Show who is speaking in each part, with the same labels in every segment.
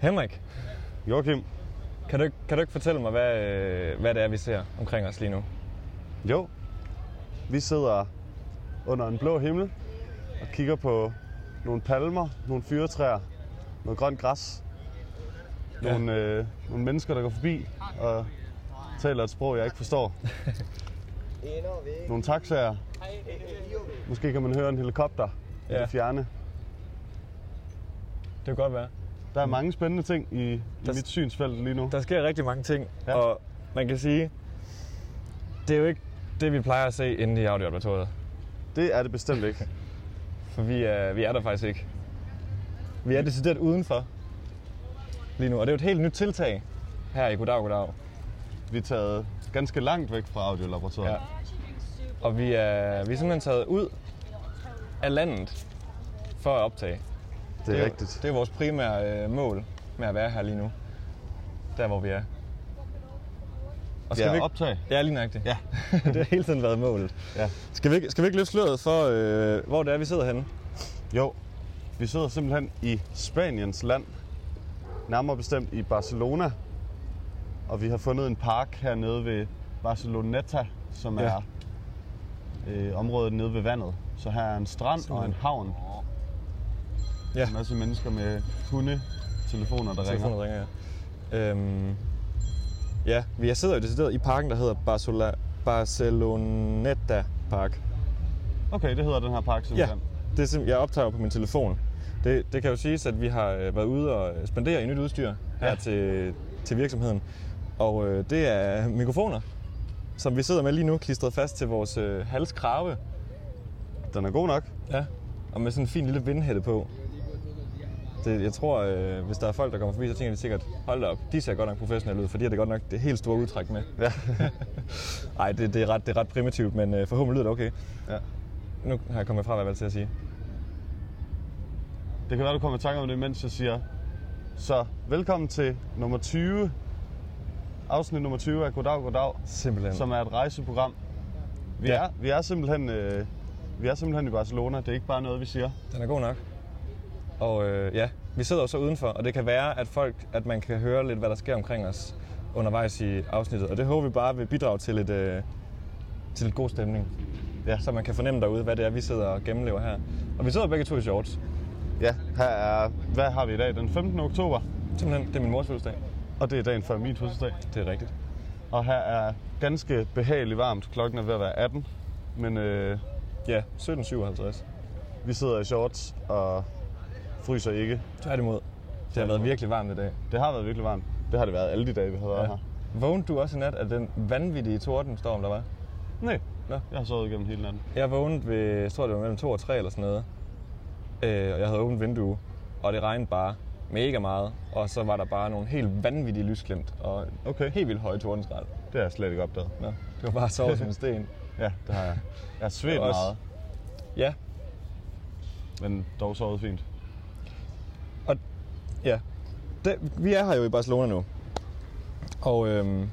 Speaker 1: Henrik,
Speaker 2: Joachim,
Speaker 1: kan du, ikke- kan du ikke fortælle mig, hvad, øh, hvad det er, vi ser omkring os lige nu?
Speaker 2: jo, vi sidder under en blå himmel og kigger på nogle palmer, nogle fyretræer, noget grønt græs,
Speaker 1: Ja.
Speaker 2: nogle, øh, nogle mennesker, der går forbi og taler et sprog, jeg ikke forstår. Nogle taxaer. Måske kan man høre en helikopter i
Speaker 1: Ja.
Speaker 2: det fjerne.
Speaker 1: Det kan godt være.
Speaker 2: Der er mange spændende ting i, i
Speaker 1: Der-
Speaker 2: mit synsfelt lige nu.
Speaker 1: Der sker rigtig mange ting,
Speaker 2: Ja.
Speaker 1: ja. og man kan sige, det er jo ikke det, vi plejer at se inde i audioobservatoriet.
Speaker 2: Det er det bestemt ikke.
Speaker 1: For vi er, vi er der faktisk ikke. Vi er decideret udenfor lige nu, og det er jo et helt nyt tiltag her i Goddag Goddag.
Speaker 2: Vi er taget ganske langt væk fra audiolaboratoriet.
Speaker 1: Ja. Og vi er, vi er simpelthen taget ud af landet for at optage.
Speaker 2: det
Speaker 1: jo-
Speaker 2: er rigtigt.
Speaker 1: Det er vores primære øh, mål med at være her lige nu. Der, hvor vi er. Og
Speaker 2: Ja,
Speaker 1: vi ikke...
Speaker 2: optage.
Speaker 1: Ja, lige nøjagtigt.
Speaker 2: Ja.
Speaker 1: det har hele tiden været målet.
Speaker 2: Ja.
Speaker 1: Skal vi ikke, skal vi ikke løfte sløret for, øh, hvor det er, vi sidder henne?
Speaker 2: Jo, vi sidder simpelthen i Spaniens land, nærmere bestemt i Barcelona. Og vi har fundet en park hernede ved Barceloneta, som
Speaker 1: Ja.
Speaker 2: er øh, området nede ved vandet. Så her er en strand og en
Speaker 1: Simpelthen.
Speaker 2: havn.
Speaker 1: Ja.
Speaker 2: En masse mennesker med hunde, telefoner, der ringer.
Speaker 1: Telefonen ringer, ja. Øhm, ja, vi sidder jo decideret i parken, der hedder Barcelona, Barceloneta Park.
Speaker 2: Okay, det hedder den her park
Speaker 1: Ja,
Speaker 2: simpelthen.
Speaker 1: det er sim- jeg optager på min telefon. Det, det kan jo siges, at vi har øh, været ude og øh, spendere i nyt udstyr her
Speaker 2: Ja.
Speaker 1: til, til virksomheden. Og øh, det er mikrofoner, som vi sidder med lige nu, klistret fast til vores øh, halskrave.
Speaker 2: Den er god nok.
Speaker 1: Ja. Og med sådan en fin lille vindhætte på. Det, jeg tror, øh, hvis der er folk, der kommer forbi, så tænker de sikkert, hold da op, de ser godt nok professionelle ud, fordi det er godt nok det helt store udtræk med.
Speaker 2: Ja.
Speaker 1: Nej, det, det, er ret, det er ret primitivt, men øh, forhåbentlig lyder det okay.
Speaker 2: ja.
Speaker 1: Nu har jeg kommet fra, hvad jeg valgte til at sige.
Speaker 2: Det kan være, du kommer i tanke om det, mens jeg siger. Så velkommen til nummer 20. Afsnit nummer 20 af Goddag, Goddag.
Speaker 1: Simpelthen.
Speaker 2: som er et rejseprogram. Vi,
Speaker 1: Ja.
Speaker 2: ja. er, vi, er simpelthen, øh, vi er simpelthen i Barcelona. Det er ikke bare noget, vi siger.
Speaker 1: Den er god nok. Og øh, ja, vi sidder jo så udenfor, og det kan være, at folk, at man kan høre lidt, hvad der sker omkring os undervejs i afsnittet. Og det håber vi bare vil bidrage til lidt, øh, til lidt god stemning.
Speaker 2: Ja.
Speaker 1: Så man kan fornemme derude, hvad det er, vi sidder og gennemlever her. Og vi sidder begge to i shorts.
Speaker 2: Ja, her er, hvad har vi i dag? Den 15. oktober,
Speaker 1: Simpelthen, det er min mors fødselsdag.
Speaker 2: og det er dagen før min fødselsdag.
Speaker 1: Det er rigtigt.
Speaker 2: Og her er ganske behageligt varmt. Klokken er ved at være 18, men øh,
Speaker 1: Ja, 1757.
Speaker 2: vi sidder i shorts og fryser ikke.
Speaker 1: Tværtimod. Det har været virkelig varmt i dag.
Speaker 2: Det har været virkelig varmt. Det har det været alle de dage, vi har været ja. her.
Speaker 1: Vågnede du også i nat af den vanvittige tordenstorm, der var?
Speaker 2: Nej,
Speaker 1: Nå.
Speaker 2: jeg har sovet igennem hele natten.
Speaker 1: Jeg vågnede ved, jeg tror det var mellem 2 og 3 eller sådan noget. Øh, og jeg havde åbent vindue, og det regnede bare mega meget. Og så var der bare nogle helt vanvittige lysglimt, og
Speaker 2: Okay.
Speaker 1: helt vildt høje tordensgrad.
Speaker 2: Det har jeg slet ikke opdaget.
Speaker 1: Nå, det var bare at sove som en sten.
Speaker 2: Ja, det har jeg. Jeg har svedt
Speaker 1: Det er også-
Speaker 2: meget,
Speaker 1: Ja,
Speaker 2: men dog sovet fint.
Speaker 1: ja. Det, vi er her jo i Barcelona nu. Og øhm,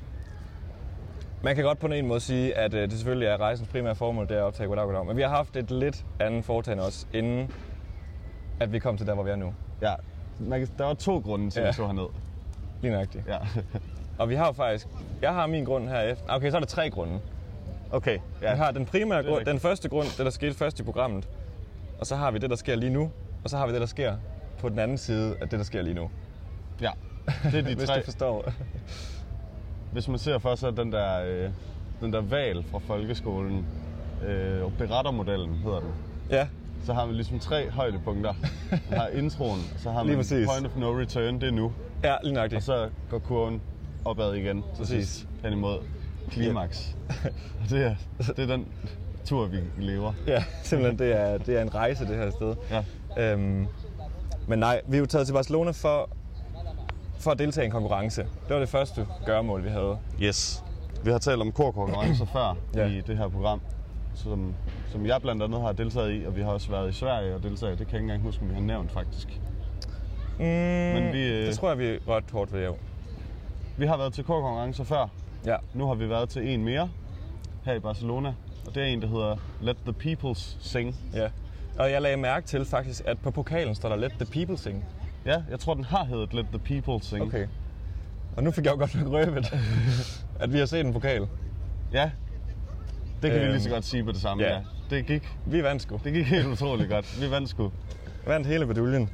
Speaker 1: man kan godt på den ene måde sige, at øh, det selvfølgelig er rejsens primære formål, det er at optage goddag, goddag. Men vi har haft et lidt andet foretagende også, inden at vi kom til der, hvor vi er nu.
Speaker 2: Ja, man kan, der var to grunde til, at
Speaker 1: Ja.
Speaker 2: jeg tog herned.
Speaker 1: Lige nøjagtigt.
Speaker 2: Ja.
Speaker 1: Og vi har jo faktisk... Jeg har min grund her efter. Ah, Okay, så er der tre grunde.
Speaker 2: Okay,
Speaker 1: Ja.
Speaker 2: ja.
Speaker 1: Vi har den primære
Speaker 2: Det er
Speaker 1: grund,
Speaker 2: rigtigt.
Speaker 1: den første grund, det der skete først i programmet. Og så har vi det, der sker lige nu. Og så har vi det, der sker på den anden side af det, der sker lige nu.
Speaker 2: ja. Det er de
Speaker 1: Hvis
Speaker 2: tre.
Speaker 1: du forstår.
Speaker 2: Hvis man ser for sig den der, øh, den der val fra folkeskolen, øh, berettermodellen hedder den,
Speaker 1: ja,
Speaker 2: så har man ligesom tre højdepunkter. Man har introen, så har
Speaker 1: Lige
Speaker 2: man
Speaker 1: præcis.
Speaker 2: point of no return, det er nu.
Speaker 1: ja lige
Speaker 2: Og
Speaker 1: nøjagtigt.
Speaker 2: så går kurven opad igen, så
Speaker 1: Præcis.
Speaker 2: sidst hen imod klimaks. Og det er, det er den tur, vi lever.
Speaker 1: Ja, simpelthen, det er, det er en rejse, det her sted.
Speaker 2: Ja.
Speaker 1: Øhm, men nej, vi er jo taget til Barcelona for, for at deltage i en konkurrence. Det var det første gørmål, vi havde.
Speaker 2: Yes. Vi har talt om korkonkurrencer før ja.
Speaker 1: Ja.
Speaker 2: i det her program, som, som jeg blandt andet har deltaget i, og vi har også været i Sverige og deltaget. i. Det kan jeg ikke engang huske, om vi har nævnt faktisk.
Speaker 1: Mm, men
Speaker 2: vi, øh,
Speaker 1: Det tror jeg, vi er ret hårdt ved, jo.
Speaker 2: Vi har været til korkonkurrencer før.
Speaker 1: Ja,
Speaker 2: Nu har vi været til en mere her i Barcelona. Og det er en, der hedder Let the Peoples Sing.
Speaker 1: Ja. Og jeg lagde mærke til faktisk, at på pokalen står der Let the People Sing.
Speaker 2: Ja, jeg tror, den har heddet Let the People Sing.
Speaker 1: Okay. Og nu fik jeg jo godt nok røbet, at vi har set en pokal.
Speaker 2: Ja, det kan øhm, vi lige så
Speaker 1: Øhm,
Speaker 2: godt sige på det samme.
Speaker 1: ja.
Speaker 2: Ja. Det gik
Speaker 1: Vi vandt sgu.
Speaker 2: det gik helt utroligt godt. Vi vandt sgu.
Speaker 1: Vandt hele beduljen.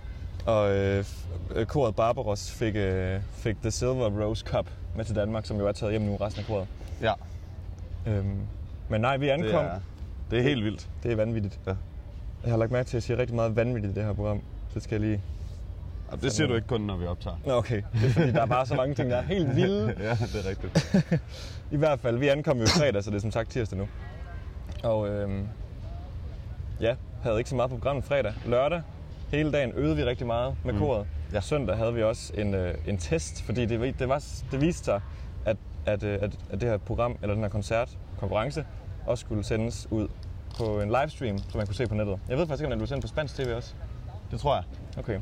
Speaker 1: Og øh, f- øh, koret Barbaros fik, øh, fik The Silver Rose Cup med til Danmark, som jo er taget hjem nu resten af koret.
Speaker 2: Ja,
Speaker 1: Øhm, men nej, vi
Speaker 2: det
Speaker 1: ankom.
Speaker 2: er, det er helt vildt.
Speaker 1: Det er vanvittigt.
Speaker 2: Ja.
Speaker 1: Jeg har lagt mærke til, at jeg siger rigtig meget vanvittigt i det her program. Det skal jeg lige...
Speaker 2: Og det siger du ikke kun, når vi optager.
Speaker 1: Nå, okay. Det er fordi, der er bare så mange ting, der er helt vilde.
Speaker 2: ja, det er rigtigt.
Speaker 1: I hvert fald, vi ankom jo fredag, så det er som sagt tirsdag nu. Og øhm, ja, havde ikke så meget på programmet fredag. Lørdag, hele dagen, øvede vi rigtig meget med koret.
Speaker 2: Ja.
Speaker 1: Ja. Søndag havde vi også en, øh, en test, fordi det, vi- det, var, det viste sig, at, at, øh, at, at det her program, eller den her koncert, konkurrence, også skulle sendes ud på en livestream, som man kunne se på nettet. Jeg ved faktisk ikke, om den blev sendt på spansk tv også.
Speaker 2: Det tror jeg.
Speaker 1: Okay.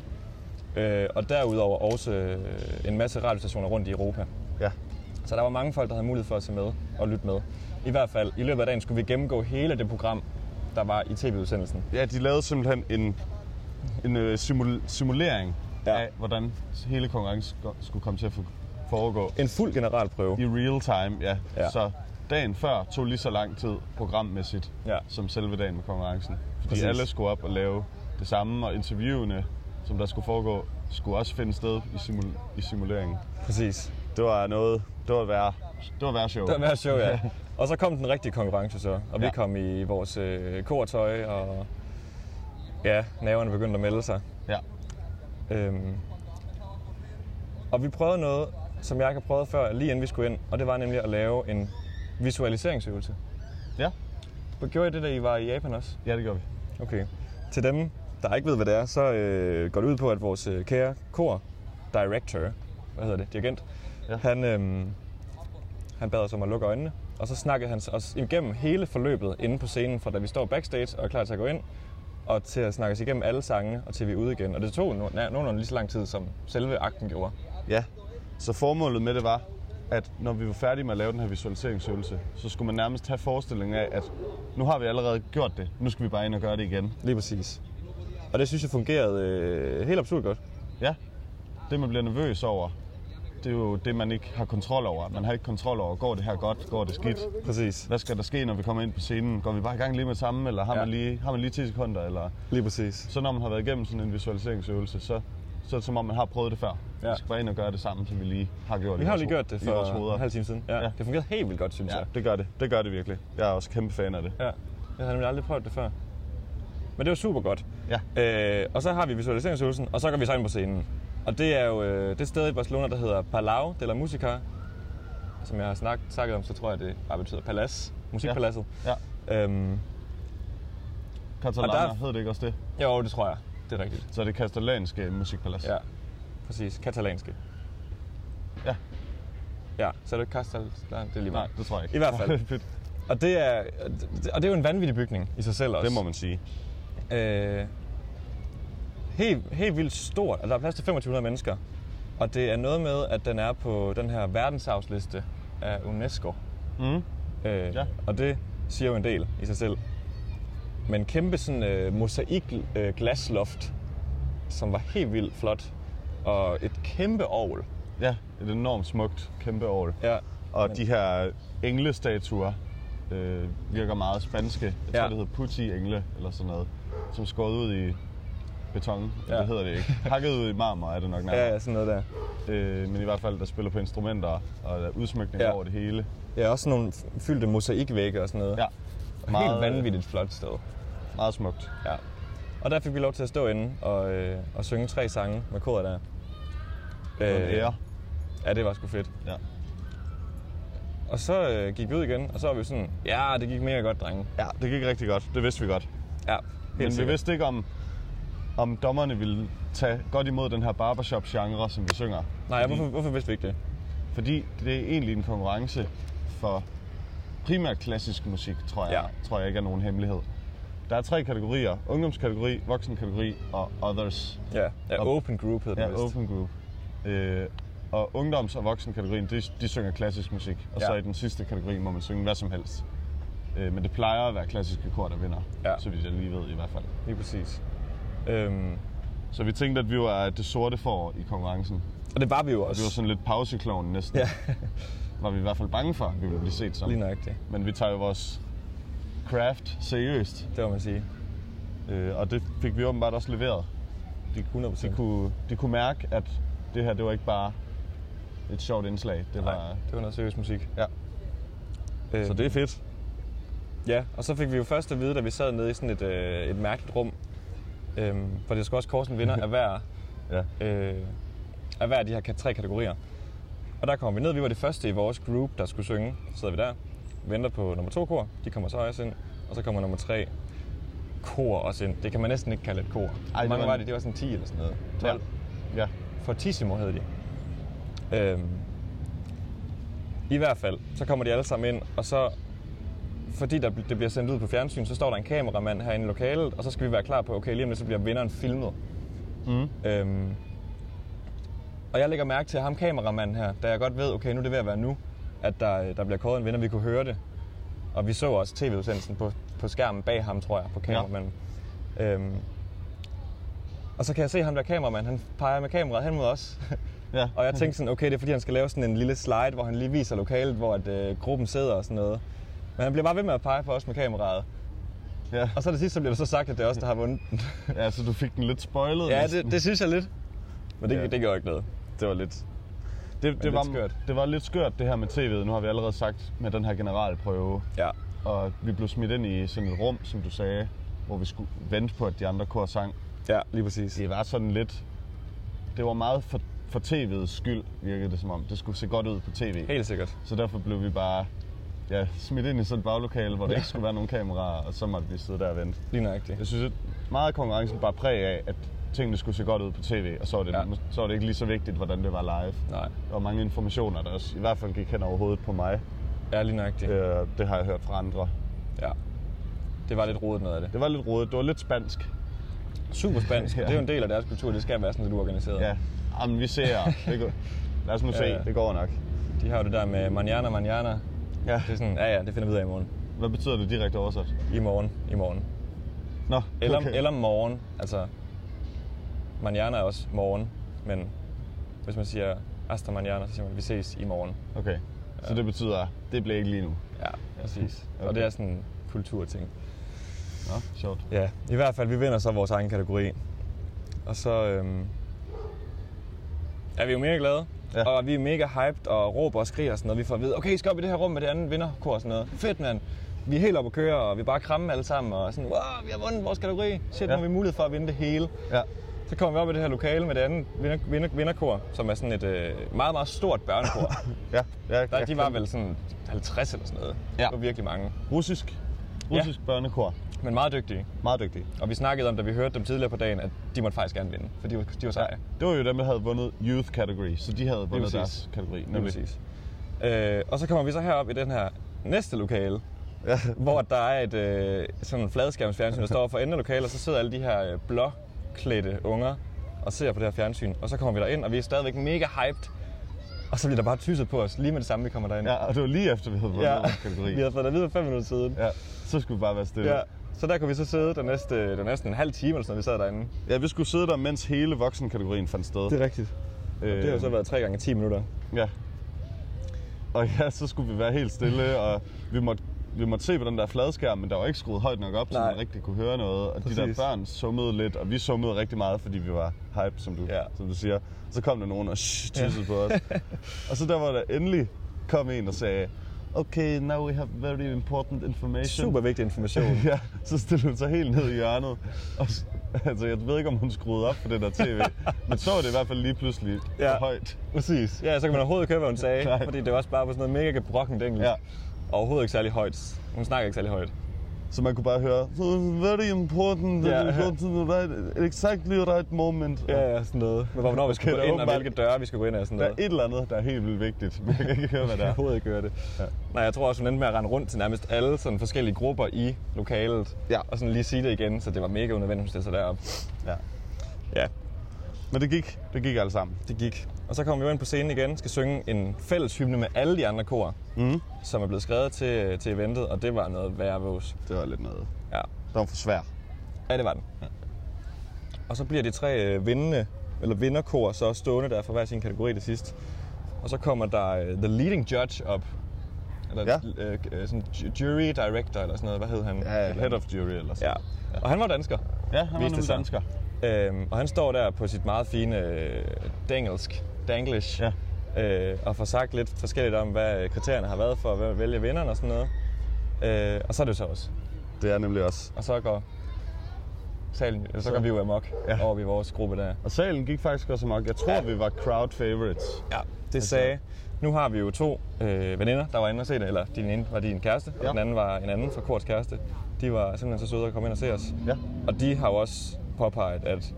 Speaker 1: Øh, og derudover også øh, en masse radiostationer rundt i Europa.
Speaker 2: Ja.
Speaker 1: Så der var mange folk, der havde mulighed for at se med og lytte med. I hvert fald, i løbet af dagen skulle vi gennemgå hele det program, der var i tv-udsendelsen.
Speaker 2: Ja, de lavede simpelthen en, en øh, simul- simulering ja.
Speaker 1: Ja.
Speaker 2: af, hvordan hele konkurrencen go- skulle komme til at fu- foregå
Speaker 1: En fuld generalprøve.
Speaker 2: i real time. Ja. ja.
Speaker 1: Ja.
Speaker 2: Så dagen før tog lige så lang tid programmæssigt,
Speaker 1: Ja.
Speaker 2: som selve dagen med konkurrencen. Fordi Præcis.
Speaker 1: Præcis.
Speaker 2: alle skulle op og lave det samme, og interviewene, som der skulle foregå, skulle også finde sted i, simul- i simuleringen.
Speaker 1: Præcis.
Speaker 2: Det var noget, det var værre, det var værre show.
Speaker 1: Det var mere sjovt, ja. Og så kom den rigtige konkurrence så, og vi
Speaker 2: Ja.
Speaker 1: kom i vores øh, kortøj, og ja, naverne begyndte at melde sig.
Speaker 2: Ja.
Speaker 1: Øhm. Og vi prøvede noget, som jeg ikke har prøvet før, lige inden vi skulle ind, og det var nemlig at lave en visualiseringsøvelse.
Speaker 2: ja.
Speaker 1: Gjorde I det, da I var i Japan også?
Speaker 2: Ja, det gjorde vi.
Speaker 1: Okay. Til dem, der ikke ved, hvad det er, så øh, går det ud på, at vores øh, kære kor, director, hvad hedder det, dirigent,
Speaker 2: Ja.
Speaker 1: ja. han, øh, han bad os om at lukke øjnene, og så snakkede han os igennem hele forløbet inde på scenen, fra da vi står backstage og er klar til at gå ind, og til at snakke os igennem alle sangene, og til vi er ude igen. Og det tog no- na- nogenlunde lige så lang tid, som selve akten gjorde.
Speaker 2: Ja, så formålet med det var, at når vi var færdige med at lave den her visualiseringsøvelse, så skulle man nærmest have forestillingen af, at nu har vi allerede gjort det, nu skal vi bare ind og gøre det igen.
Speaker 1: Lige præcis. Og det synes jeg fungerede øh, helt absurd godt.
Speaker 2: Ja, det man bliver nervøs over, det er jo det, man ikke har kontrol over. Man har ikke kontrol over, går det her godt, går det skidt.
Speaker 1: Præcis.
Speaker 2: Hvad skal der ske, når vi kommer ind på scenen? Går vi bare i gang lige med det samme, eller har, ja.
Speaker 1: Ja.
Speaker 2: man, lige, har man lige 10 sekunder? Eller...
Speaker 1: Lige præcis.
Speaker 2: Så når man har været igennem sådan en visualiseringsøvelse, så, så er det som om, man har prøvet det før. Ja.
Speaker 1: Ja.
Speaker 2: Vi skal bare ind og gøre det samme, som vi lige har gjort
Speaker 1: Vi
Speaker 2: i
Speaker 1: har jo
Speaker 2: vores
Speaker 1: lige
Speaker 2: ho-
Speaker 1: gjort det
Speaker 2: i vores
Speaker 1: for
Speaker 2: hoveder.
Speaker 1: en halv time siden. Ja,
Speaker 2: Ja.
Speaker 1: ja. Det fungerede helt vildt godt, synes
Speaker 2: Ja,
Speaker 1: jeg.
Speaker 2: det gør det. Det gør det virkelig. Jeg er også kæmpe fan af det.
Speaker 1: Ja, jeg havde nemlig aldrig prøvet det før. Men det var super godt.
Speaker 2: Ja.
Speaker 1: Øh, og så har vi visualiseringsøvelsen, og så går vi så ind på scenen. Og det er jo øh, det sted i Barcelona, der hedder Palau de la Musica, som jeg har snak, snakket om, så tror jeg, det bare betyder palads, musikpaladset.
Speaker 2: Ja.
Speaker 1: Ja. Øhm,
Speaker 2: Katalaner
Speaker 1: Og der-
Speaker 2: hed det ikke også det?
Speaker 1: jo, det tror jeg. Det er rigtigt.
Speaker 2: Så er det katalanske musikpalads.
Speaker 1: Ja, præcis. Katalanske.
Speaker 2: Ja.
Speaker 1: Ja, så er det Castel... Nej, det er lige
Speaker 2: Nej,
Speaker 1: meget.
Speaker 2: det tror jeg ikke.
Speaker 1: I hvert fald.
Speaker 2: Fedt.
Speaker 1: Og det, er, og det er jo en vanvittig bygning i sig selv også.
Speaker 2: det må man sige.
Speaker 1: Øh, helt, helt vildt stort, og der er plads til 2500 mennesker. Og det er noget med, at den er på den her verdensarvsliste af UNESCO.
Speaker 2: Mm.
Speaker 1: Øh,
Speaker 2: Ja.
Speaker 1: Og det siger jo en del i sig selv. Men kæmpe sådan øh, mosaik øh, glasloft, som var helt vildt flot. Og et kæmpe ovl.
Speaker 2: Ja, et enormt smukt, kæmpe år.
Speaker 1: Ja,
Speaker 2: Og de her englestatuer øh, virker meget spanske. Jeg tror,
Speaker 1: Ja.
Speaker 2: det hedder putti-engle eller sådan noget, som er skåret ud i beton. Ja.
Speaker 1: Ja.
Speaker 2: Det hedder det ikke. Hakket ud i marmor er det nok nærmere.
Speaker 1: ja, ja sådan noget der.
Speaker 2: Øh, men i hvert fald, der spiller på instrumenter, og der er udsmykninger
Speaker 1: Ja.
Speaker 2: over det hele.
Speaker 1: Ja, også sådan nogle fyldte mosaikvægge og sådan noget.
Speaker 2: Ja, øh,
Speaker 1: Helt vanvittigt flot sted.
Speaker 2: meget smukt.
Speaker 1: Ja. Og der fik vi lov til at stå inde og, øh, og synge tre sange med koret der.
Speaker 2: Øh, en ære.
Speaker 1: Ja, det var sgu fedt.
Speaker 2: Ja.
Speaker 1: Og så øh, gik vi ud igen, og så var vi sådan, ja, det gik mega godt, drenge.
Speaker 2: Ja, det gik rigtig godt. Det vidste vi godt.
Speaker 1: Ja,
Speaker 2: Men vi
Speaker 1: sikkert.
Speaker 2: vidste ikke, om, om dommerne ville tage godt imod den her barbershop-genre, som vi synger.
Speaker 1: Nej, hvorfor, hvorfor vidste vi ikke det?
Speaker 2: Fordi det er egentlig en konkurrence for primært klassisk musik, tror jeg, ja.
Speaker 1: Ja.
Speaker 2: tror jeg ikke er nogen hemmelighed. Der er tre kategorier. Ungdomskategori, voksenkategori og others.
Speaker 1: Ja, ja
Speaker 2: Og-
Speaker 1: open group hed det
Speaker 2: Ja,
Speaker 1: vist.
Speaker 2: open group. Øh, og ungdoms- og voksenkategorien, de, de synger klassisk musik. Og ja.
Speaker 1: Ja.
Speaker 2: så i den sidste kategori må man synge hvad som helst. Øh, men det plejer at være klassiske kor, der vinder.
Speaker 1: Ja.
Speaker 2: Så vidt jeg lige ved i hvert fald.
Speaker 1: Lige præcis. Øhm,
Speaker 2: Så vi tænkte, at vi var det sorte for i konkurrencen.
Speaker 1: Og det var vi jo
Speaker 2: Vi var
Speaker 1: også.
Speaker 2: sådan lidt pausekloven næsten.
Speaker 1: Ja.
Speaker 2: Var vi i hvert fald bange for, at vi ville blive set som.
Speaker 1: Lige nøjagtigt.
Speaker 2: Men vi tager jo vores craft seriøst,
Speaker 1: Det må man sige.
Speaker 2: øh, og det fik vi åbenbart også leveret.
Speaker 1: De 100
Speaker 2: De kunne, de kunne mærke, at det her, det var ikke bare et sjovt indslag. Det var,
Speaker 1: Nej, det var noget seriøs musik.
Speaker 2: Ja.
Speaker 1: Øh,
Speaker 2: Så det er fedt.
Speaker 1: Ja, og så fik vi jo først at vide, da vi sad nede i sådan et, øh, et mærkeligt rum, øh, for det skal også korsen vinder af hver,
Speaker 2: Ja.
Speaker 1: øh, af hver af de her ka- tre kategorier. Og der kom vi ned, vi var det første i vores group, der skulle synge. Så sidder vi der, venter på nummer to kor, de kommer så også ind, og så kommer nummer tre kor også ind. Det kan man næsten ikke kalde et kor. Ej, mange
Speaker 2: det var
Speaker 1: var
Speaker 2: en-
Speaker 1: det? Det var sådan 10 eller sådan noget. 12.
Speaker 2: Ja.
Speaker 1: Ja.
Speaker 2: ja.
Speaker 1: Fortissimo hed de. Øhm, I hvert fald, så kommer de alle sammen ind, og så, fordi der, bl- det bliver sendt ud på fjernsyn, så står der en kameramand herinde i lokalet, og så skal vi være klar på, okay, lige om lidt, så bliver vinderen filmet.
Speaker 2: Mm.
Speaker 1: Øhm, og jeg lægger mærke til ham kameramanden her, da jeg godt ved, okay, nu er det ved at være nu, at der, der bliver kåret en vinder, vi kunne høre det. Og vi så også tv-udsendelsen på, på skærmen bag ham, tror jeg, på kameramanden. Ja. Øhm, og så kan jeg se ham der kameramand, han peger med kameraet hen mod os.
Speaker 2: ja.
Speaker 1: og jeg tænkte sådan, okay, det er fordi, han skal lave sådan en lille slide, hvor han lige viser lokalet, hvor at, øh, gruppen sidder og sådan noget. Men han bliver bare ved med at pege på os med kameraet.
Speaker 2: Ja.
Speaker 1: Og så til sidst, så bliver det så sagt, at det er os, der har vundet den.
Speaker 2: ja, så du fik den lidt spoilet.
Speaker 1: ja,
Speaker 2: næsten.
Speaker 1: det, det synes jeg lidt. Men det,
Speaker 2: Ja.
Speaker 1: ja. det gjorde ikke noget.
Speaker 2: det var lidt... Det, det,
Speaker 1: lidt
Speaker 2: var,
Speaker 1: skørt.
Speaker 2: det var lidt skørt, det her med tv'et. Nu har vi allerede sagt med den her generalprøve.
Speaker 1: Ja,
Speaker 2: Og vi blev smidt ind i sådan et rum, som du sagde, hvor vi skulle vente på, at de andre kor sang.
Speaker 1: ja lige præcis.
Speaker 2: Det var sådan lidt... Det var meget for, for tv'ets skyld, virkede det som om. Det skulle se godt ud på tv.
Speaker 1: Helt sikkert.
Speaker 2: Så derfor blev vi bare ja, smidt ind i sådan et baglokale, hvor der ikke skulle være nogen kameraer, og så måtte vi sidde der og vente.
Speaker 1: Lige nøjagtigt.
Speaker 2: Jeg synes, at meget af konkurrencen bare præg af, at tingene skulle se godt ud på tv, og så var det, ja.
Speaker 1: Ja.
Speaker 2: så var det ikke lige så vigtigt, hvordan det var live.
Speaker 1: Nej,
Speaker 2: Der var mange informationer, der også i hvert fald gik hen over hovedet på mig.
Speaker 1: ja, lige nøjagtigt. Ja.
Speaker 2: Øh, det har jeg hørt fra andre.
Speaker 1: ja. Det var lidt rodet noget af det.
Speaker 2: Det var lidt rodet. Det var lidt spansk.
Speaker 1: Super spansk.
Speaker 2: Ja.
Speaker 1: ja. Det er jo en del af deres kultur, det skal være sådan lidt uorganiseret.
Speaker 2: Ja. Jamen, vi ser. Det går. Lad os nu se.
Speaker 1: Ja, ja.
Speaker 2: Det går nok.
Speaker 1: De har jo det der med manjana, manjana.
Speaker 2: Ja.
Speaker 1: Det er sådan, ja ja, det finder vi ud af i morgen.
Speaker 2: Hvad betyder det direkte oversat?
Speaker 1: I morgen, i morgen.
Speaker 2: Nå,
Speaker 1: Eller, okay. eller morgen, altså... Manjana er også morgen, men hvis man siger hasta manjana, så siger man, vi ses i morgen.
Speaker 2: Okay. Så det betyder, det bliver ikke lige nu.
Speaker 1: Ja, præcis. Okay.
Speaker 2: Okay.
Speaker 1: Og det er sådan en kulturting.
Speaker 2: Nå, sjovt.
Speaker 1: Ja, i hvert fald, vi vinder så vores egen kategori. Og så øhm, er vi jo mega glade.
Speaker 2: Ja.
Speaker 1: Ja. Og vi er mega hyped og råber og skriger og sådan noget. Vi får at vide, okay, I skal op i det her rum med det andet vinderkor og sådan noget. Fedt, mand. Vi er helt oppe at køre, og vi er bare kramme alle sammen. Og sådan, wow, vi har vundet vores kategori. Shit,
Speaker 2: Ja.
Speaker 1: ja. nu har vi mulighed for at vinde det hele.
Speaker 2: Ja.
Speaker 1: Så kommer vi op i det her lokale med det andet vinder, vinder, vinderkor, som er sådan et øh, meget, meget stort børnekor.
Speaker 2: Ja, ja,
Speaker 1: Der,
Speaker 2: ja.
Speaker 1: de var vel sådan 50 eller sådan noget.
Speaker 2: Ja.
Speaker 1: Det var virkelig mange.
Speaker 2: Russisk. Russisk ja. børnekor.
Speaker 1: Men meget dygtige.
Speaker 2: Meget dygtige.
Speaker 1: Og vi snakkede om, da vi hørte dem tidligere på dagen, at de måtte faktisk gerne vinde, for de var, de var seje.
Speaker 2: Det var jo dem, der havde vundet youth category, så de havde vundet
Speaker 1: præcis.
Speaker 2: deres kategori.
Speaker 1: Lige
Speaker 2: nemlig.
Speaker 1: præcis. Øh, og så kommer vi så herop i den her næste lokale, ja. hvor der er et øh, sådan en fladskærmsfjernsyn, der står for enden af lokalet, og så sidder alle de her øh, blåklædte unger og ser på det her fjernsyn. Og så kommer vi derind, og vi er stadigvæk mega hyped. Og så bliver der bare tyset på os, lige med det samme, vi kommer derind.
Speaker 2: Ja, og det var lige efter, vi havde vundet
Speaker 1: ja.
Speaker 2: vores kategori.
Speaker 1: vi havde fået det videre fem minutter siden.
Speaker 2: Ja, så skulle vi bare være stille.
Speaker 1: Ja. Så der kunne vi så sidde den næste, den næsten en halv time, eller sådan noget, vi sad derinde.
Speaker 2: ja, vi skulle sidde der, mens hele voksenkategorien fandt sted.
Speaker 1: er rigtigt.
Speaker 2: øh,
Speaker 1: Det har jo så været 3 gange 10 minutter.
Speaker 2: Ja. Og ja, så skulle vi være helt stille, og vi måtte, vi måtte se på den der fladskærm, men der var ikke skruet højt nok op, så
Speaker 1: Nej.
Speaker 2: man rigtig kunne høre noget. Og de der
Speaker 1: Præcis.
Speaker 2: børn summede lidt, og vi summede rigtig meget, fordi vi var hype, som du,
Speaker 1: Ja.
Speaker 2: som du siger. Så kom der nogen og shh, tyssede på os. og så der var der endelig kom en og sagde, Okay, now we have very important information.
Speaker 1: Super vigtig information.
Speaker 2: Ja, så stillede hun sig helt ned i hjørnet. Og, s- altså, jeg ved ikke, om hun skruede op for den der tv, men så var det i hvert fald lige pludselig ja.
Speaker 1: Ja.
Speaker 2: højt.
Speaker 1: Præcis. Ja, så kan man overhovedet ikke høre, hvad hun sagde,
Speaker 2: Nej.
Speaker 1: fordi det var også bare på sådan noget mega gebrokkent engelsk.
Speaker 2: Ja.
Speaker 1: Overhovedet ikke særlig højt. Hun snakker ikke særlig højt.
Speaker 2: Så man kunne bare høre, so it's very important,
Speaker 1: Ja.
Speaker 2: that you go to the right, exactly right moment. Og
Speaker 1: Ja, ja, sådan noget. Men hvornår vi skal
Speaker 2: Okay,
Speaker 1: gå
Speaker 2: der er
Speaker 1: ind, og
Speaker 2: åbenbart-
Speaker 1: hvilke døre vi skal gå ind af, og sådan
Speaker 2: Der er
Speaker 1: noget.
Speaker 2: et eller andet, der er helt vildt vigtigt, men jeg kan ikke høre, hvad det
Speaker 1: Jeg
Speaker 2: er.
Speaker 1: overhovedet ikke høre det.
Speaker 2: Ja.
Speaker 1: Ja. Nej, jeg tror også, hun endte med at rende rundt til nærmest alle sådan forskellige grupper i lokalet.
Speaker 2: Ja.
Speaker 1: Og sådan lige sige det igen, så det var mega unødvendigt, hun stillede sig derop.
Speaker 2: Ja.
Speaker 1: Ja,
Speaker 2: Men det gik, det gik alle sammen.
Speaker 1: det gik. Og så kom vi jo ind på scenen igen, skal synge en fælles hymne med alle de andre kor,
Speaker 2: Mm.
Speaker 1: som er blevet skrevet til, til eventet, og det var noget værre vås.
Speaker 2: Det var lidt noget.
Speaker 1: Ja.
Speaker 2: Det var for svært.
Speaker 1: ja, det var den. Og så bliver de tre øh, vindende, eller vinderkor så stående der for hver sin kategori til sidst. Og så kommer der øh, The Leading Judge op. Eller ja. øh, øh, sådan ju- Jury Director, eller sådan noget. Hvad hed han?
Speaker 2: Ja,
Speaker 1: Eller-
Speaker 2: head of jury eller sådan.
Speaker 1: Ja. Og han var dansker.
Speaker 2: ja han var
Speaker 1: Viste
Speaker 2: nemlig
Speaker 1: sig.
Speaker 2: dansker.
Speaker 1: Øhm, og han står der på sit meget fine øh, dangelsk, danglish,
Speaker 2: Ja.
Speaker 1: øh, og får sagt lidt forskelligt om, hvad øh, kriterierne har været for at væ- vælge vinderen og sådan noget. Øh, og så er det jo så også.
Speaker 2: Det er nemlig også.
Speaker 1: Og så går salen, eller så,
Speaker 2: Så-
Speaker 1: går vi jo amok
Speaker 2: Ja.
Speaker 1: ja. over i vores gruppe der.
Speaker 2: Og salen gik faktisk også amok. Jeg tror,
Speaker 1: Ja.
Speaker 2: ja. vi var crowd favorites.
Speaker 1: Ja, det sagde. Nu har vi jo to øh, veninder, der var inde og se det, eller din ene var din kæreste, og
Speaker 2: Ja.
Speaker 1: den anden var en anden fra Korts kæreste. De var simpelthen så søde at komme ind og se os.
Speaker 2: Ja.
Speaker 1: Og de har jo også påpeget, at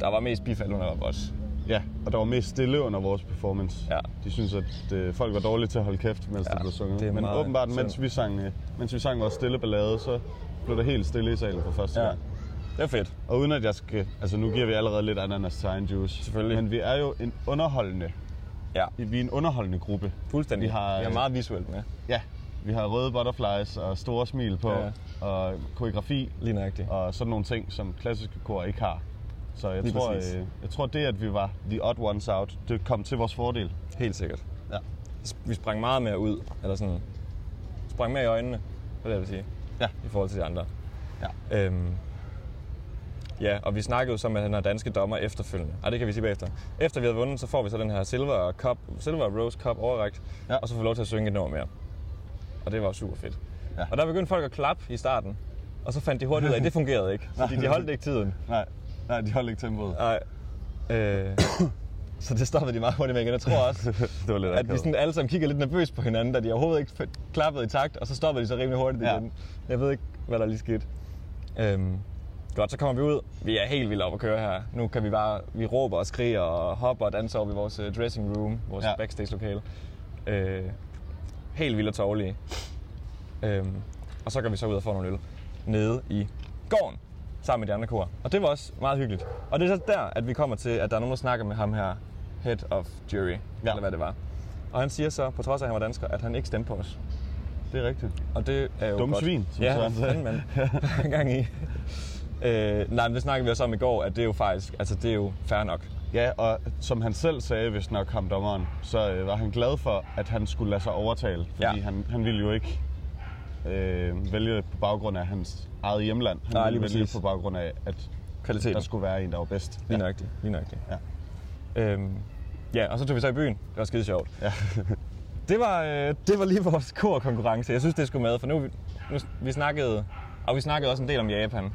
Speaker 1: der var mest bifald under os.
Speaker 2: Ja, og der var mest stille under vores performance.
Speaker 1: Ja.
Speaker 2: De synes at øh, folk var dårlige til at holde kæft, mens ja,
Speaker 1: Ja,
Speaker 2: det blev sunget.
Speaker 1: det er
Speaker 2: Men
Speaker 1: meget
Speaker 2: åbenbart, mens
Speaker 1: synd.
Speaker 2: vi, sang, øh, mens vi sang vores stille ballade, så blev der helt stille i salen for første
Speaker 1: Ja.
Speaker 2: gang.
Speaker 1: Det er fedt.
Speaker 2: Og uden at jeg skal... Altså, nu giver vi allerede lidt ananas til egen juice.
Speaker 1: Selvfølgelig.
Speaker 2: Men vi er jo en underholdende...
Speaker 1: Ja.
Speaker 2: Vi er en underholdende gruppe.
Speaker 1: Fuldstændig.
Speaker 2: Vi har-
Speaker 1: vi har meget visuelt med.
Speaker 2: Ja. Vi har røde butterflies og store smil på,
Speaker 1: Ja.
Speaker 2: og koreografi
Speaker 1: Lige nøjagtigt.
Speaker 2: og sådan nogle ting, som klassiske kor ikke har. Så jeg
Speaker 1: Lige
Speaker 2: tror,
Speaker 1: præcis.
Speaker 2: øh, jeg tror, det, at vi var the odd ones out, det kom til vores fordel.
Speaker 1: Helt sikkert.
Speaker 2: Ja.
Speaker 1: Vi sprang meget mere ud, eller sådan... Sprang mere i øjnene, hvad det vil sige,
Speaker 2: Ja.
Speaker 1: i forhold til de andre.
Speaker 2: Ja.
Speaker 1: Øhm, ja, og vi snakkede jo så med den her danske dommer efterfølgende. Ej, det kan vi sige bagefter. Efter vi havde vundet, så får vi så den her Silver, cup, Silver Rose Cup overrækt,
Speaker 2: Ja.
Speaker 1: ja. og så får vi lov til at synge et nummer mere. Og det var jo super fedt.
Speaker 2: Ja.
Speaker 1: Og der begyndte folk at klappe i starten, og så fandt de hurtigt ud af, at det fungerede ikke, fordi de holdt ikke tiden.
Speaker 2: Nej, nej, de holdt ikke tempoet.
Speaker 1: Nej. Øh, så det stoppede de meget hurtigt med igen. Jeg tror også,
Speaker 2: det var lidt
Speaker 1: at de sådan alle sammen kigger lidt nervøst på hinanden, da de overhovedet ikke f- klappede i takt, og så stopper de så rimelig hurtigt
Speaker 2: Ja.
Speaker 1: ja. igen. Jeg ved ikke, hvad der lige skete. Øhm, godt, så kommer vi ud. Vi er helt vildt op at køre her. Nu kan vi bare, vi råber og skriger og hopper og danser over i vores øh, dressing room, vores
Speaker 2: Ja.
Speaker 1: ja. backstage-lokale. Øh, helt vildt og tårlige. Øhm, og så går vi så ud og får nogle øl nede i gården sammen med de andre kor. Og det var også meget hyggeligt. Og det er så der, at vi kommer til, at der er nogen, der snakker med ham her, head of jury, ja. eller hvad det var. Og han siger så, på trods af, at han var dansker, at han ikke stemte på os.
Speaker 2: Det er rigtigt.
Speaker 1: Og det er jo
Speaker 2: Dumme
Speaker 1: godt.
Speaker 2: svin, som
Speaker 1: ja,
Speaker 2: Søren sagde.
Speaker 1: fandme, mand. Hver gang i. Øh, nej, men det snakkede vi også om i går, at det er jo faktisk, altså det er jo fair nok.
Speaker 2: Ja, og som han selv sagde, hvis nok ham dommeren, så øh, var han glad for, at han skulle lade sig overtale. Fordi ja.
Speaker 1: Ja.
Speaker 2: han, han ville jo ikke øh, vælge på baggrund af hans eget hjemland. Han
Speaker 1: Nej,
Speaker 2: ville
Speaker 1: lige
Speaker 2: vælge
Speaker 1: præcis.
Speaker 2: på baggrund af, at
Speaker 1: Kvaliteten.
Speaker 2: der skulle være en, der var bedst.
Speaker 1: Lige nøjagtigt, lige nøjagtigt.
Speaker 2: Ja.
Speaker 1: Øhm, ja, og så tog vi så i byen. Det var skide sjovt.
Speaker 2: Ja.
Speaker 1: Det var, øh, det var lige vores korkonkurrence. Jeg synes, det skulle med, for nu, nu vi snakkede, og vi snakkede også en del om Japan,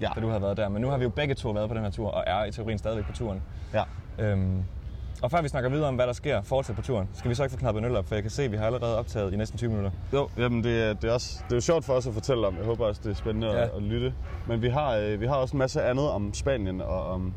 Speaker 2: Ja.
Speaker 1: da du havde været der. Men nu har vi jo begge to været på den her tur, og er i teorien stadigvæk på turen.
Speaker 2: ja.
Speaker 1: Øhm, og før vi snakker videre om, hvad der sker fortsat på turen, skal vi så ikke få knappet en øl op, for jeg kan se, at vi har allerede optaget i næsten 20 minutter.
Speaker 2: Jo, jamen det, er- det, er også, det er jo sjovt for os at fortælle om. Jeg håber også, det er spændende ja. at,
Speaker 1: Ja.
Speaker 2: at lytte. Men vi har, øh, vi har også en masse andet om Spanien og om,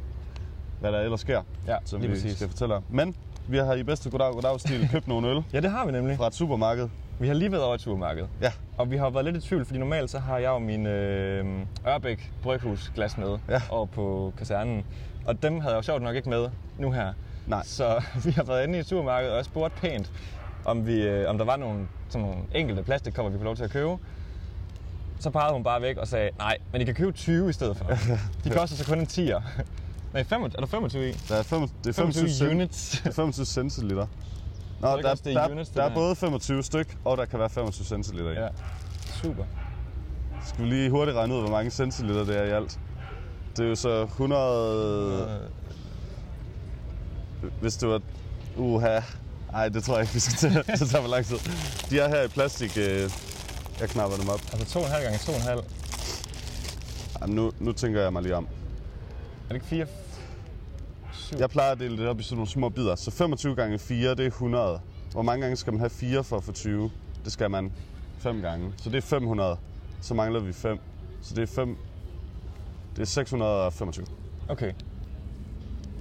Speaker 2: hvad der ellers sker,
Speaker 1: Ja,
Speaker 2: som
Speaker 1: lige
Speaker 2: vi
Speaker 1: præcis.
Speaker 2: skal fortælle om. Men vi har i bedste goddag, goddag-stil købt nogle øl
Speaker 1: Ja, det har vi nemlig.
Speaker 2: fra et supermarked.
Speaker 1: Vi har lige været over i turmarkedet.
Speaker 2: Ja,
Speaker 1: Og vi har været lidt i tvivl, fordi normalt så har jeg jo min øh, Ørbæk Bryghus glas med
Speaker 2: Ja.
Speaker 1: ja. over på kasernen. Og dem havde jeg jo sjovt nok ikke med nu her.
Speaker 2: Nej.
Speaker 1: Så vi har været inde i supermarkedet og spurgt pænt, om, vi, øh, om der var nogle, sådan nogle enkelte plastikkopper, vi kunne få lov til at købe. Så pegede hun bare væk og sagde, nej, men I kan købe 20 i stedet for. De koster så kun en 10'er. Nej, 5, er der 25 i?
Speaker 2: der er fem, det er 25,
Speaker 1: 25
Speaker 2: cent-
Speaker 1: units.
Speaker 2: det er 25 centiliter. Nå,
Speaker 1: ikke
Speaker 2: der,
Speaker 1: også, det er units, det
Speaker 2: der er
Speaker 1: der?
Speaker 2: både 25 styk, og der kan være 25 centiliter i.
Speaker 1: ja. Super.
Speaker 2: Skal vi lige hurtigt regne ud, hvor mange centiliter det er i alt? Det er jo så 100...
Speaker 1: Øh.
Speaker 2: Hvis det var... Uha. Nej, det tror jeg ikke, vi skal til. det tager for lang tid. De er her i plastik. øh, Jeg knapper dem op.
Speaker 1: Altså 2,5 gange 2,5. Er
Speaker 2: Jamen, nu, nu tænker jeg mig lige om.
Speaker 1: det ikke 4?
Speaker 2: Jeg plejer at dele det op i sådan nogle små bidder. Så 25 gange 4, det er 100. Hvor mange gange skal man have 4 for at få 20? Det skal man 5 gange. Så det er 500. Så mangler vi 5. Så det er 5... Det er 625.
Speaker 1: Okay.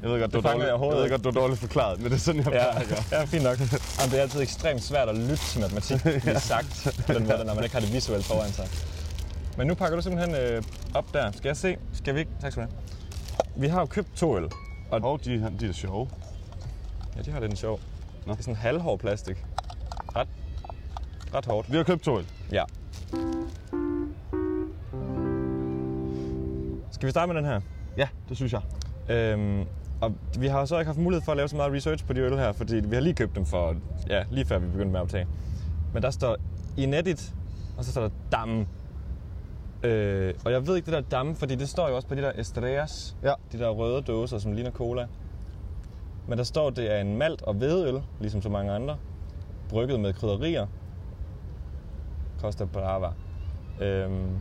Speaker 2: Jeg ved godt,
Speaker 1: Det
Speaker 2: det, det, var
Speaker 1: fangede
Speaker 2: dårligt,
Speaker 1: jeg
Speaker 2: jeg
Speaker 1: overhovedet
Speaker 2: ved
Speaker 1: ikke.
Speaker 2: godt, det var dårligt forklaret, men det er sådan,
Speaker 1: Ja,
Speaker 2: jeg plejer at gøre.
Speaker 1: ja fint nok. Jamen, det er altid ekstremt svært at lytte til matematik, lige sagt, på den måde, når man ikke har det visuelt foran sig. Men nu pakker du simpelthen øh, op der. Skal jeg se? Skal vi ikke? Tak skal du have. Vi har jo købt to øl. Og
Speaker 2: Og de, de er sjove.
Speaker 1: ja, de har lidt en sjov.
Speaker 2: Nå.
Speaker 1: Det er sådan halvhård plastik. Ret, ret hårdt.
Speaker 2: Vi har købt to øl.
Speaker 1: Ja. Skal vi starte med den her?
Speaker 2: Ja, det synes jeg.
Speaker 1: Øhm, og vi har så ikke haft mulighed for at lave så meget research på de øl her, fordi vi har lige købt dem for, ja, lige før vi begyndte med at optage. Men der står Inedit, og så står der Dam. Øh, og jeg ved ikke det der Dam, fordi det står jo også på de der Estrellas,
Speaker 2: Ja.
Speaker 1: de der røde dåser, som ligner cola. Men der står, det er en malt- og hvedeøl, ligesom så mange andre. Brygget med krydderier. Costa Brava. Øhm,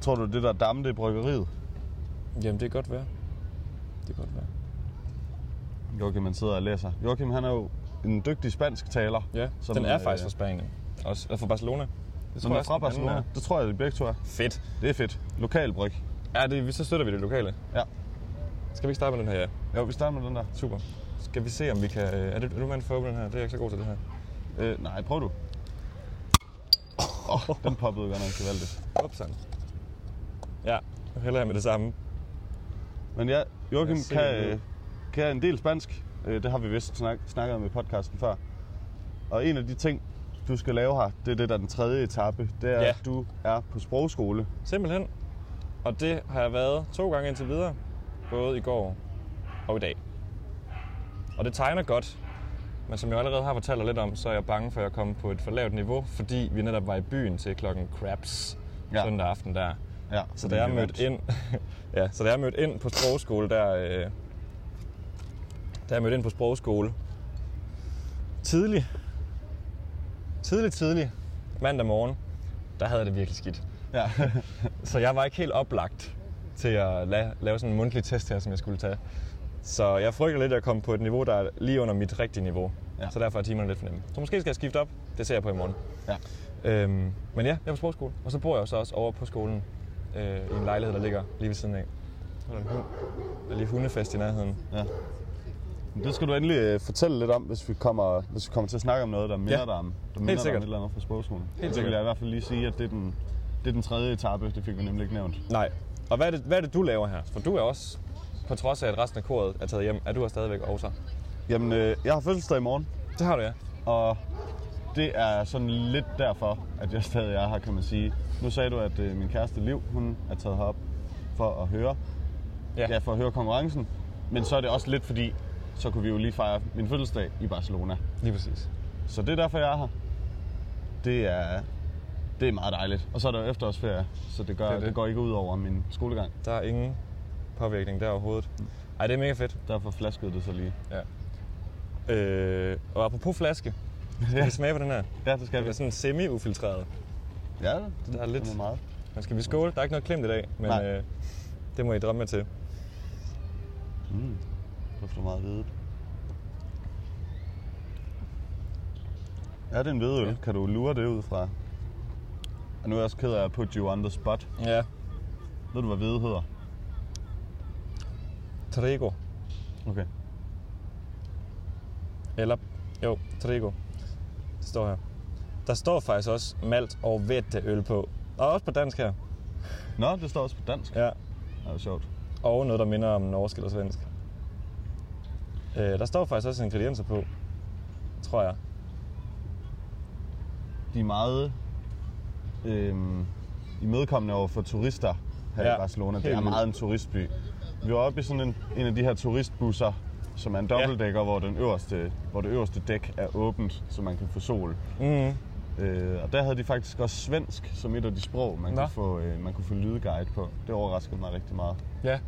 Speaker 2: Tror du, det der damme, det er bryggeriet?
Speaker 1: jamen, det kan godt være. Det kan godt være.
Speaker 2: Joachim, han sidder og læser. Joachim, han er jo en dygtig spansk taler.
Speaker 1: Ja,
Speaker 2: Som,
Speaker 1: den er
Speaker 2: øh,
Speaker 1: faktisk fra Spanien. Også, eller fra Barcelona. Det
Speaker 2: Som er
Speaker 1: også,
Speaker 2: fra
Speaker 1: den anden
Speaker 2: Barcelona.
Speaker 1: er.
Speaker 2: Det tror jeg, det begge to er.
Speaker 1: Fedt.
Speaker 2: Det er fedt. Lokal bryg.
Speaker 1: Ja, det, så støtter vi det lokale.
Speaker 2: Ja.
Speaker 1: Skal vi ikke starte med den her? Ja.
Speaker 2: Jo, vi starter med den der.
Speaker 1: Super. Skal vi se, om vi kan... øh, Er, det, er du mand for at åbne den her? Det er jeg ikke så god til, det her.
Speaker 2: Øh, nej, prøv du. Oh, den poppede godt nok gevaldigt.
Speaker 1: Upsan. Ja, nu hælder jeg med det samme.
Speaker 2: Men ja, Joachim
Speaker 1: Lad os se,
Speaker 2: kan,
Speaker 1: hvad det
Speaker 2: øh, kan en del spansk. Øh, det har vi vist snak, snakket om i podcasten før. Og en af de ting, du skal lave her, det er det der er den tredje etape. Det er,
Speaker 1: Ja.
Speaker 2: ja. at du er på sprogskole.
Speaker 1: Simpelthen. Og det har jeg været to gange indtil videre. Både i går og i dag. Og det tegner godt. Men som jeg allerede har fortalt dig lidt om, så er jeg bange for, at jeg kommer på et for lavt niveau, fordi vi netop var i byen til klokken craps ja.
Speaker 2: Ja.
Speaker 1: søndag aften der.
Speaker 2: Ja,
Speaker 1: Så da jeg mødte ind, ja, så da jeg mødte ind på sprogskole, der, øh, da jeg mødte ind på sprogskole, tidlig, tidlig, tidlig, mandag morgen, der havde jeg det virkelig skidt.
Speaker 2: Ja.
Speaker 1: Så jeg var ikke helt oplagt til at la- lave sådan en mundtlig test her, som jeg skulle tage. Så jeg frygter lidt at komme på et niveau, der er lige under mit rigtige niveau. Ja.
Speaker 2: Ja.
Speaker 1: Så derfor er timerne lidt for nemme. Så måske skal jeg skifte op. Det ser jeg på i morgen.
Speaker 2: ja.
Speaker 1: Øhm, men ja, jeg er på sprogskole, og så bor jeg jo så også over på skolen øh, i en lejlighed, der ligger lige ved siden af. Så er der en hund. Der er lige hundefest i nærheden.
Speaker 2: Ja. Men Det skal du endelig øh, fortælle lidt om, hvis vi kommer, hvis vi kommer til at snakke om noget, der minder
Speaker 1: Ja.
Speaker 2: dig om, der minder dig om
Speaker 1: sikkert.
Speaker 2: et eller andet fra sprogskolen. Helt
Speaker 1: sikkert.
Speaker 2: vil jeg i hvert fald lige sige, at det er den, det er den tredje etape. Det fik vi nemlig ikke nævnt.
Speaker 1: Nej. Og hvad er, det, hvad er det, du laver her? For du er også, på trods af at resten af koret er taget hjem, er du her stadigvæk også.
Speaker 2: Jamen, øh, jeg har fødselsdag i morgen,
Speaker 1: Det har du, ja.
Speaker 2: og det er sådan lidt derfor, at jeg stadig er her, kan man sige. Nu sagde du, at øh, min kæreste Liv, hun er taget herop for at høre.
Speaker 1: Ja.
Speaker 2: ja, for at høre konkurrencen. Men så er det også lidt fordi, så kunne vi jo lige fejre min fødselsdag i Barcelona.
Speaker 1: Lige præcis.
Speaker 2: Så det er derfor, jeg er her. Det er, det er meget dejligt. Og så er der jo efterårsferie, så det, gør,
Speaker 1: Det er
Speaker 2: det,
Speaker 1: det.
Speaker 2: det. det går ikke ud over min skolegang.
Speaker 1: Der er ingen påvirkning der overhovedet. Ej, det er mega fedt.
Speaker 2: Derfor flaskede det så lige.
Speaker 1: Ja. Øh, og apropos flaske, skal vi smage på den her?
Speaker 2: Ja, det skal
Speaker 1: Den
Speaker 2: vi.
Speaker 1: er sådan semi-ufiltreret.
Speaker 2: Ja, det,
Speaker 1: Der er lidt-
Speaker 2: er meget.
Speaker 1: Men skal vi skåle? Der er ikke noget klemt i dag, men
Speaker 2: Nej.
Speaker 1: øh, det må I drømme jer til.
Speaker 2: Mm, det dufter meget hvide. Ja, det er en hvedeøl.
Speaker 1: Ja.
Speaker 2: Ja. Kan du lure det ud fra? Og nu er jeg også ked af at put you on the spot.
Speaker 1: Ja.
Speaker 2: Ved du, hvad hvide hedder?
Speaker 1: Trigo.
Speaker 2: Okay.
Speaker 1: Eller, jo, Trigo. Det står her. Der står faktisk også malt og vetteøl på. Og også på dansk her.
Speaker 2: Nå, det står også på dansk.
Speaker 1: Ja.
Speaker 2: Det er jo sjovt.
Speaker 1: Og noget, der minder om norsk eller svensk. Øh, der står faktisk også ingredienser på. Tror jeg.
Speaker 2: de er meget øhm, imødekommende over for turister her
Speaker 1: Ja,
Speaker 2: ja, i Barcelona. Det
Speaker 1: helt
Speaker 2: er
Speaker 1: vildt.
Speaker 2: meget en turistby. Vi var oppe i sådan en, en af de her turistbusser, som er en dobbeltdækker, ja. hvor, den øverste, hvor det øverste dæk er åbent, så man kan få sol.
Speaker 1: Mm.
Speaker 2: Øh, og der havde de faktisk også svensk som et af de sprog, man,
Speaker 1: Nå.
Speaker 2: kunne få, øh, man kunne få lydguide på. Det overraskede mig rigtig meget.
Speaker 1: Ja.
Speaker 2: Jeg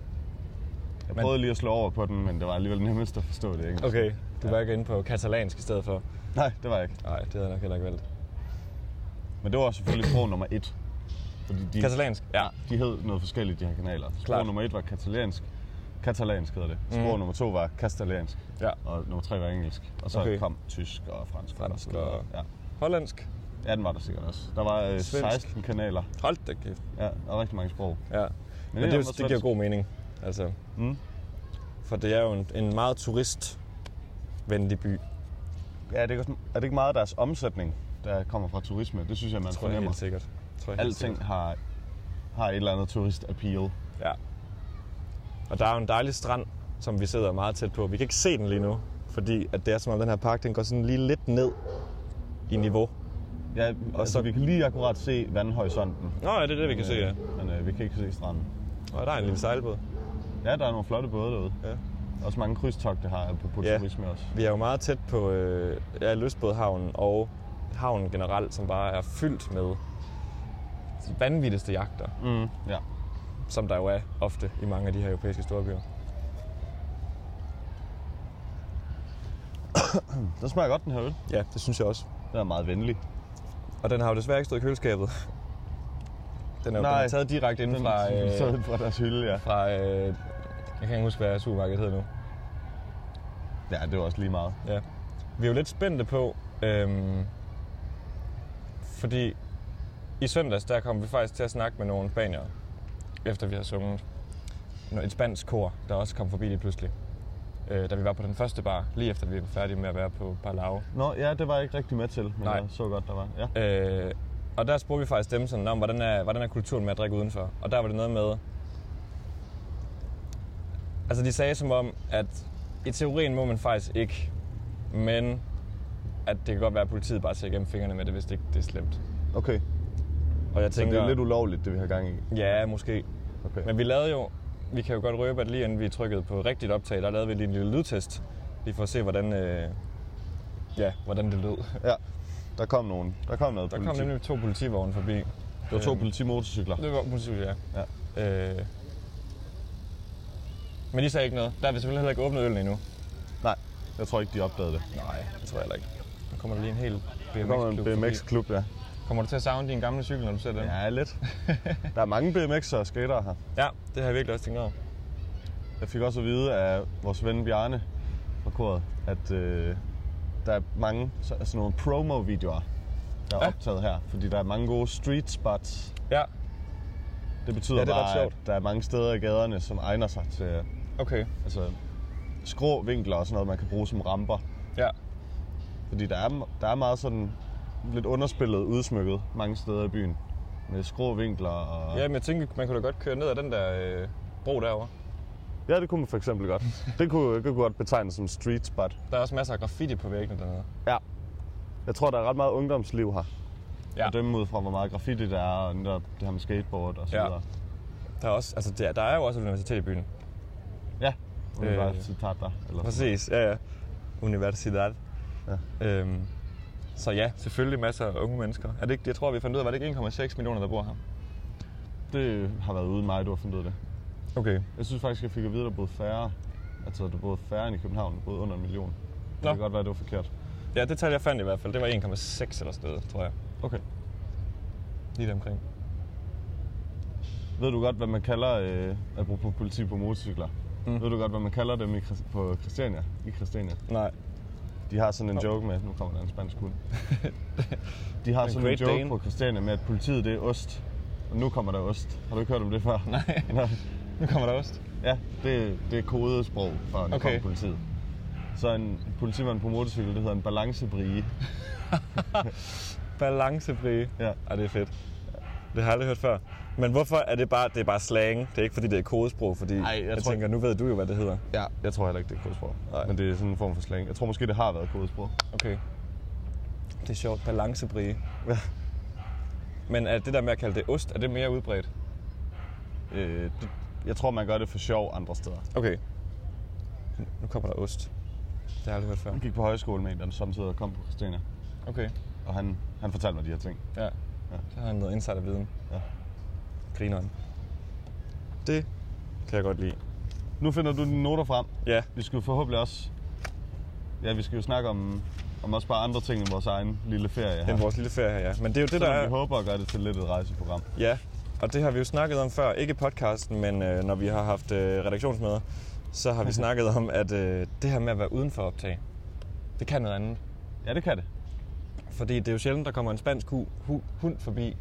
Speaker 1: Men-
Speaker 2: prøvede lige at slå over på den, men det var alligevel nemmest at forstå det engelsk.
Speaker 1: Okay, du var ikke inde på katalansk i stedet for.
Speaker 2: Nej, det var jeg ikke.
Speaker 1: Nej, det havde jeg nok heller ikke valgt.
Speaker 2: Men det var selvfølgelig sprog nummer et. Fordi de,
Speaker 1: Katalansk? Ja.
Speaker 2: De hed noget forskelligt, de her kanaler. Sprog
Speaker 1: Klart.
Speaker 2: nummer et var katalansk. Katalansk hedder det. Sprog
Speaker 1: Mhm.
Speaker 2: nummer to var kastaliansk.
Speaker 1: Ja.
Speaker 2: Og nummer tre var engelsk. Og så
Speaker 1: Okay.
Speaker 2: okay. kom tysk og fransk.
Speaker 1: Fransk
Speaker 2: så videre.
Speaker 1: og-
Speaker 2: Ja.
Speaker 1: Hollandsk?
Speaker 2: ja, den var der sikkert også. Der var øh,
Speaker 1: Svensk.
Speaker 2: 16 kanaler.
Speaker 1: Hold da kæft.
Speaker 2: Ja, og rigtig mange sprog.
Speaker 1: Ja. Men, Men det,
Speaker 2: er
Speaker 1: det,
Speaker 2: også
Speaker 1: det, det giver
Speaker 2: svensk.
Speaker 1: god mening. Altså,
Speaker 2: Mm.
Speaker 1: for det er jo en, en meget turistvenlig by.
Speaker 2: Ja, er det, ikke, også- er det ikke meget af deres omsætning, der kommer fra turisme? Det synes jeg, man
Speaker 1: Tror jeg helt
Speaker 2: fornemmer.
Speaker 1: sikkert. Tror jeg helt
Speaker 2: Alting har, har et eller andet turist-appeal.
Speaker 1: Ja. Og der er jo en dejlig strand, som vi sidder meget tæt på. Vi kan ikke se den lige nu, fordi at det er som om den her park, den går sådan lige lidt ned i niveau.
Speaker 2: Ja, og
Speaker 1: så-
Speaker 2: altså, så vi kan Altså, lige akkurat se vandhorisonten.
Speaker 1: Nå ja, det er det, vi kan
Speaker 2: Men, øh, Men øh, vi kan ikke se stranden.
Speaker 1: Og der er en lille sejlbåd.
Speaker 2: Ja, der er nogle flotte både derude.
Speaker 1: Ja.
Speaker 2: Også mange krydstogt, det har på, på
Speaker 1: Ja.
Speaker 2: turisme også.
Speaker 1: Vi er jo meget tæt på øh, ja, Løsbådhavnen og havnen generelt, som bare er fyldt med de vanvittigste jagter,
Speaker 2: Mm. Ja.
Speaker 1: som der jo er ofte i mange af de her europæiske storbyer.
Speaker 2: Den smager godt, den her øl.
Speaker 1: Ja, det synes jeg også.
Speaker 2: Den er meget venlig.
Speaker 1: Og den har jo desværre ikke stået i køleskabet. Den er jo den
Speaker 2: Nej.
Speaker 1: er taget direkte ind
Speaker 2: Den
Speaker 1: fra, øh,
Speaker 2: sådan fra deres hylde, ja.
Speaker 1: fra øh, jeg kan ikke huske, hvad supermarkedet hedder nu.
Speaker 2: Ja, det var også lige meget.
Speaker 1: Ja. Vi er jo lidt spændte på, øhm, fordi i søndags, der kom vi faktisk til at snakke med nogle spaniere, efter vi havde sunget Nå, et spansk kor, der også kom forbi lige pludselig. Øh, da vi var på den første bar, lige efter vi var færdige med at være på Palau.
Speaker 2: Nå, ja, det var jeg ikke rigtig med til, men
Speaker 1: Nej.
Speaker 2: jeg så godt, der var. Ja.
Speaker 1: Øh, og der spurgte vi faktisk dem sådan om, hvordan er, hvordan er kulturen med at drikke udenfor? Og der var det noget med... Altså de sagde som om, at i teorien må man faktisk ikke, men at det kan godt være, at politiet bare ser igennem fingrene med det, hvis det ikke det er slemt.
Speaker 2: Okay,
Speaker 1: Og jeg
Speaker 2: så
Speaker 1: tænker,
Speaker 2: det er lidt ulovligt, det vi har gang i.
Speaker 1: ja, måske.
Speaker 2: Okay.
Speaker 1: Men vi lavede jo, vi kan jo godt røbe, at lige inden vi trykkede på rigtigt optag, der lavede vi lige en lille lydtest. Lige for at se, hvordan, øh, ja, hvordan det lød.
Speaker 2: Ja, der kom nogen. Der kom noget
Speaker 1: Der
Speaker 2: politi.
Speaker 1: kom nemlig to politivogne forbi.
Speaker 2: Det var to politimotorcykler.
Speaker 1: Det var musik, ja. ja. Øh. Men de sagde ikke noget. Der er vi selvfølgelig heller ikke åbnet øllen endnu.
Speaker 2: Nej, jeg tror ikke, de opdagede det.
Speaker 1: Nej, det tror jeg heller ikke. Nu kommer der lige en hel
Speaker 2: Der kommer en
Speaker 1: BMX-klub BMX.
Speaker 2: BMX-klub, ja.
Speaker 1: Kommer du til at savne din gamle cykel, når du ser den?
Speaker 2: Ja, lidt. Der er mange BMX'er og skatere her.
Speaker 1: ja, det har jeg virkelig også tænkt over.
Speaker 2: Jeg fik også at vide af vores ven Bjarne fra koret, at øh, der er mange så- sådan nogle promo-videoer, der er
Speaker 1: Ja.
Speaker 2: optaget her. Fordi der er mange gode street spots.
Speaker 1: Ja,
Speaker 2: Det betyder
Speaker 1: Ja, det er ret
Speaker 2: bare, at
Speaker 1: sjovt.
Speaker 2: der er mange steder i gaderne, som egner sig til
Speaker 1: okay.
Speaker 2: altså, skrå vinkler og sådan noget, man kan bruge som ramper.
Speaker 1: Ja,
Speaker 2: Fordi der er, der er meget sådan lidt underspillet udsmykket mange steder i byen. Med skrå vinkler og...
Speaker 1: ja men jeg tænkte, man kunne da godt køre ned ad den der øh, bro derovre.
Speaker 2: ja, det kunne man for eksempel godt. Det kunne, det kunne godt betegnes som street spot.
Speaker 1: Der er også masser af graffiti på væggene dernede.
Speaker 2: Ja. Jeg tror, der er ret meget ungdomsliv her.
Speaker 1: Ja.
Speaker 2: at dømme ud fra, hvor meget graffiti der er, og netop det her med skateboard og så
Speaker 1: Ja.
Speaker 2: videre.
Speaker 1: Der er, også, altså, der, der er jo også et universitet i byen.
Speaker 2: Ja.
Speaker 1: Øh.
Speaker 2: Det var et citat der. Eller
Speaker 1: Præcis, ja, ja. Universidad. Ja. Øhm, så ja, selvfølgelig masser af unge mennesker. Er det ikke, jeg tror, vi fandt ud af, var det ikke 1,6 millioner, der bor her?
Speaker 2: Det har været uden mig, du har fundet ud af det.
Speaker 1: Okay.
Speaker 2: Jeg synes faktisk, jeg fik at vide, at der boede færre. Altså, der boede færre end i København, boede under en million. Det
Speaker 1: Nå.
Speaker 2: kan godt være, det var forkert.
Speaker 1: Ja, det tal, jeg fandt i hvert fald, det var 1,6 eller sådan noget, tror jeg.
Speaker 2: Okay.
Speaker 1: Lige omkring.
Speaker 2: Ved du godt, hvad man kalder, øh, apropos politi på motorcykler?
Speaker 1: Mm.
Speaker 2: Mm. Ved du godt, hvad man kalder dem i, Chris- på Christiania? I Christiania.
Speaker 1: Nej.
Speaker 2: De har sådan en joke med, nu kommer der en spansk hund. De har
Speaker 1: En
Speaker 2: sådan en
Speaker 1: Great
Speaker 2: joke
Speaker 1: Dane.
Speaker 2: på Christiania med, at politiet det er ost. Og nu kommer der ost. Har du ikke hørt om det før?
Speaker 1: Nej.
Speaker 2: Nå.
Speaker 1: Nu kommer der ost.
Speaker 2: Ja, det, det er kodesprog for når
Speaker 1: Okay.
Speaker 2: okay. politiet. Så en politimand på motorcykel, det hedder en balancebrie.
Speaker 1: Balancefrie.
Speaker 2: Ja.
Speaker 1: Ej, det er fedt. Det har jeg aldrig hørt før. Men hvorfor er det bare, det er bare slang? Det er ikke, fordi det er kodesprog, fordi
Speaker 2: Ej, jeg
Speaker 1: jeg, jeg
Speaker 2: tror-
Speaker 1: tænker, nu ved du jo, hvad det hedder.
Speaker 2: Ja, jeg tror heller ikke, det er kodesprog.
Speaker 1: Nej.
Speaker 2: Men det er sådan en form for slang. Jeg tror måske, det har været kodesprog.
Speaker 1: Okay. Det er sjovt. Balancebrie. Ja. Men er det der med at kalde det ost, er det mere udbredt?
Speaker 2: Øh, det, jeg tror, man gør det for sjov andre steder.
Speaker 1: Okay. Nu kommer der ost. Det har jeg aldrig hørt før.
Speaker 2: Jeg gik på højskole med en, der samtidig kom på Christiania.
Speaker 1: Okay.
Speaker 2: Og han, han fortalte mig de her ting.
Speaker 1: Ja. ja. Så har han noget insiderviden.
Speaker 2: Ja.
Speaker 1: Grineren. Det kan jeg godt lide.
Speaker 2: Nu finder du dine noter frem.
Speaker 1: Ja.
Speaker 2: Vi skal jo forhåbentlig også... Ja, vi skal jo snakke om, om også bare andre ting end vores egen lille ferie her.
Speaker 1: Den vores lille ferie her, ja. Men det er jo det, der
Speaker 2: Selvom vi
Speaker 1: er...
Speaker 2: håber at gøre det til lidt et rejseprogram.
Speaker 1: Ja. Og det har vi jo snakket om før. Ikke i podcasten, men øh, når vi har haft øh, redaktionsmøder, så har vi snakket om, at øh, det her med at være uden for optag, det kan noget andet.
Speaker 2: Ja, det kan det.
Speaker 1: Fordi det er jo sjældent, der kommer en spansk hu- hu- hund forbi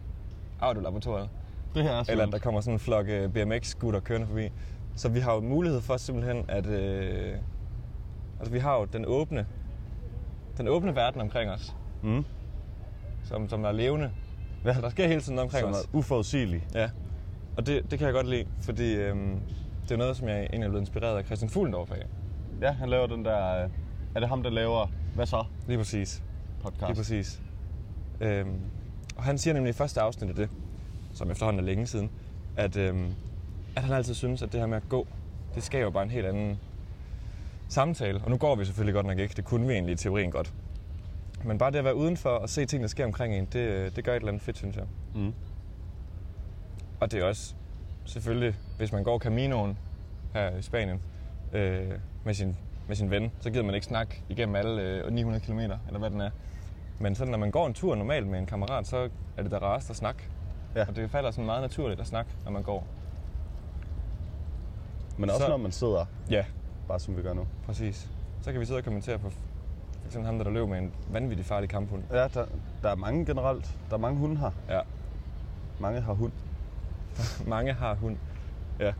Speaker 1: audiolaboratoriet.
Speaker 2: Det her er sådan...
Speaker 1: eller at der kommer sådan en flok øh, BMX-gutter kørende forbi. Så vi har jo mulighed for simpelthen at... Øh, altså vi har jo den åbne, den åbne verden omkring os,
Speaker 2: Mm.
Speaker 1: som, som er levende. Ja. Så der sker hele tiden noget omkring
Speaker 2: som
Speaker 1: os.
Speaker 2: er uforudsigelig.
Speaker 1: Ja. Og det, det kan jeg godt lide, fordi øh, det er noget, som jeg egentlig er blevet inspireret af Christian Fuglendorf af.
Speaker 2: Ja, han laver den der... øh, Er det ham, der laver Hvad så?
Speaker 1: Lige præcis.
Speaker 2: podcast?
Speaker 1: Lige præcis. Øhm, og han siger nemlig i første afsnit af det, som efterhånden er længe siden, at, øhm, at han altid synes, at det her med at gå, det skaber bare en helt anden samtale. Og nu går vi selvfølgelig godt nok ikke, det kunne vi egentlig i teorien godt. Men bare det at være udenfor og se ting, der sker omkring en, det, øh, det gør et eller andet fedt, synes jeg.
Speaker 2: Mm.
Speaker 1: Og det er også selvfølgelig, hvis man går Caminoen her i Spanien øh, med, sin, med sin ven, så gider man ikke snakke igennem alle øh, 900 km, eller hvad den er. Men sådan, når man går en tur normalt med en kammerat, så er det da rarest at snakke.
Speaker 2: Ja.
Speaker 1: Ja. Og det falder sådan meget naturligt at snakke, når man går.
Speaker 2: Men også
Speaker 1: Så-
Speaker 2: når man sidder,
Speaker 1: Ja,
Speaker 2: bare som vi gør nu.
Speaker 1: præcis. Så kan vi sidde og kommentere på for eksempel ham, der, der løb med en vanvittig farlig kamphund.
Speaker 2: Ja, der, der er mange generelt. Der er mange hunde her.
Speaker 1: Ja,
Speaker 2: Mange har hund.
Speaker 1: mange har hund. Ja. Det er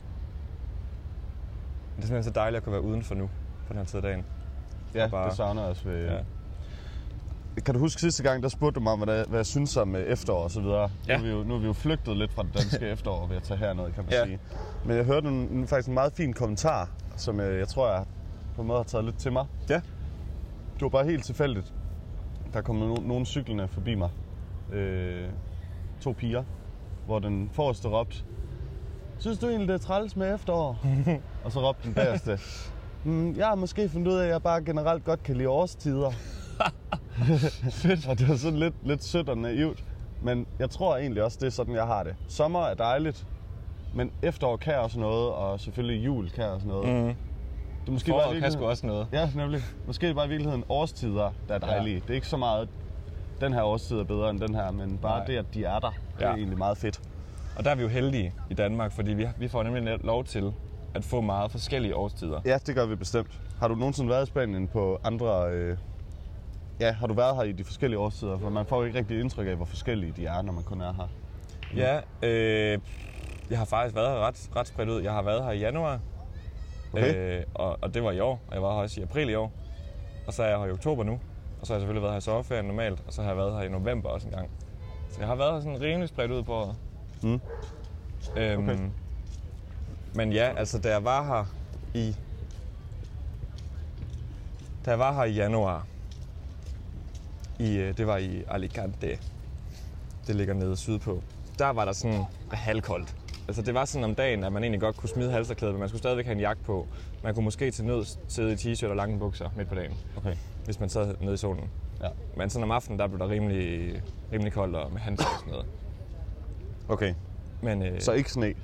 Speaker 1: simpelthen så dejligt at kunne være udenfor nu, på den her tid af dagen.
Speaker 2: Ja,
Speaker 1: Og bare-
Speaker 2: det savner jeg også ved...
Speaker 1: Ja.
Speaker 2: Ja. Kan du huske sidste gang, der spurgte du mig, om, hvad, der- hvad jeg synes om øh, efterår og så videre?
Speaker 1: Ja.
Speaker 2: Nu, er vi jo, nu er vi jo flygtet lidt fra det danske efterår ved at tage herned, kan man
Speaker 1: Ja.
Speaker 2: sige. Men jeg hørte en, en, faktisk en meget fin kommentar, som øh, jeg, jeg tror, jeg på en måde har taget lidt til mig.
Speaker 1: Ja.
Speaker 2: Det var bare helt tilfældigt. Der kom no- nogle cyklerne forbi mig. Øh, to piger, hvor den forreste råbte, Synes du egentlig, det er træls med efterår? og så råbte den bagerste, mm, jeg har måske fundet ud af, at jeg bare generelt godt kan lide årstider. Fedt. og det var sådan lidt, lidt sødt og naivt. Men jeg tror egentlig også, det er sådan, jeg har det. Sommer er dejligt, men efterår kan også noget, og selvfølgelig jul kan også noget. Mm. Det er måske bare
Speaker 1: Foråret kan
Speaker 2: virkelig-
Speaker 1: sgu også noget.
Speaker 2: Ja, nemlig. Måske er det bare i virkeligheden årstider, der er dejlige. Ja. Det er ikke så meget, den her årstid er bedre end den her, men bare
Speaker 1: Nej.
Speaker 2: Nej. det, at de er der, ja. det er
Speaker 1: Ja.
Speaker 2: egentlig meget fedt.
Speaker 1: Og der er vi jo heldige i Danmark, fordi vi, vi får nemlig lov til at få meget forskellige årstider.
Speaker 2: Ja, det gør vi bestemt. Har du nogensinde været i Spanien på andre... Øh... Ja, har du været her i de forskellige årstider? For man får jo ikke rigtig indtryk af, hvor forskellige de er, når man kun er her.
Speaker 1: Ja, øh, jeg har faktisk været her ret, ret spredt ud. Jeg har været her i januar,
Speaker 2: Okay.
Speaker 1: øh, og, og det var i år, og jeg var her også i april i år. Og så er jeg her i oktober nu, og så har jeg selvfølgelig været her i sommerferien normalt, og så har jeg været her i november også en gang. Så jeg har været her sådan rimelig spredt ud på året.
Speaker 2: Mm.
Speaker 1: Øhm,
Speaker 2: Okay.
Speaker 1: Men ja, altså da jeg var her i... Da jeg var her i januar, i, øh, det var i Alicante, det ligger nede sydpå, der var der sådan halvkoldt. Altså det var sådan om dagen, at man egentlig godt kunne smide halserklædet, men man skulle stadigvæk have en jakke på. Man kunne måske til nød sidde i t-shirt og lange bukser midt på dagen,
Speaker 2: Okay.
Speaker 1: hvis man sad nede i solen.
Speaker 2: Ja.
Speaker 1: Men sådan om aftenen, der blev der rimelig, rimelig koldt og med handsker og sådan noget.
Speaker 2: Okay.
Speaker 1: Men, øh, ah,
Speaker 2: Så ikke sne.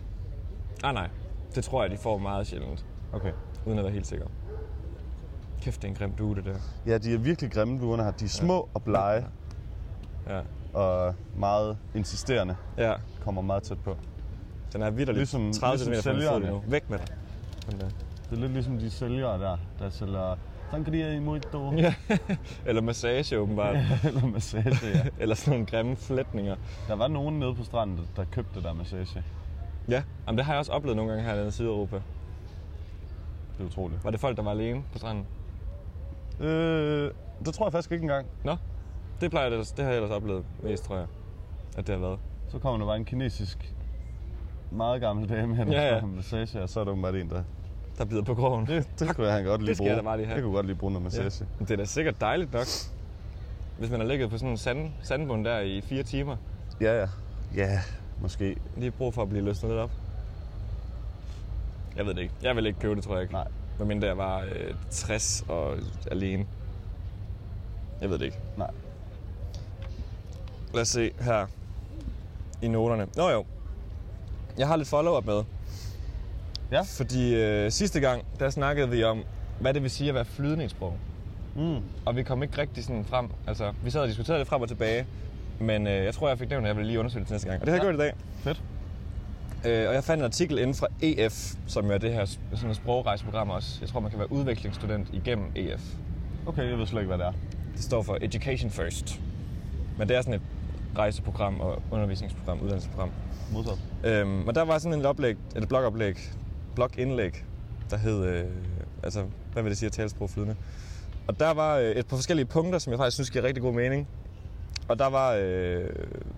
Speaker 1: Nej, nej. Det tror jeg, de får meget sjældent,
Speaker 2: Okay.
Speaker 1: uden at være helt sikker. Kæft, det er en grim due, det der.
Speaker 2: Ja, de er virkelig grimme, duerne her. De er små og blege
Speaker 1: Ja.
Speaker 2: og meget insisterende.
Speaker 1: ja.
Speaker 2: Kommer meget tæt på.
Speaker 1: Den er vidderligt
Speaker 2: Ligesom-
Speaker 1: 30
Speaker 2: ligesom
Speaker 1: centimeter fra min fod
Speaker 2: sælgerne.
Speaker 1: nu. Væk med dig. Sådan der.
Speaker 2: Det er lidt ligesom de sælgere der, der sælger sangria i muito.
Speaker 1: Ja. Eller massage, åbenbart.
Speaker 2: Eller massage, ja.
Speaker 1: Eller sådan nogle grimme flætninger.
Speaker 2: Der var nogen nede på stranden, der, der købte det der massage.
Speaker 1: Ja, Jamen, det har jeg også oplevet nogle gange hernede i Sydeuropa.
Speaker 2: Det er utroligt.
Speaker 1: Var det folk, der var alene på stranden?
Speaker 2: Øh, det tror jeg faktisk ikke engang.
Speaker 1: Nå, det, plejer jeg, ellers- det har jeg ellers oplevet mest, tror jeg, at det har været.
Speaker 2: Så kommer der bare en kinesisk meget gammel dame hen og
Speaker 1: Ja, ja.
Speaker 2: ja, ja. massage, og så er der bare en, der...
Speaker 1: Der bider på krogen.
Speaker 2: Det, det kunne han godt lige
Speaker 1: Det skal
Speaker 2: bruge.
Speaker 1: jeg da bare lige have.
Speaker 2: Det kunne godt lige bruge noget massage.
Speaker 1: Men Det er da sikkert dejligt nok, hvis man har ligget på sådan en sand, sandbund der i fire timer.
Speaker 2: Ja, ja. Ja, ja måske.
Speaker 1: lige brug for at blive løsnet lidt op. Jeg ved det ikke. Jeg vil ikke købe det, tror jeg ikke.
Speaker 2: Nej.
Speaker 1: Hvad mindre jeg var øh, 60 og alene. Jeg ved det ikke.
Speaker 2: Nej.
Speaker 1: Lad os se her i noterne. Nå jo, jeg har lidt follow-up med.
Speaker 2: Ja.
Speaker 1: Fordi øh, sidste gang, der snakkede vi om, hvad det vil sige at være flydende i et sprog.
Speaker 2: Mm.
Speaker 1: Og vi kom ikke rigtig sådan frem. Altså, vi sad og diskuterede lidt frem og tilbage. Men øh, jeg tror, jeg fik nævnt, at jeg ville lige undersøge det til næste gang. Og det har jeg
Speaker 2: Ja.
Speaker 1: gjort i dag.
Speaker 2: Fedt.
Speaker 1: Øh, og jeg fandt en artikel inden fra EF, som er det her sp- sådan et sprogrejseprogram også. Jeg tror, man kan være udvekslingsstudent igennem EF.
Speaker 2: Okay, jeg ved slet ikke, hvad det er.
Speaker 1: Det står for Education First. Men det er sådan et rejseprogram og undervisningsprogram, uddannelsesprogram.
Speaker 2: Modsat.
Speaker 1: Øhm, og der var sådan et oplæg, et blogoplæg, blogindlæg, der hed, øh, altså, hvad vil det sige at tale sprog flydende? Og der var øh, et par forskellige punkter, som jeg faktisk synes giver rigtig god mening. Og der var, øh,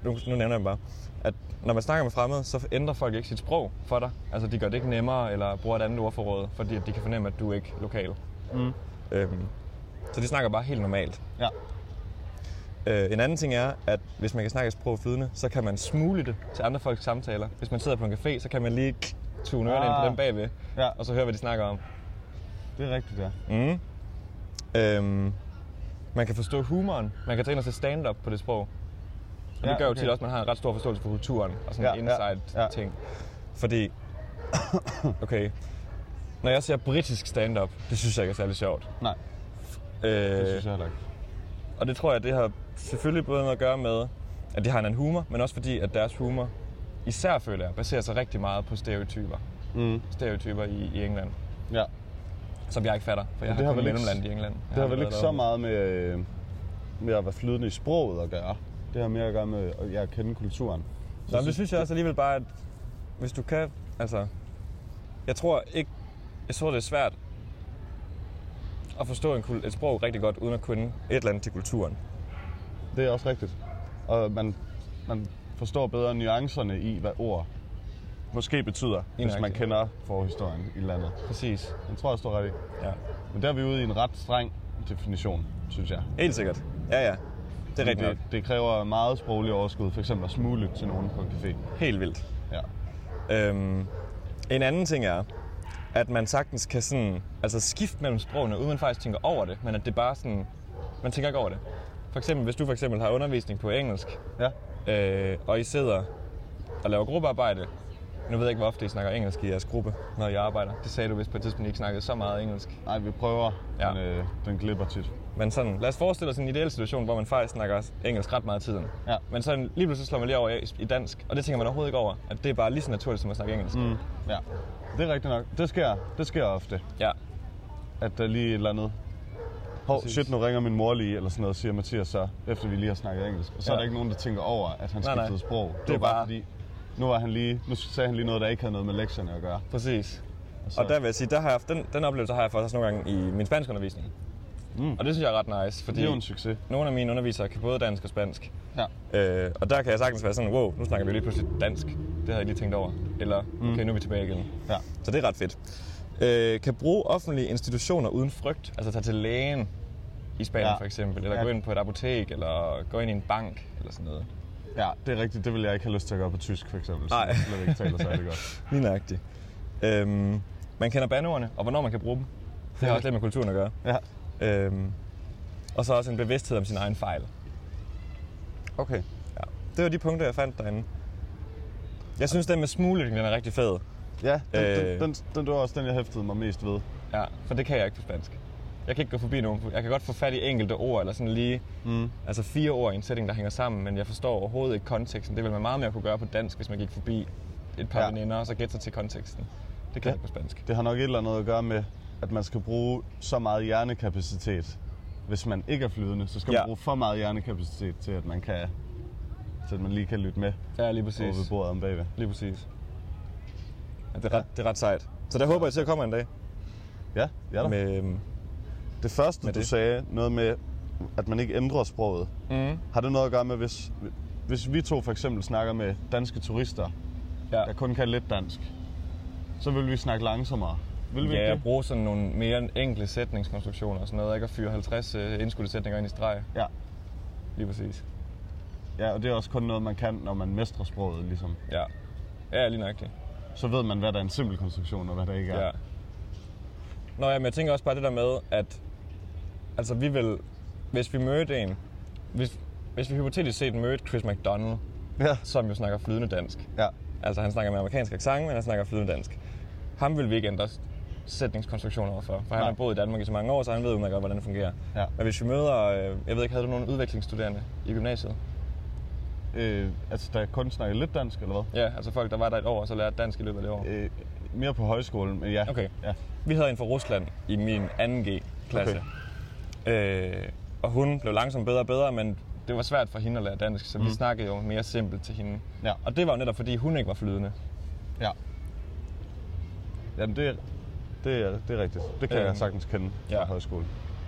Speaker 1: nu, nu nævner jeg dem bare, at når man snakker med fremmede, så ændrer folk ikke sit sprog for dig. Altså, de gør det ikke nemmere, eller bruger et andet ordforråd, fordi at de kan fornemme, at du ikke er lokal.
Speaker 2: Mm.
Speaker 1: Øhm, så de snakker bare helt normalt.
Speaker 2: Ja.
Speaker 1: Øh, en anden ting er, at hvis man kan snakke et sprog flydende, så kan man smule det til andre folks samtaler. Hvis man sidder på en café, så kan man lige tune ørerne ind
Speaker 2: Ah.
Speaker 1: på dem bagved,
Speaker 2: Ja.
Speaker 1: og så høre, hvad de snakker om.
Speaker 2: Det er rigtigt, ja.
Speaker 1: Mm. Øhm, man kan forstå humoren. Man kan tage ind og se stand-up på det sprog. Og ja,
Speaker 2: Ja,
Speaker 1: det gør jo
Speaker 2: okay.
Speaker 1: tit også, at man har en ret stor forståelse for kulturen og sådan ja,
Speaker 2: Ja, ja,
Speaker 1: inside-ting. Fordi, okay, når jeg ser britisk stand-up, det synes jeg ikke er særlig sjovt.
Speaker 2: Nej, det
Speaker 1: Øh,
Speaker 2: synes jeg heller ikke.
Speaker 1: og det tror jeg, det har selvfølgelig både noget at gøre med, at de har en anden humor, men også fordi, at deres humor, især føler jeg, baserer sig rigtig meget på stereotyper.
Speaker 2: Mm.
Speaker 1: Stereotyper i, i England,
Speaker 2: Ja.
Speaker 1: som jeg ikke fatter, for jeg har,
Speaker 2: det har
Speaker 1: har kun
Speaker 2: vel ikke-
Speaker 1: mellemlandet i England. Jeg
Speaker 2: Det har vel
Speaker 1: aldrig
Speaker 2: ikke
Speaker 1: været
Speaker 2: så
Speaker 1: derovre.
Speaker 2: meget med, øh, med at være flydende i sproget at gøre. Det har mere at gøre med at jeg kende kulturen.
Speaker 1: Nå, men det synes jeg også alligevel bare, at hvis du kan, altså... Jeg tror ikke... Jeg tror, det er svært at forstå en, kul- et sprog rigtig godt, uden at kunne et eller andet til kulturen.
Speaker 2: Det er også rigtigt. Og man, man forstår bedre nuancerne i, hvad ord måske betyder, hvis man
Speaker 1: nøjagtigt.
Speaker 2: kender forhistorien i landet.
Speaker 1: Præcis.
Speaker 2: Den tror jeg står ret i.
Speaker 1: Ja.
Speaker 2: Men der er vi ude i en ret streng definition, synes jeg.
Speaker 1: Helt sikkert. Ja, ja. Det er rigtigt.
Speaker 2: Det, det kræver meget sproglig overskud, f.eks. at smule til nogen på en café.
Speaker 1: Helt vildt.
Speaker 2: Ja.
Speaker 1: Øhm, en anden ting er, at man sagtens kan sådan, altså skifte mellem sprogene, uden man faktisk tænker over det, men at det bare sådan, man tænker ikke over det. For eksempel, hvis du for eksempel har undervisning på engelsk,
Speaker 2: ja.
Speaker 1: øh, og I sidder og laver gruppearbejde. Nu ved jeg ikke, hvor ofte I snakker engelsk i jeres gruppe, når I arbejder. Det sagde du vist på et tidspunkt, I ikke snakkede så meget engelsk.
Speaker 2: Nej, vi prøver,
Speaker 1: Ja.
Speaker 2: ja. men øh, den glipper tit.
Speaker 1: Men sådan, lad os forestille os en ideel situation, hvor man faktisk snakker engelsk ret meget af tiden.
Speaker 2: Ja.
Speaker 1: Men sådan, lige pludselig slår man lige over i- i dansk, og det tænker man overhovedet ikke over, at det er bare lige så naturligt, som at snakke engelsk. Mm.
Speaker 2: Ja, det er rigtigt nok. Det sker, det sker ofte,
Speaker 1: Ja,
Speaker 2: at der lige er et eller andet... Hov,
Speaker 1: Præcis.
Speaker 2: shit, nu ringer min mor lige, eller sådan noget, siger Mathias så, efter vi lige har snakket engelsk. Og så
Speaker 1: Ja.
Speaker 2: er der ikke nogen, der tænker over, at han
Speaker 1: Nej, nej.
Speaker 2: skiftede sprog. Det,
Speaker 1: er
Speaker 2: var bare,
Speaker 1: bare-
Speaker 2: fordi, nu, var han lige, nu sagde han lige noget, der ikke havde noget med lektierne at gøre.
Speaker 1: præcis.
Speaker 2: så-
Speaker 1: Og der vil jeg sige, der har jeg, haft- den, den oplevelse har jeg faktisk også nogle gange i min spansk undervisning. Mm. Og det synes jeg er ret nice, fordi
Speaker 2: Det er jo en succes.
Speaker 1: nogle af mine undervisere kan både dansk og spansk.
Speaker 2: Ja.
Speaker 1: Øh, og der kan jeg sagtens være sådan, wow, nu snakker vi lige pludselig dansk. Det havde jeg ikke lige tænkt over. Eller, okay, nu er vi tilbage igen.
Speaker 2: ja.
Speaker 1: Så det er ret fedt. Øh, kan bruge offentlige institutioner uden frygt. Altså tage til lægen i Spanien ja.
Speaker 2: Ja.
Speaker 1: for eksempel. Eller ja.
Speaker 2: Ja.
Speaker 1: gå ind på et apotek, eller gå ind i en bank, eller sådan noget.
Speaker 2: Ja, det er rigtigt. Det ville jeg ikke have lyst til at gøre på tysk, for eksempel.
Speaker 1: Nej.
Speaker 2: Så jeg ikke taler særlig godt.
Speaker 1: Lige nøjagtigt. Øhm, man kender bandordene, og hvornår man kan bruge dem. Det har også lidt med kulturen at gøre.
Speaker 2: Ja.
Speaker 1: Øhm, og så også en bevidsthed om sin egen fejl.
Speaker 2: Okay.
Speaker 1: Ja. Det var de punkter, jeg fandt derinde. Jeg synes, den med smugling, den er rigtig fed.
Speaker 2: Ja, den, øh...
Speaker 1: Øh.
Speaker 2: den, den, den, det var også den, jeg hæftede mig mest ved.
Speaker 1: Ja, for det kan jeg ikke på spansk. Jeg kan ikke gå forbi nogen. Jeg kan godt få fat i enkelte ord, eller sådan lige... Mm. Altså fire ord i en sætning, der hænger sammen, men jeg forstår overhovedet ikke konteksten. Det ville man meget mere kunne gøre på dansk, hvis man gik forbi et par ja.
Speaker 2: Ja.
Speaker 1: veninder, og så gætte sig til konteksten. Det kan ja. jeg ikke på spansk.
Speaker 2: Det har nok et eller andet at gøre med, at man skal bruge så meget hjernekapacitet. Hvis man ikke er flydende, så skal man
Speaker 1: Ja.
Speaker 2: bruge for meget hjernekapacitet til, at man kan til at man lige kan lytte med
Speaker 1: Ja, lige
Speaker 2: over ved
Speaker 1: præcis.
Speaker 2: bordet om bagved.
Speaker 1: Lige præcis. Ja, det, er ret, det er ret sejt. Så der håber jeg til at komme en dag.
Speaker 2: Ja, ja da.
Speaker 1: Med, øhm,
Speaker 2: det første,
Speaker 1: med
Speaker 2: du
Speaker 1: det.
Speaker 2: sagde, noget med, at man ikke ændrer sproget.
Speaker 1: Mhm.
Speaker 2: Mm. Har det noget at gøre med, hvis, hvis vi to for eksempel snakker med danske turister,
Speaker 1: ja.
Speaker 2: der kun kan lidt dansk, så vil vi snakke langsommere. Vil vi
Speaker 1: Ja,
Speaker 2: ikke
Speaker 1: jeg
Speaker 2: det?
Speaker 1: bruger sådan nogle mere enkle sætningskonstruktioner og sådan noget. Ikke at fyre 50 øh, indskudte sætninger ind i streg.
Speaker 2: Ja.
Speaker 1: Lige præcis.
Speaker 2: ja, og det er også kun noget, man kan, når man mestrer sproget, ligesom.
Speaker 1: Ja. Ja, lige nøjagtigt.
Speaker 2: Så ved man, hvad der er en simpel konstruktion, og hvad der ikke er.
Speaker 1: Ja. Nå ja, men jeg tænker også bare det der med, at altså vi vil, hvis vi mødte en, hvis, hvis vi hypotetisk set mødte Chris McDonald,
Speaker 2: Ja.
Speaker 1: som jo snakker flydende dansk.
Speaker 2: Ja.
Speaker 1: Altså han snakker med amerikansk accent, men han snakker flydende dansk. Ham vil vi ikke ændre sætningskonstruktioner overfor, for han
Speaker 2: Nej.
Speaker 1: har boet i Danmark i så mange år, så han ved udmærket godt, hvordan det fungerer.
Speaker 2: Ja.
Speaker 1: Men hvis vi møder, øh, jeg ved ikke, havde du nogen udvekslingsstuderende i gymnasiet?
Speaker 2: Øh, altså, der kun snakker lidt dansk, eller hvad?
Speaker 1: Ja, altså folk, der var der et år, og så lærte dansk i løbet af det år.
Speaker 2: Øh, mere på højskolen, men ja.
Speaker 1: Okay.
Speaker 2: Ja.
Speaker 1: Vi havde en fra Rusland i min 2G-klasse. Okay. Øh, og hun blev langsomt bedre og bedre, men det var svært for hende at lære dansk, så mm. vi snakkede jo mere simpelt til hende.
Speaker 2: Ja.
Speaker 1: Og det var jo netop, fordi hun ikke var flydende.
Speaker 2: ja. Jamen, det er, det er, det er rigtigt. Det kan
Speaker 1: Øhm,
Speaker 2: øh, jeg sagtens kende
Speaker 1: ja.
Speaker 2: ja. fra højskolen.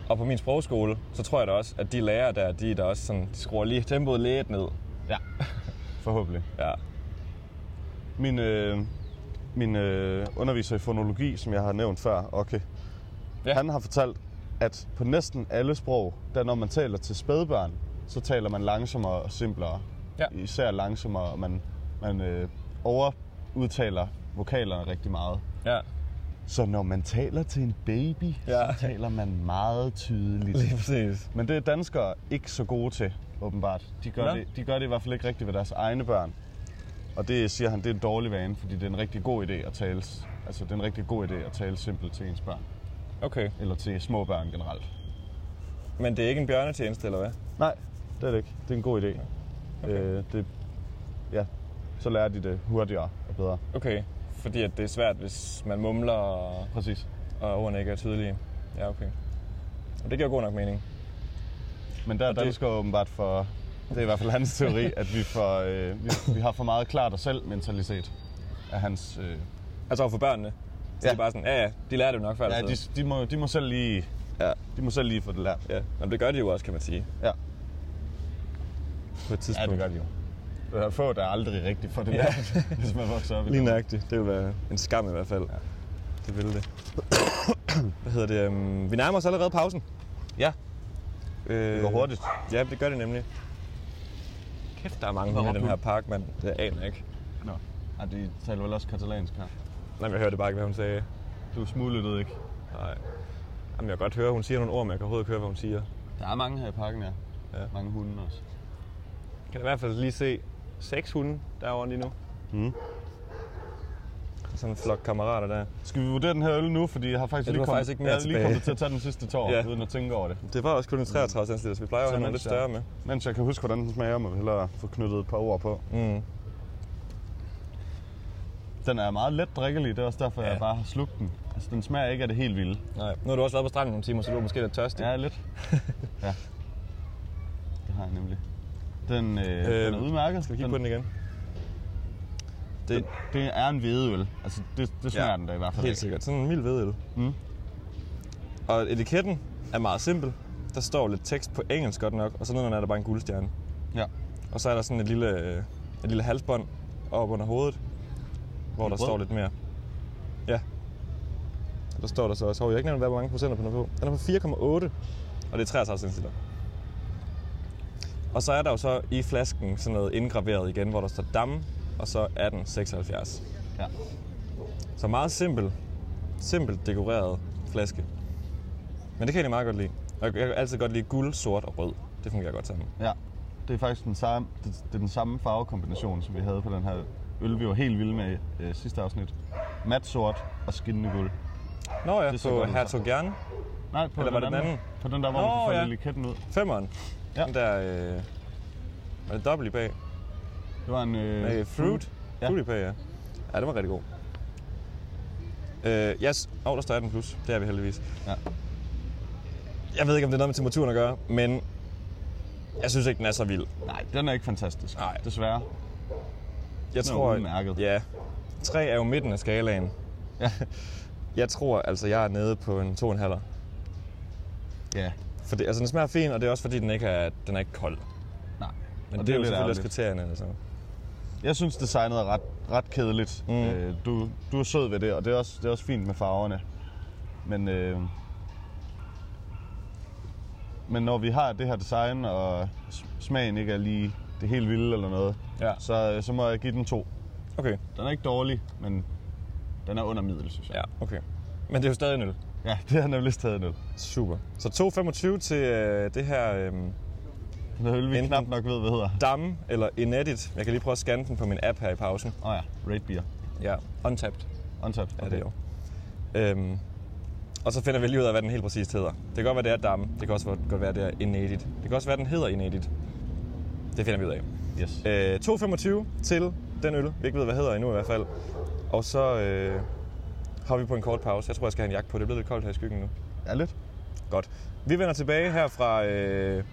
Speaker 1: Og på min sprogskole, så tror jeg da også, at de lærere der, de er da også sådan, de skruer lige tempoet lidt ned.
Speaker 2: Ja. Forhåbentlig.
Speaker 1: Ja.
Speaker 2: Min, øh, min øh, underviser i fonologi, som jeg har nævnt før, okay,
Speaker 1: Ja.
Speaker 2: ja. han har fortalt, at på næsten alle sprog, der når man taler til spædbørn, så taler man langsommere og simplere.
Speaker 1: Ja.
Speaker 2: Især langsommere, og man, man øh, overudtaler vokalerne rigtig meget.
Speaker 1: Ja.
Speaker 2: Så når man taler til en baby,
Speaker 1: Ja.
Speaker 2: ja. så taler man meget tydeligt.
Speaker 1: Lige præcis.
Speaker 2: Men det er danskere ikke så gode til, åbenbart. De gør,
Speaker 1: Nå.
Speaker 2: det, de gør det i hvert fald ikke rigtigt ved deres egne børn. Og det siger han, det er en dårlig vane, fordi det er en rigtig god idé at tale, s- altså det er en rigtig god idé at tale simpelt til ens børn.
Speaker 1: Okay.
Speaker 2: Eller til små børn generelt.
Speaker 1: Men det er ikke en bjørnetjeneste, eller hvad?
Speaker 2: Nej, det er det ikke. Det er en god idé. Okay. Øh, det, ja, så lærer de det hurtigere og bedre.
Speaker 1: Okay. Fordi at det er svært, hvis man mumler, og,
Speaker 2: Præcis.
Speaker 1: og ordene ikke er tydelige. Ja, okay. Og det giver god nok mening.
Speaker 2: Men der er
Speaker 1: det-
Speaker 2: danskere åbenbart for, det er i hvert fald hans teori, at vi, for, øh, vi, vi har for meget klart og selv mentalitet af hans... Øh,
Speaker 1: Altså overfor børnene. Så ja.
Speaker 2: Ja.
Speaker 1: de er bare sådan, ja ja, de lærer det jo nok før.
Speaker 2: ja,
Speaker 1: eller
Speaker 2: de,
Speaker 1: sådan
Speaker 2: de, må, de må selv lige
Speaker 1: noget."
Speaker 2: De må selv lige få det lært.
Speaker 1: ja. ja. Jamen, det gør de jo også, kan man sige.
Speaker 2: Ja,
Speaker 1: På et
Speaker 2: ja
Speaker 1: tidspunkt.
Speaker 2: det gør de jo. Der er få, der er aldrig rigtigt for det
Speaker 1: Ja.
Speaker 2: ja. lært, hvis man vokser op i
Speaker 1: Lige
Speaker 2: Danmark.
Speaker 1: nøjagtigt. Det vil være en skam i hvert fald. Ja.
Speaker 2: Ja.
Speaker 1: Det ville det. Hvad hedder det? øhm, Vi nærmer os allerede pausen.
Speaker 2: Ja,
Speaker 1: Øh,
Speaker 2: det går hurtigt.
Speaker 1: Ja, det gør det nemlig. Kæft, der er mange her i
Speaker 2: råbte
Speaker 1: den
Speaker 2: du?
Speaker 1: her park, mand. Det aner jeg ikke.
Speaker 2: Nå. Ja, de taler vel også katalansk her.
Speaker 1: Nej, men jeg hørte bare ikke, hvad hun sagde.
Speaker 2: Du smuglede ikke.
Speaker 1: Nej. Jamen, jeg kan godt høre, hun siger nogle ord, men jeg kan overhovedet ikke høre, hvad hun siger.
Speaker 2: Der er mange her i parken, ja.
Speaker 1: Ja.
Speaker 2: ja. Mange hunde også.
Speaker 1: Jeg kan i hvert fald lige se seks hunde derovre lige nu. Hmm.
Speaker 2: Mm.
Speaker 1: Sådan en flok kammerater der.
Speaker 2: Skal vi vurdere den her øl nu? Fordi jeg har faktisk
Speaker 1: Ja, du
Speaker 2: lige,
Speaker 1: har
Speaker 2: kommet,
Speaker 1: faktisk ikke mere
Speaker 2: jeg er lige
Speaker 1: tilbage.
Speaker 2: kommet til at tage den sidste tår,
Speaker 1: Ja.
Speaker 2: ja. uden at tænke over det.
Speaker 1: Det var også kun en 33 cm, så vi plejer jo at have
Speaker 2: Sådan
Speaker 1: noget lidt
Speaker 2: en
Speaker 1: større med.
Speaker 2: Mens jeg kan huske, hvordan den smager, må vi hellere få knyttet et par ord på.
Speaker 1: Mm.
Speaker 2: Den er meget let drikkelig, det er også derfor, ja.
Speaker 1: Ja.
Speaker 2: jeg bare har slugt den. Altså, den smager ikke af det helt vilde.
Speaker 1: Nej, nu har du også været på stranden nogle timer, så du er måske lidt tørstig.
Speaker 2: Ja, lidt. ja. Det har jeg nemlig. Den, øh, den er udmærket.
Speaker 1: Øhm, Skal vi kigge
Speaker 2: den,
Speaker 1: på den igen? Det
Speaker 2: Det, det er en hvedeøl. Altså, det, det smager
Speaker 1: Ja,
Speaker 2: ja, den da i hvert
Speaker 1: er
Speaker 2: fald.
Speaker 1: helt
Speaker 2: ikke.
Speaker 1: sikkert sådan en mild vedel.
Speaker 2: Mm.
Speaker 1: Og etiketten er meget simpel. Der står lidt tekst på engelsk godt nok, og så nedenunder er der bare en guldstjerne.
Speaker 2: Ja.
Speaker 1: Og så er der sådan et lille, øh, et lille halsbånd op under hovedet, hvor der
Speaker 2: rød?
Speaker 1: står lidt mere. Ja. Og Der står der så også, hov, jeg har ikke nævnt, hvad hvor mange procenter på den er på. Den er på 4,8, og det er 33 centiliter. Og så er der jo så i flasken sådan noget indgraveret igen, hvor der står dam, og så 1876.
Speaker 2: ja.
Speaker 1: Så meget simpel, simpelt dekoreret flaske. Men det kan jeg egentlig meget godt lide. Og jeg kan altid godt lide guld, sort og rød. Det fungerer godt sammen.
Speaker 2: Ja. Det er faktisk den samme, det, det er den samme farvekombination, som vi havde på den her øl, vi var helt vilde med i øh, sidste afsnit. Mat sort og skinnende guld.
Speaker 1: Nå ja,
Speaker 2: Det ser
Speaker 1: på
Speaker 2: godt ud,
Speaker 1: Hertog Gerne.
Speaker 2: Nej, på
Speaker 1: Eller var
Speaker 2: den,
Speaker 1: det den
Speaker 2: anden,
Speaker 1: anden?
Speaker 2: På den der, hvor
Speaker 1: Nå,
Speaker 2: man kan
Speaker 1: ja.
Speaker 2: få lille ketten ud.
Speaker 1: Femmeren. Ja.
Speaker 2: Ja.
Speaker 1: Den der... Øh, var det dobbelt i bag?
Speaker 2: Det var en... Øh,
Speaker 1: Nej, fruit. Ja.
Speaker 2: Ja.
Speaker 1: Fruit i bag, ja. Ja, det var rigtig god. Øh, yes. Åh, oh, der står 18 plus. Det er vi heldigvis.
Speaker 2: Ja.
Speaker 1: Jeg ved ikke, om det er noget med temperaturen at gøre, men jeg synes ikke, den er så vild.
Speaker 2: Nej, den er ikke fantastisk.
Speaker 1: Nej.
Speaker 2: Desværre.
Speaker 1: Jeg
Speaker 2: Den er
Speaker 1: tror,
Speaker 2: udmærket.
Speaker 1: Ja. 3 er jo midten af skalaen.
Speaker 2: Ja.
Speaker 1: Jeg tror, altså, jeg er nede på en 2,5.
Speaker 2: ja.
Speaker 1: For det, altså, den smager fint, og det er også fordi, den ikke er, den er ikke kold.
Speaker 2: Nej.
Speaker 1: Men det,
Speaker 2: Og
Speaker 1: det er jo
Speaker 2: lidt
Speaker 1: selvfølgelig også
Speaker 2: ærgerligt.
Speaker 1: kriterierne. Altså.
Speaker 2: Jeg synes, designet er ret, ret kedeligt.
Speaker 1: Mm.
Speaker 2: Mm. Øh, du, du er sød ved det, og det er også, det er også fint med farverne. Men, øh, men når vi har det her design, og s- smagen ikke er lige det helt vilde eller noget,
Speaker 1: Ja.
Speaker 2: så, så må jeg give den to.
Speaker 1: Okay.
Speaker 2: Den er ikke dårlig, men den er under middel, synes jeg.
Speaker 1: Ja, okay. Men det er jo stadig en øl.
Speaker 2: Ja, det har nemlig stadig ned.
Speaker 1: Super. Så 2,25 til øh, det her øh,
Speaker 2: Den øl, vi
Speaker 1: Enten-
Speaker 2: knap nok ved, hvad hedder.
Speaker 1: Dam, eller Inedit. Jeg kan lige prøve at scanne den på min app her i pausen.
Speaker 2: Åh oh ja, Raid Beer.
Speaker 1: Ja, untapped
Speaker 2: Untapped.
Speaker 1: er det jo. Øhm, og så finder vi lige ud af, hvad den helt præcist hedder. Det kan godt være, det er Dam. Det kan også godt være, det er Inedit. Det kan også være, den hedder Inedit. Det finder vi ud af.
Speaker 2: Yes.
Speaker 1: Øh, 2,25 til den øl. Vi ikke ved, hvad hedder endnu i hvert fald. Og så øh, har vi på en kort pause. Jeg tror, jeg skal have en jakke på. Det er blevet lidt koldt her i skyggen nu.
Speaker 2: Ja, lidt.
Speaker 1: Godt. Vi vender tilbage her fra øh,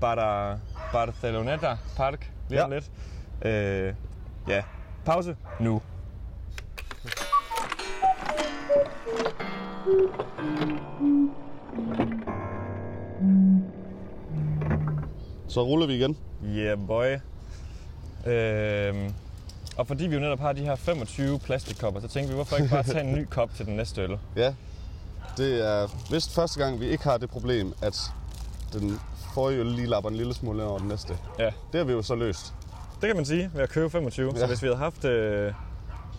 Speaker 1: Bar- Barceloneta Park lige om
Speaker 2: Ja.
Speaker 1: lidt. Øh, ja, pause nu.
Speaker 2: Så ruller vi igen.
Speaker 1: Yeah, boy. Øh, og fordi vi jo netop har de her 25 plastikkopper, så tænkte vi, hvorfor ikke bare tage en ny kop til den næste øl?
Speaker 2: Ja, det er vist første gang, vi ikke har det problem, at den forrige lige lapper en lille smule ind over den næste.
Speaker 1: Ja,
Speaker 2: Det har vi jo så løst.
Speaker 1: det kan man sige ved at købe 25. Ja. Så
Speaker 2: Ja.
Speaker 1: hvis vi havde haft øh,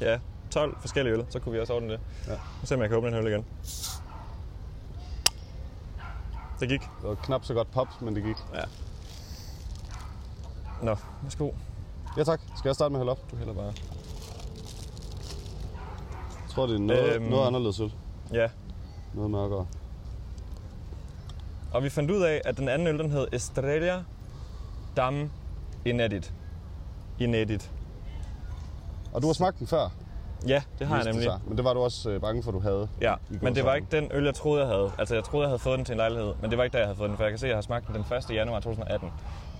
Speaker 1: ja, 12 forskellige øl, så kunne vi også ordne det.
Speaker 2: Ja.
Speaker 1: Nu ser jeg, om jeg kan åbne den her øl igen. Det gik.
Speaker 2: Det var knap så godt pop, men det gik.
Speaker 1: Ja. Nå, værsgo.
Speaker 2: Ja tak. Skal jeg starte med at hælde op?
Speaker 1: Du hælder bare.
Speaker 2: Jeg tror, det er noget,
Speaker 1: Øhm.
Speaker 2: øhm. noget anderledes øl.
Speaker 1: Ja,
Speaker 2: Noget mørkere.
Speaker 1: og vi fandt ud af, at den anden øl, den hed Estrella Dam Inedit. Inedit.
Speaker 2: Og du har smagt den før,
Speaker 1: Ja, det har jeg
Speaker 2: viste det
Speaker 1: nemlig.
Speaker 2: sig. Men det var du også øh, bange for, du havde.
Speaker 1: Ja,
Speaker 2: I går
Speaker 1: men det var
Speaker 2: sammen.
Speaker 1: ikke den øl, jeg troede, jeg havde. Altså, jeg troede, jeg havde fået den til en lejlighed, men det var ikke der, jeg havde fået den, for jeg kan se, at jeg har smagt den den 1. januar 2018.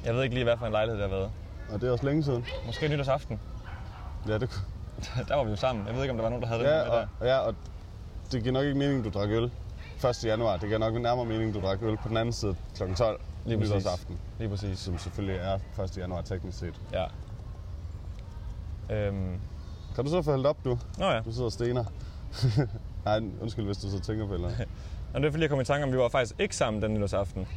Speaker 1: Jeg ved ikke lige, hvad for en lejlighed det har været.
Speaker 2: Og det er også længe siden.
Speaker 1: Måske nytårsaften.
Speaker 2: Ja, det kunne-
Speaker 1: der var vi jo sammen. Jeg ved ikke, om der var nogen, der havde den
Speaker 2: ja,
Speaker 1: med der.
Speaker 2: og, ja, og det giver nok ikke mening, du drak øl 1. januar. Det giver nok nærmere mening, du drak øl på den anden side kl. 12
Speaker 1: Lige præcis.
Speaker 2: nytårsaften.
Speaker 1: Lige præcis.
Speaker 2: Som selvfølgelig er 1. januar teknisk set.
Speaker 1: Ja. Øhm.
Speaker 2: Kan du så få hældt op nu?
Speaker 1: Nå ja,
Speaker 2: Du sidder og stener. Nej, undskyld, hvis du så tænker på eller
Speaker 1: og det er fordi, jeg kom i tanke om, at vi var faktisk ikke sammen den nytårsaften.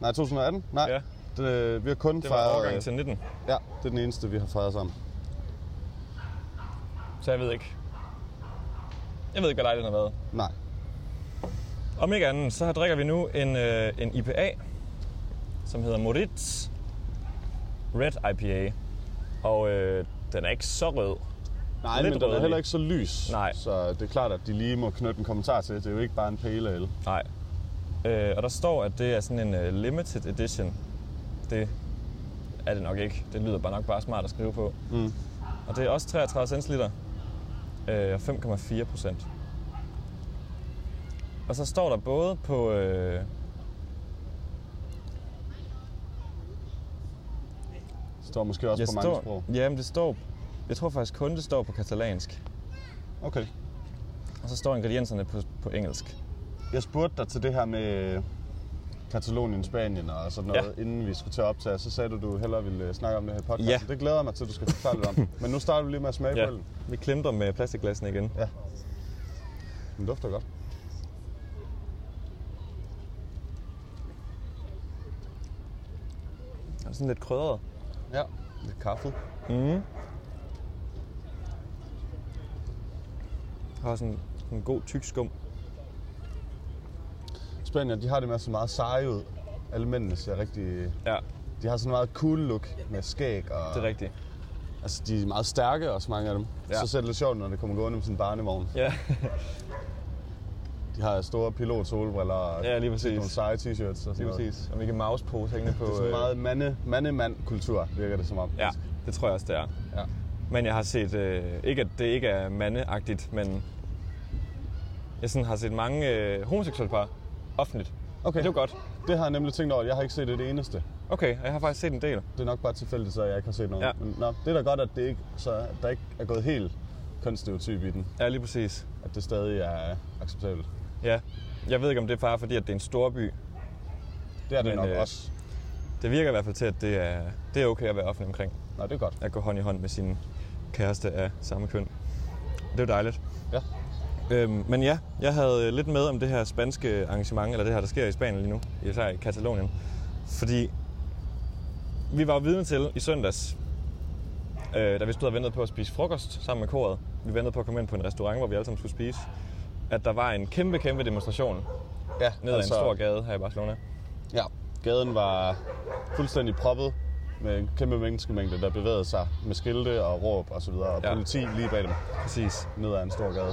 Speaker 2: Nej, 2018? Nej.
Speaker 1: Ja.
Speaker 2: Det, øh, vi har kun
Speaker 1: Det var
Speaker 2: fejret...
Speaker 1: overgangen
Speaker 2: øh,
Speaker 1: til 19,
Speaker 2: Ja, det er den eneste, vi har fejret sammen.
Speaker 1: så jeg ved ikke. Jeg ved ikke, hvad lejligheden har været.
Speaker 2: Nej.
Speaker 1: Om ikke andet, så drikker vi nu en, øh, en IPA, som hedder Moritz Red IPA. Og øh, den er ikke så rød.
Speaker 2: Nej,
Speaker 1: Lidt
Speaker 2: men den er
Speaker 1: rødlig.
Speaker 2: heller ikke så lys.
Speaker 1: Nej.
Speaker 2: Så det er klart, at de lige må knytte en kommentar til. Det er jo ikke bare en pale ale.
Speaker 1: Nej. Øh, og der står, at det er sådan en øh, limited edition. Det er det nok ikke. Det lyder bare nok bare smart at skrive på.
Speaker 2: Mm.
Speaker 1: Og det er også 33 centiliter. Øh, og 5,4 procent. Og så står der både på... Øh,
Speaker 2: Står måske også på mange
Speaker 1: står,
Speaker 2: sprog.
Speaker 1: Jamen, det står... Jeg tror faktisk kun, det står på katalansk.
Speaker 2: Okay.
Speaker 1: Og så står ingredienserne på, på engelsk.
Speaker 2: Jeg spurgte dig til det her med øh, Katalonien, Spanien og sådan noget, ja. inden vi skulle til at optage. Så sagde du, du hellere ville øh, snakke om det her i podcasten.
Speaker 1: Ja.
Speaker 2: Det glæder jeg mig til, at du skal forklare lidt om. Men nu starter du lige med at smage ja. på den.
Speaker 1: Vi klemter med plastikglassene igen.
Speaker 2: Ja. Den dufter godt.
Speaker 1: Den er sådan lidt krydret.
Speaker 2: Ja. Lidt kaffe.
Speaker 1: Mm. Har sådan en god tyk skum.
Speaker 2: Spanien, de har det med at se meget seje ud. Alle mændene ser rigtig...
Speaker 1: Ja,
Speaker 2: De har sådan meget cool look med skæg og...
Speaker 1: det er rigtigt.
Speaker 2: Altså, de er meget stærke også, mange af dem.
Speaker 1: Ja.
Speaker 2: Ja. Så ser det lidt sjovt, når det kommer gående med sådan en barnevogn.
Speaker 1: Ja,
Speaker 2: De har store pilot solbriller og
Speaker 1: Ja, lige præcis.
Speaker 2: nogle seje t-shirts og sådan
Speaker 1: lige
Speaker 2: noget.
Speaker 1: præcis. Og Mickey Mouse-pose hængende på... øh,
Speaker 2: Det er sådan meget mande, mandemand-kultur, virker det som om.
Speaker 1: Ja, det tror jeg også, det er.
Speaker 2: ja.
Speaker 1: Men jeg har set... Øh, ikke, at det ikke er mandeagtigt, men... Jeg sådan har set mange øh, homoseksuelle par offentligt.
Speaker 2: Okay.
Speaker 1: Det er jo godt.
Speaker 2: Det har jeg nemlig tænkt over. Jeg har ikke set det eneste.
Speaker 1: Okay, og jeg har faktisk set en del.
Speaker 2: Det er nok bare tilfældigt, så jeg ikke har set noget.
Speaker 1: Ja.
Speaker 2: Men nå, det er da godt, at, det ikke, så, at der ikke er gået helt kønsstereotyp i den.
Speaker 1: Ja, lige præcis.
Speaker 2: At det stadig er acceptabelt.
Speaker 1: Ja. Jeg ved ikke, om det er bare fordi, at det er en stor by.
Speaker 2: Det er det
Speaker 1: Men,
Speaker 2: nok
Speaker 1: øh,
Speaker 2: øh... også.
Speaker 1: Det virker i hvert fald til, at det er, det er okay at være offentlig omkring.
Speaker 2: Nå, det er godt.
Speaker 1: At gå hånd i hånd med sin kæreste af samme køn. Det er jo dejligt.
Speaker 2: Ja.
Speaker 1: Øhm, men ja, jeg havde øh, lidt med om det her spanske arrangement, eller det her, der sker i Spanien lige nu, især i Katalonien. Fordi vi var jo vidne til i søndags, øh, da vi stod og ventede på at spise frokost sammen med koret. Vi ventede på at komme ind på en restaurant, hvor vi alle sammen skulle spise. At der var en kæmpe, kæmpe demonstration
Speaker 2: Ja, altså,
Speaker 1: ned ad en stor gade her i Barcelona.
Speaker 2: Ja, gaden var fuldstændig proppet med en kæmpe menneskemængde, der bevægede sig med skilte og råb og så videre, og
Speaker 1: Ja.
Speaker 2: ja. politi lige bag dem
Speaker 1: Præcis.
Speaker 2: ned ad en stor gade.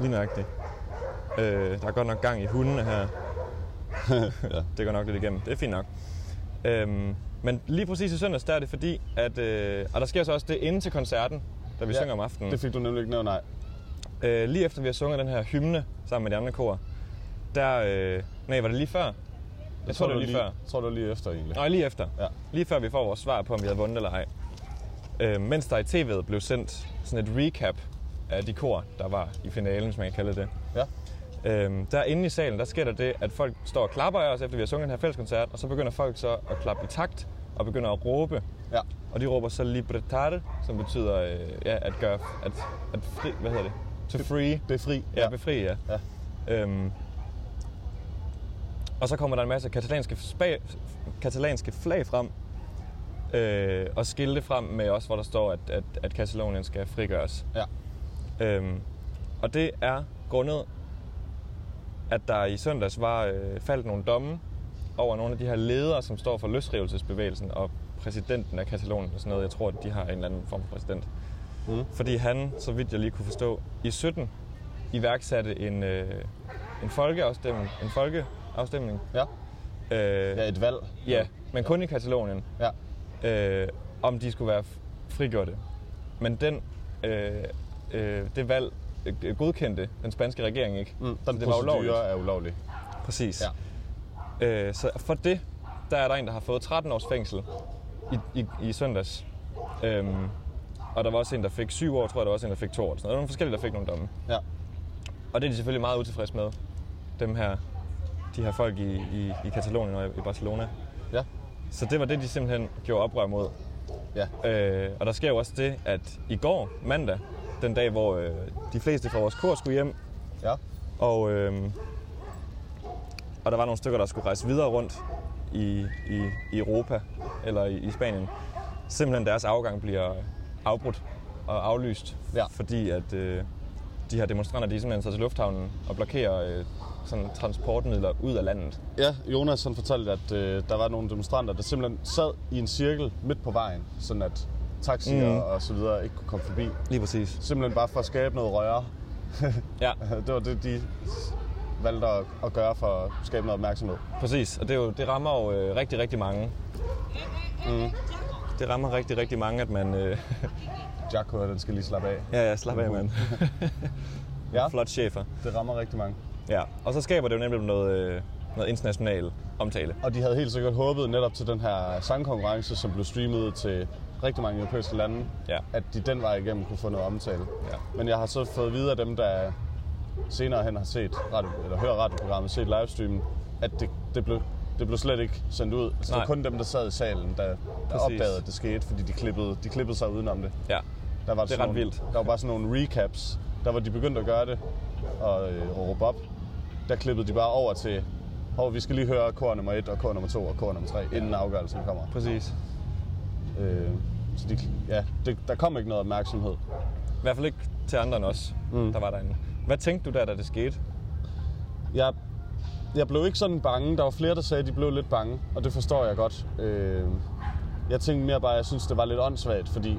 Speaker 1: Lige nøjagtigt. Øh, der er godt nok gang i hundene her.
Speaker 2: ja.
Speaker 1: Det går nok lidt igennem. Det er fint nok. Øhm, men lige præcis i søndags, der er det fordi, at... Øh, og der sker så også det inden til koncerten, da vi ja,
Speaker 2: Ja,
Speaker 1: synger om aftenen.
Speaker 2: Det fik du nemlig ikke nævnt, nej.
Speaker 1: øh, lige efter vi har sunget den her hymne sammen med de andre kor, der... Øh, nej, var det lige før? Jeg, jeg tror, det var lige, lige før.
Speaker 2: Jeg tror, det var lige efter egentlig.
Speaker 1: Nej, lige efter.
Speaker 2: Ja.
Speaker 1: Lige før vi får vores svar på, om vi havde vundet eller ej. Øh, mens der i tv'et blev sendt sådan et recap af de kor, der var i finalen, hvis man kan kalde det.
Speaker 2: Ja.
Speaker 1: Øhm, der inde i salen, der sker der det, at folk står og klapper af os, efter vi har sunget den her fælleskoncert, og så begynder folk så at klappe i takt og begynder at råbe.
Speaker 2: ja.
Speaker 1: Og de råber så libertare, som betyder øh, ja, at gøre, at, at fri, hvad hedder det? To free.
Speaker 2: Befri.
Speaker 1: Ja, befri, ja.
Speaker 2: Ja.
Speaker 1: Øhm, Og så kommer der en masse katalanske, spa- katalanske flag frem, øh, og skilte frem med også, hvor der står, at, at, at Katalonien skal frigøres.
Speaker 2: Ja.
Speaker 1: Øhm, og det er grundet, at der i søndags var øh, faldt nogle domme over nogle af de her ledere, som står for løsrivelsesbevægelsen, og præsidenten af Katalonien og sådan noget. Jeg tror, at de har en eller anden form for præsident.
Speaker 2: Mm.
Speaker 1: Fordi han, så vidt jeg lige kunne forstå, i 17 iværksatte en, øh, en folkeafstemning, en folkeafstemning
Speaker 2: Ja.
Speaker 1: øh,
Speaker 2: ja,
Speaker 1: ja.
Speaker 2: et valg.
Speaker 1: ja, men kun i Katalonien,
Speaker 2: Ja.
Speaker 1: øh, om de skulle være f- frigjorte. Men den, øh, øh, det valg øh, godkendte den spanske regering ikke.
Speaker 2: Mm.
Speaker 1: Så
Speaker 2: Den
Speaker 1: det var ulovligt.
Speaker 2: er ulovlig.
Speaker 1: Præcis. Ja. Øh, så for det, der er der en, der har fået 13 års fængsel i, i, i søndags. Øhm, og der var også en, der fik 7 år, tror jeg, der var også en, der fik 2 år. eller Sådan noget. Der var nogle forskellige, der fik nogle domme.
Speaker 2: Ja.
Speaker 1: Og det er de selvfølgelig meget utilfredse med, dem her, de her folk i, i, i Katalonien og i Barcelona.
Speaker 2: Ja.
Speaker 1: Så det var det, de simpelthen gjorde oprør mod.
Speaker 2: Ja.
Speaker 1: Øh, og der sker jo også det, at i går, mandag, den dag, hvor øh, de fleste fra vores kor skulle hjem,
Speaker 2: Ja.
Speaker 1: og, øh, og der var nogle stykker, der skulle rejse videre rundt i, i, i Europa eller i, i Spanien. Simpelthen deres afgang bliver afbrudt og aflyst,
Speaker 2: Ja.
Speaker 1: fordi at øh, de her demonstranter, de simpelthen tager til lufthavnen og blokerer øh, sådan transportmidler ud af landet.
Speaker 2: Ja, Jonas han fortalte, at øh, der var nogle demonstranter, der simpelthen sad i en cirkel midt på vejen, sådan at taxier
Speaker 1: Mhm.
Speaker 2: mm. og så videre ikke kunne komme forbi.
Speaker 1: Lige præcis.
Speaker 2: Simpelthen bare for at skabe noget røre.
Speaker 1: Ja,
Speaker 2: det var det, de s- valgte at, at gøre for at skabe noget opmærksomhed.
Speaker 1: præcis. Og det, er jo, det rammer jo øh, rigtig, rigtig mange.
Speaker 2: Mm.
Speaker 1: Det rammer rigtig, rigtig mange, at man... Øh,
Speaker 2: Jacko, den skal lige slappe af.
Speaker 1: ja, ja, slap af, mand.
Speaker 2: Ja,
Speaker 1: Flot chefer.
Speaker 2: det rammer rigtig mange.
Speaker 1: Ja, og så skaber det jo nemlig noget, øh, noget international omtale.
Speaker 2: Og de havde helt sikkert håbet netop til den her sangkonkurrence, som blev streamet til rigtig mange europæiske lande,
Speaker 1: Ja.
Speaker 2: at de den vej igennem kunne få noget omtale.
Speaker 1: Ja.
Speaker 2: Men jeg har så fået at vide af dem, der senere hen har set radio, eller hører radioprogrammet, set livestreamen, at det, det, blev, det blev slet ikke sendt ud. Altså, det var
Speaker 1: Nej.
Speaker 2: kun dem, der sad i salen, der, der
Speaker 1: Præcis.
Speaker 2: opdagede, at det skete, fordi de klippede, de klippede sig udenom det.
Speaker 1: Ja,
Speaker 2: Der var
Speaker 1: Det er
Speaker 2: sådan
Speaker 1: ret
Speaker 2: nogle,
Speaker 1: vildt.
Speaker 2: Der var bare sådan nogle recaps, der var de begyndt at gøre det og, øh, og råbe op. Der klippede de bare over til, hov, vi skal lige høre kor nummer 1 og kor nummer 2 og kor nummer 3, inden afgørelsen kommer.
Speaker 1: præcis.
Speaker 2: Øh, så de, ja, det, der kom ikke noget opmærksomhed.
Speaker 1: I hvert fald ikke til andre end os, mm. der var derinde. Hvad tænkte du der, da det skete?
Speaker 2: Jeg, jeg blev ikke sådan bange. Der var flere, der sagde, at de blev lidt bange, og det forstår jeg godt. Øh, jeg tænkte mere bare, at jeg synes, det var lidt åndssvagt, fordi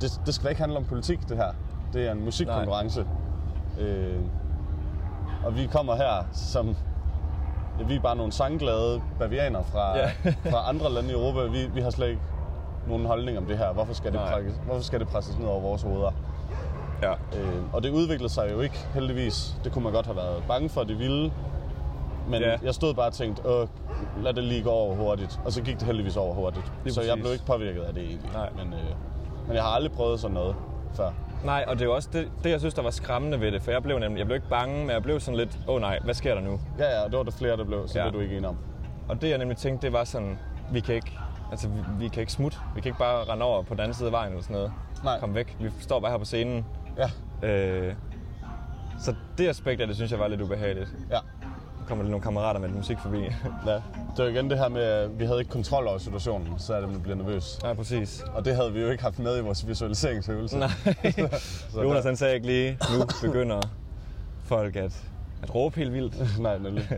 Speaker 2: det, det skal da ikke handle om politik, det her. Det er en musikkonkurrence. Øh, og vi kommer her som... Ja, vi er bare nogle sangglade bavianer fra,
Speaker 1: Ja.
Speaker 2: ja. fra andre lande i Europa. Vi, vi har slet ikke nogen holdning om det her. Hvorfor skal det,
Speaker 1: Nej.
Speaker 2: prækkes, hvorfor skal det presses ned over vores hoveder?
Speaker 1: Ja.
Speaker 2: Øh, og det udviklede sig jo ikke, heldigvis. Det kunne man godt have været bange for, at det ville. Men
Speaker 1: Ja.
Speaker 2: ja. jeg stod bare og tænkte, Åh, lad det lige gå over hurtigt. Og så gik det heldigvis over hurtigt.
Speaker 1: Lige
Speaker 2: så jeg
Speaker 1: præcis.
Speaker 2: blev ikke påvirket af det egentlig.
Speaker 1: Nej.
Speaker 2: Men, øh, men jeg har aldrig prøvet sådan noget før.
Speaker 1: Nej, og det er jo også det, det, jeg synes, der var skræmmende ved det, for jeg blev nemlig, jeg blev ikke bange, men jeg blev sådan lidt, åh oh, nej, hvad sker der nu?
Speaker 2: Ja, ja, og det var der flere, der blev, så
Speaker 1: Ja.
Speaker 2: ja. det er du ikke enig om.
Speaker 1: Og det, jeg nemlig tænkte, det var sådan, vi kan ikke, altså, vi, vi kan ikke smutte. Vi kan ikke bare rende over på den anden side af vejen eller sådan noget.
Speaker 2: Nej.
Speaker 1: Kom væk. Vi står bare her på scenen.
Speaker 2: Ja,
Speaker 1: Øh, så det aspekt af det, synes jeg var lidt ubehageligt.
Speaker 2: ja.
Speaker 1: Nu kommer der nogle kammerater med lidt musik forbi.
Speaker 2: ja. Det var igen det her med, at vi havde ikke kontrol over situationen, så er det, man bliver nervøs.
Speaker 1: Nej, præcis.
Speaker 2: Og det havde vi jo ikke haft med i vores visualiseringsøvelse.
Speaker 1: Nej.
Speaker 2: Så
Speaker 1: Jonas
Speaker 2: der-
Speaker 1: han sagde ikke lige, nu begynder folk at, at råbe helt vildt.
Speaker 2: Nej, nemlig.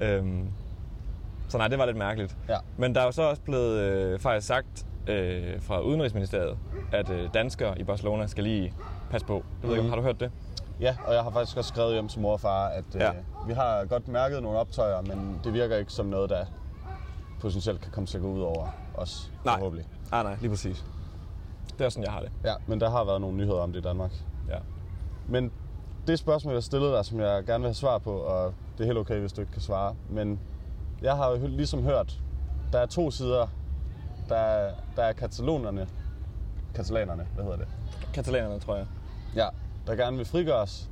Speaker 1: Øhm, så nej, det var lidt mærkeligt.
Speaker 2: Ja.
Speaker 1: Men der er jo så også blevet øh, faktisk sagt øh, fra Udenrigsministeriet, at øh, danskere i Barcelona skal lige passe på. Det ved jeg ikke,
Speaker 2: Mhm.
Speaker 1: har du hørt det?
Speaker 2: Ja, og jeg har faktisk også skrevet hjem til mor og far, at øh,
Speaker 1: Ja.
Speaker 2: ja. vi har godt mærket nogle optøjer, men det virker ikke som noget, der potentielt kan komme til at gå ud over os,
Speaker 1: Nej.
Speaker 2: forhåbentlig.
Speaker 1: Nej, nej, lige præcis. Det er sådan, jeg har det.
Speaker 2: Ja, men der har været nogle nyheder om det i Danmark.
Speaker 1: Ja.
Speaker 2: Men det spørgsmål, jeg stillede dig, som jeg gerne vil have svar på, og det er helt okay, hvis du ikke kan svare, men jeg har jo hø- ligesom hørt, der er to sider. Der er, der er katalonerne, katalanerne, hvad hedder det?
Speaker 1: Katalanerne, tror jeg.
Speaker 2: Ja, der gerne vil frigøres.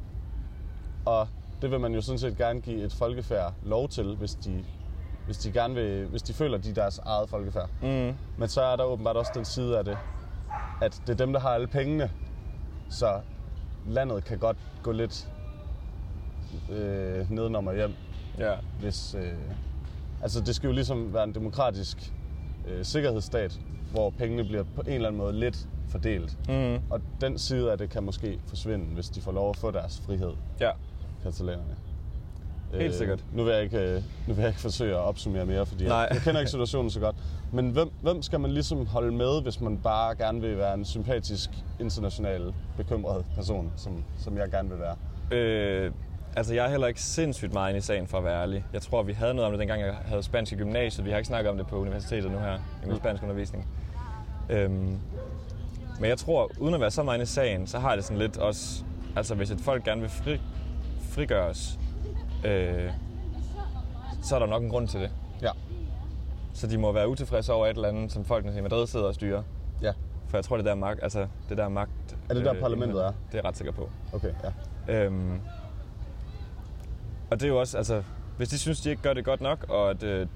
Speaker 2: Og det vil man jo sådan set gerne give et folkefærd lov til, hvis de, hvis de, gerne vil, hvis de føler, de er deres eget folkefærd.
Speaker 1: Mm.
Speaker 2: Men så er der åbenbart også den side af det, at det er dem, der har alle pengene, så landet kan godt gå lidt øh, nedenom og hjem,
Speaker 1: Ja.
Speaker 2: hvis, øh, Altså, det skal jo ligesom være en demokratisk øh, sikkerhedsstat, hvor pengene bliver på en eller anden måde lidt fordelt.
Speaker 1: Mm.
Speaker 2: Og den side af det kan måske forsvinde, hvis de får lov at få deres frihed,
Speaker 1: Ja.
Speaker 2: katalanerne.
Speaker 1: Helt sikkert.
Speaker 2: Nu vil, jeg ikke, øh, nu vil jeg ikke forsøge at opsummere mere, fordi
Speaker 1: Nej.
Speaker 2: jeg, jeg kender ikke situationen så godt. Men hvem, hvem skal man ligesom holde med, hvis man bare gerne vil være en sympatisk, international, bekymret person, som, som jeg gerne vil være?
Speaker 1: Øh, altså, jeg er heller ikke sindssygt meget inde i sagen, for at være ærlig. Jeg tror, vi havde noget om det, dengang jeg havde spansk i gymnasiet. Vi har ikke snakket om det på universitetet nu her, i
Speaker 2: Mm.
Speaker 1: min spansk undervisning. Øhm, men jeg tror, uden at være så meget inde i sagen, så har jeg det sådan lidt også... Altså, hvis et folk gerne vil fri, frigøres, øh, så er der nok en grund til det.
Speaker 2: Ja.
Speaker 1: Så de må være utilfredse over et eller andet, som folkene i Madrid sidder og styrer.
Speaker 2: Ja.
Speaker 1: For jeg tror, det der magt... Altså, det der magt... øh,
Speaker 2: Er det der, parlamentet er?
Speaker 1: Det er jeg ret sikker på.
Speaker 2: Okay, ja.
Speaker 1: Øhm, og det er jo også, altså, hvis de synes, de ikke gør det godt nok, og at øh,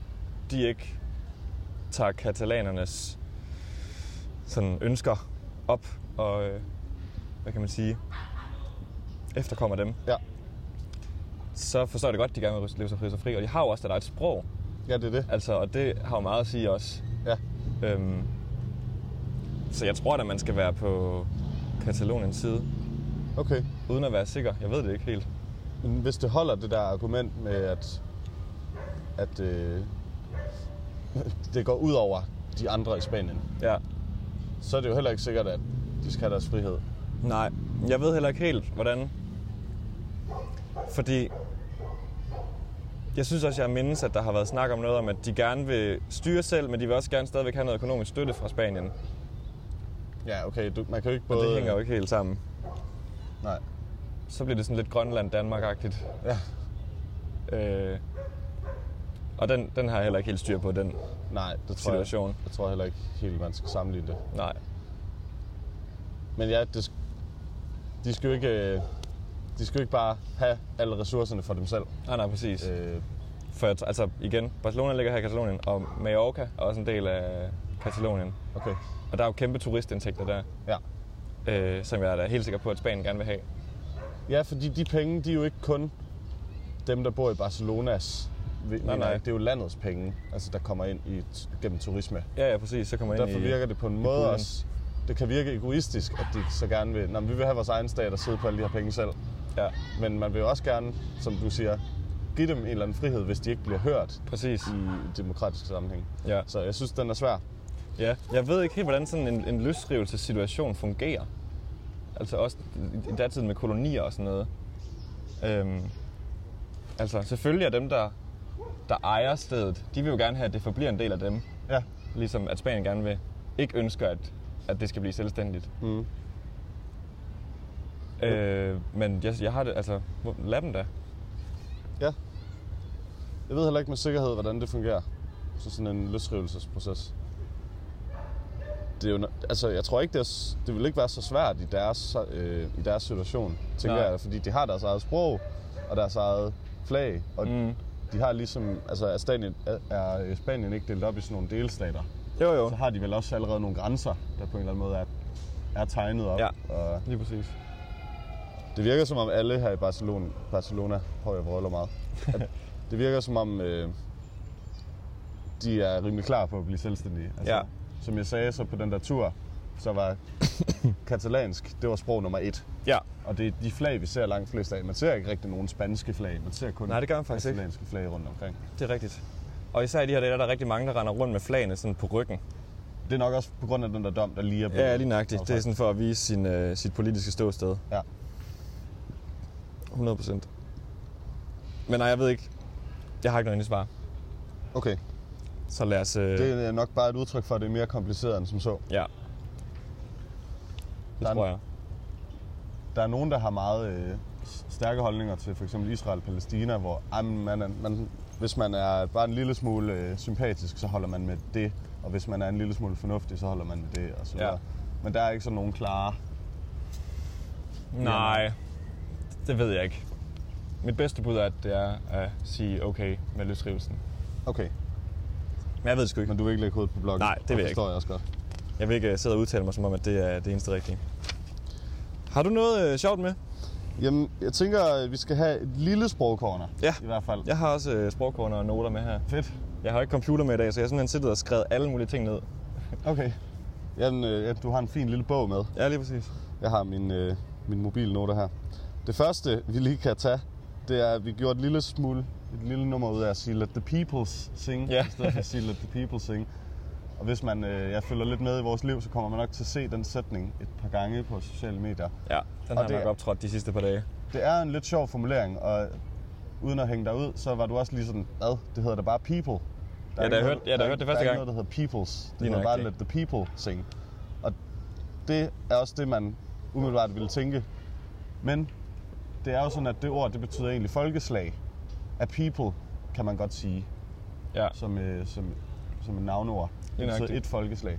Speaker 1: de ikke tager katalanernes sådan, ønsker op, og øh, hvad kan man sige, efterkommer dem,
Speaker 2: Ja,
Speaker 1: så forstår jeg det godt, at de gerne vil leve sig fri og fri, og de har jo også et eget sprog,
Speaker 2: ja det er det.
Speaker 1: altså, og det har jo meget at sige også.
Speaker 2: Ja.
Speaker 1: Øhm, så jeg tror at man skal være på Kataloniens side,
Speaker 2: Okay.
Speaker 1: uden at være sikker. Jeg ved det ikke helt.
Speaker 2: Men hvis det holder det der argument med, at, at øh, det går ud over de andre i Spanien,
Speaker 1: Ja.
Speaker 2: så er det jo heller ikke sikkert, at de skal have deres frihed.
Speaker 1: Nej, jeg ved heller ikke helt, hvordan. Fordi jeg synes også, jeg mindes, at der har været snak om noget om, at de gerne vil styre selv, men de vil også gerne stadigvæk have noget økonomisk støtte fra Spanien. Men
Speaker 2: Ja, okay, du, man kan jo ikke både...
Speaker 1: det hænger jo ikke helt sammen.
Speaker 2: Nej.
Speaker 1: Så bliver det sådan lidt Grønland-Danmark-agtigt.
Speaker 2: Ja.
Speaker 1: Øh, og den, den har jeg heller ikke helt styr på, den.
Speaker 2: Nej, det tror
Speaker 1: Situation.
Speaker 2: jeg. Jeg tror heller ikke helt, man skal sammenligne det.
Speaker 1: Nej.
Speaker 2: Men ja, det, sk- de skal jo ikke... øh, De skal jo ikke bare have alle ressourcerne for dem selv.
Speaker 1: Ah, Nej, nej, præcis.
Speaker 2: Øh,
Speaker 1: For jeg tr- altså, igen, Barcelona ligger her i Katalonien, og Mallorca er også en del af Katalonien.
Speaker 2: okay,
Speaker 1: Og der er jo kæmpe turistindtægter der,
Speaker 2: ja.
Speaker 1: øh, som jeg er da helt sikker på, at Spanien gerne vil have.
Speaker 2: Ja, fordi de penge, de er jo ikke kun dem, der bor i Barcelonas. Nej,
Speaker 1: nej.
Speaker 2: Det er jo landets penge, altså, der kommer ind i, t- gennem turisme.
Speaker 1: Ja, ja, præcis. Så kommer jeg
Speaker 2: Derfor
Speaker 1: ind i...
Speaker 2: virker det på en måde
Speaker 1: puljen.
Speaker 2: også... Det kan virke egoistisk, at de så gerne vil... Nå, men vi vil have vores egen stat og sidde på alle de her penge selv.
Speaker 1: Ja,
Speaker 2: Men man vil jo også gerne, som du siger, give dem en eller anden frihed, hvis de ikke bliver hørt
Speaker 1: præcis.
Speaker 2: i demokratisk sammenhæng.
Speaker 1: Ja.
Speaker 2: Så jeg synes, den er svær.
Speaker 1: ja. Jeg ved ikke helt, hvordan sådan en, en løsrivelsessituation fungerer. Altså også i- i datiden med kolonier og sådan noget. Øhm, altså selvfølgelig er dem, der, der ejer stedet, de vil jo gerne have, at det forbliver en del af dem.
Speaker 2: Ja.
Speaker 1: Ligesom at Spanien gerne vil. Ikke ønsker, at, at det skal blive selvstændigt.
Speaker 2: Mm.
Speaker 1: Øh, men jeg, jeg har det, altså, hvor- lad dem da.
Speaker 2: Ja. Jeg ved heller ikke med sikkerhed, hvordan det fungerer. Så sådan en løsrivelsesproces. Det er jo, no- altså, jeg tror ikke, det, er, s- det vil ikke være så svært i deres, øh, i deres situation, tænker
Speaker 1: Nej.
Speaker 2: jeg. Fordi de har deres eget sprog, og deres eget flag, og mm. de har ligesom, altså er Spanien, er- er øh, Spanien ikke delt op i sådan nogle delstater,
Speaker 1: Jo, jo.
Speaker 2: så har de vel også allerede nogle grænser, der på en eller anden måde er, er tegnet op.
Speaker 1: Ja.
Speaker 2: Og
Speaker 1: Lige præcis.
Speaker 2: det virker som om alle her i Barcelona, Barcelona hvor jeg vrøvler meget, at det virker som om øh, de er rimelig klar på at blive selvstændige. Altså,
Speaker 1: Ja.
Speaker 2: Som jeg sagde, så på den der tur, så var katalansk, det var sprog nummer et.
Speaker 1: Ja.
Speaker 2: Og det er de flag, vi ser langt flest af. Man ser ikke rigtig nogen spanske flag, man ser kun
Speaker 1: Nej, det gør man faktisk ikke.
Speaker 2: katalanske flag rundt omkring.
Speaker 1: Det er rigtigt. Og især i de her dage, der er der rigtig mange, der render rundt med flagene sådan på ryggen.
Speaker 2: Det er nok også på grund af den der dom, der lige er blevet...
Speaker 1: Ja, lige nøjagtigt. Det er
Speaker 2: afsagt.
Speaker 1: sådan for at vise sin, øh, sit politiske ståsted.
Speaker 2: Ja.
Speaker 1: 100 procent. Men nej, jeg ved ikke. Jeg har ikke noget endeligt svar.
Speaker 2: Okay,
Speaker 1: Så lad os... Øh, det...
Speaker 2: det er nok bare et udtryk for, at det er mere kompliceret end som så.
Speaker 1: Ja. Det
Speaker 2: Der er
Speaker 1: tror
Speaker 2: en-
Speaker 1: jeg.
Speaker 2: der er nogen, der har meget øh, stærke holdninger til for eksempel Israel og Palæstina, hvor ej, men man er, man, hvis man er bare en lille smule øh, sympatisk, så holder man med det, og hvis man er en lille smule fornuftig, så holder man med det, og så
Speaker 1: Ja.
Speaker 2: videre. Men der er ikke sådan nogen klare...
Speaker 1: Nej, det ved jeg ikke. Mit bedste bud er, at det er at sige okay med løsrivelsen.
Speaker 2: Okay,
Speaker 1: Men jeg ved det sgu ikke.
Speaker 2: men du vil ikke lægge hovedet på blokken?
Speaker 1: Nej, det vil jeg
Speaker 2: Det forstår jeg også godt.
Speaker 1: Jeg vil ikke øh, sidde og udtale mig, som om at det er det eneste rigtige. Har du noget øh, sjovt med?
Speaker 2: Jamen, jeg tænker, at vi skal have et lille sprogkorner.
Speaker 1: Ja.
Speaker 2: I hvert fald.
Speaker 1: Jeg har også øh, sprogkorner og noter med her.
Speaker 2: Fedt.
Speaker 1: Jeg har ikke computer med i dag, så jeg har simpelthen siddet og skrevet alle mulige ting ned.
Speaker 2: Okay. Jamen, øh, ja, du har en fin lille bog med.
Speaker 1: Ja, lige præcis.
Speaker 2: Jeg har min, øh, min mobilnote her. Det første, vi lige kan tage, det er, at vi gjorde et lille smule, et lille nummer ud af at sige, let the people sing,
Speaker 1: Ja.
Speaker 2: i stedet for at sige, let the people sing. Og hvis man øh, jeg følger lidt med i vores liv, så kommer man nok til at se den sætning et par gange på sociale medier.
Speaker 1: Ja, den har jeg
Speaker 2: det
Speaker 1: nok
Speaker 2: er-
Speaker 1: optrådt de sidste par dage.
Speaker 2: Det er en lidt sjov formulering, og uden at hænge dig ud, så var du også lige sådan, hvad, det hedder da bare people.
Speaker 1: Ja,
Speaker 2: Der
Speaker 1: da
Speaker 2: ikke
Speaker 1: jeg
Speaker 2: noget-
Speaker 1: hørte- ja, da jeg
Speaker 2: der er
Speaker 1: hørte
Speaker 2: ikke-
Speaker 1: det første
Speaker 2: Der er
Speaker 1: gang.
Speaker 2: ikke noget, der hedder peoples. Det
Speaker 1: Lige
Speaker 2: hedder bare let
Speaker 1: nøjagtigt.
Speaker 2: the people sing. Og det er også det, man umiddelbart ville tænke. Men det er jo sådan, at det ord, det betyder egentlig folkeslag. At people, kan man godt sige,
Speaker 1: Ja,
Speaker 2: som, øh, som, som et navnord.
Speaker 1: Lige
Speaker 2: Det betyder
Speaker 1: nøjagtigt.
Speaker 2: et folkeslag.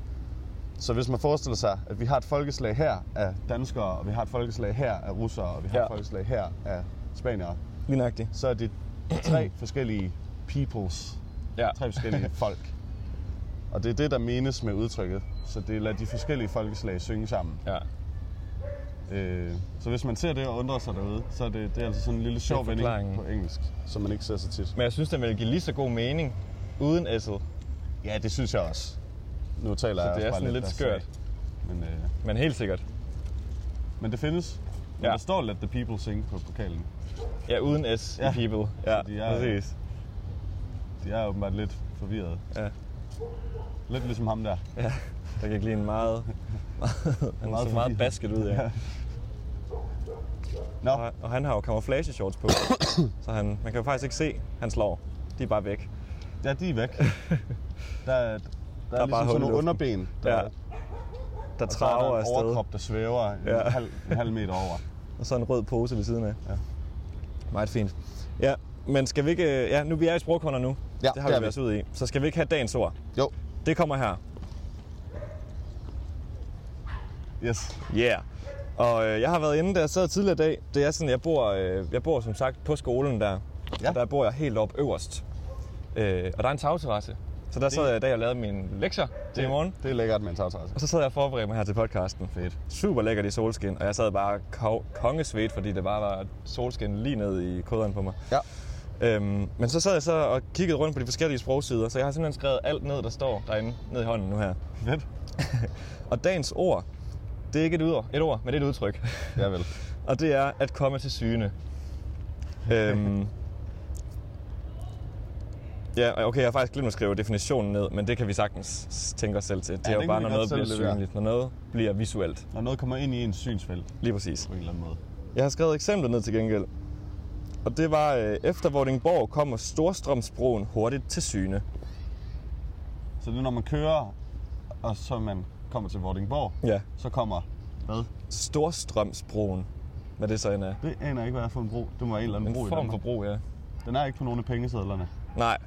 Speaker 2: Så hvis man forestiller sig, at vi har et folkeslag her af danskere, og vi har et folkeslag her af russere, og vi har
Speaker 1: Ja.
Speaker 2: et folkeslag her af spaniere,
Speaker 1: lige nøjagtigt.
Speaker 2: så er det tre forskellige peoples,
Speaker 1: Ja.
Speaker 2: tre forskellige folk. Og det er det, der menes med udtrykket. Så det lader de forskellige folkeslag synge sammen.
Speaker 1: Ja,
Speaker 2: Øh, så hvis man ser det og undrer sig derude, så er det, det er altså sådan en lille
Speaker 1: er
Speaker 2: sjov vending
Speaker 1: forklaringen.
Speaker 2: på engelsk, som man ikke ser så tit.
Speaker 1: men jeg synes, den ville give lige så god mening uden S'et.
Speaker 2: Ja, det synes jeg også. Nu taler
Speaker 1: Så det
Speaker 2: jeg også
Speaker 1: er
Speaker 2: bare
Speaker 1: sådan
Speaker 2: lidt
Speaker 1: lidt
Speaker 2: deres
Speaker 1: skørt.
Speaker 2: sag. Men, øh,
Speaker 1: Men helt sikkert.
Speaker 2: men det findes. Men
Speaker 1: Ja.
Speaker 2: ja. der står Let the People Sing på pokalen.
Speaker 1: Ja, uden S ja.
Speaker 2: Ja.
Speaker 1: i people. Ja,
Speaker 2: de er-
Speaker 1: præcis.
Speaker 2: De er åbenbart lidt forvirret.
Speaker 1: Ja.
Speaker 2: Lidt ligesom ham der.
Speaker 1: Ja, der gik lige en meget... meget han meget så meget
Speaker 2: forvirret.
Speaker 1: basket ud, ja.
Speaker 2: Nå,
Speaker 1: Og, og han har jo camouflage shorts på, så han, man kan jo faktisk ikke se, han slår. De er bare væk.
Speaker 2: ja, de er væk. Der er, der, der er,
Speaker 1: bare hul i
Speaker 2: ligesom sådan nogle
Speaker 1: luften.
Speaker 2: underben, der,
Speaker 1: Ja,
Speaker 2: og
Speaker 1: Der
Speaker 2: så er der
Speaker 1: traver
Speaker 2: en
Speaker 1: afsted,
Speaker 2: overkrop, der svæver en,
Speaker 1: Ja.
Speaker 2: halv, en halv meter over.
Speaker 1: og så en rød pose ved siden af.
Speaker 2: Ja.
Speaker 1: Meget fint. Ja, men skal vi ikke... øh, Ja, nu vi er i sprogkorner nu.
Speaker 2: Ja,
Speaker 1: det har
Speaker 2: det
Speaker 1: vi
Speaker 2: er vi.
Speaker 1: været os ud i. Så skal vi ikke have dagens ord.
Speaker 2: Jo.
Speaker 1: Det kommer her.
Speaker 2: Yes.
Speaker 1: Yeah. Og øh, jeg har været inde, da jeg sad tidligere i dag. Det er sådan, jeg bor, øh, jeg bor som sagt på skolen der. Ja.
Speaker 2: Ja.
Speaker 1: Og der bor jeg helt op øverst. Øh, og der er en tagterrasse. Så der sad jeg i dag og lavede mine lektier til i morgen.
Speaker 2: Det er lækkert med en tagterrasse.
Speaker 1: Og så sad jeg og forberedte mig her til podcasten.
Speaker 2: Fedt.
Speaker 1: Super lækkert i solskin, og jeg sad bare ko- kongesvedt, fordi det bare var solskin lige ned i koderen på mig.
Speaker 2: Ja.
Speaker 1: Øhm, men så sad jeg så og kiggede rundt på de forskellige sprogsider, så jeg har simpelthen skrevet alt ned, der står derinde, ned i hånden nu her.
Speaker 2: Fedt.
Speaker 1: Og dagens ord, det er ikke et, ord, et ord, men det er et udtryk.
Speaker 2: Ja vel.
Speaker 1: og det er at komme til syne. Øhm, ja, okay, jeg har faktisk glemt at skrive definitionen ned, men det kan vi sagtens s- tænke os selv til. Det
Speaker 2: Ja,
Speaker 1: er jo
Speaker 2: den
Speaker 1: bare,
Speaker 2: kan vi
Speaker 1: når
Speaker 2: godt
Speaker 1: noget
Speaker 2: selv
Speaker 1: bliver
Speaker 2: levere.
Speaker 1: synligt, når noget bliver visuelt.
Speaker 2: Når noget kommer ind i ens synsfelt
Speaker 1: Lige præcis.
Speaker 2: på en eller anden måde.
Speaker 1: Jeg har skrevet eksempler ned til gengæld. Og det var, øh, efter Vordingborg kommer Storstrømsbroen hurtigt til syne.
Speaker 2: Så det er, når man kører, og så man kommer til Vordingborg,
Speaker 1: Ja.
Speaker 2: så kommer... Hvad?
Speaker 1: Storstrømsbroen. Hvad det så end er.
Speaker 2: Det aner jeg ikke, hvad jeg har for en bro. Det må være en eller anden
Speaker 1: En
Speaker 2: bro i
Speaker 1: form
Speaker 2: Danmark.
Speaker 1: for bro, ja.
Speaker 2: Den er ikke på nogen af pengesedlerne.
Speaker 1: Nej.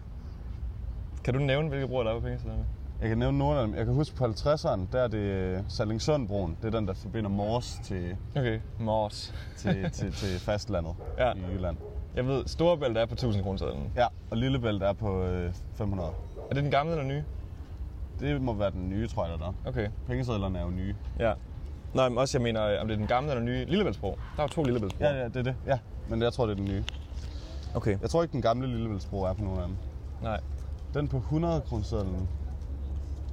Speaker 1: Kan du nævne, hvilke broer der er på pengesedlerne?
Speaker 2: Jeg kan nævne nogle af dem. Jeg kan huske på 50'eren, der er det øh, Sallingsundbroen. Det er den, der forbinder Mors til,
Speaker 1: Okay. Mors.
Speaker 2: til, til, til fastlandet
Speaker 1: Ja.
Speaker 2: ja. i Jylland.
Speaker 1: Jeg ved, Storebælt er på 1000 kroner sædlen.
Speaker 2: Ja, og Lillebælt er på øh, 500.
Speaker 1: Er det den gamle eller nye?
Speaker 2: Det må være den nye, tror jeg, der er.
Speaker 1: Okay.
Speaker 2: Pengesedlerne er jo nye.
Speaker 1: Ja. Nej, men også jeg mener, øh, om det er den gamle eller nye Lillebæltsbro. Der er jo to Lillebæltsbro.
Speaker 2: Ja, ja, det er det. Ja, men jeg tror, det er den nye.
Speaker 1: Okay.
Speaker 2: Jeg tror ikke, den gamle Lillebæltsbro er på nogen af dem.
Speaker 1: Nej.
Speaker 2: Den på 100 kronersedlen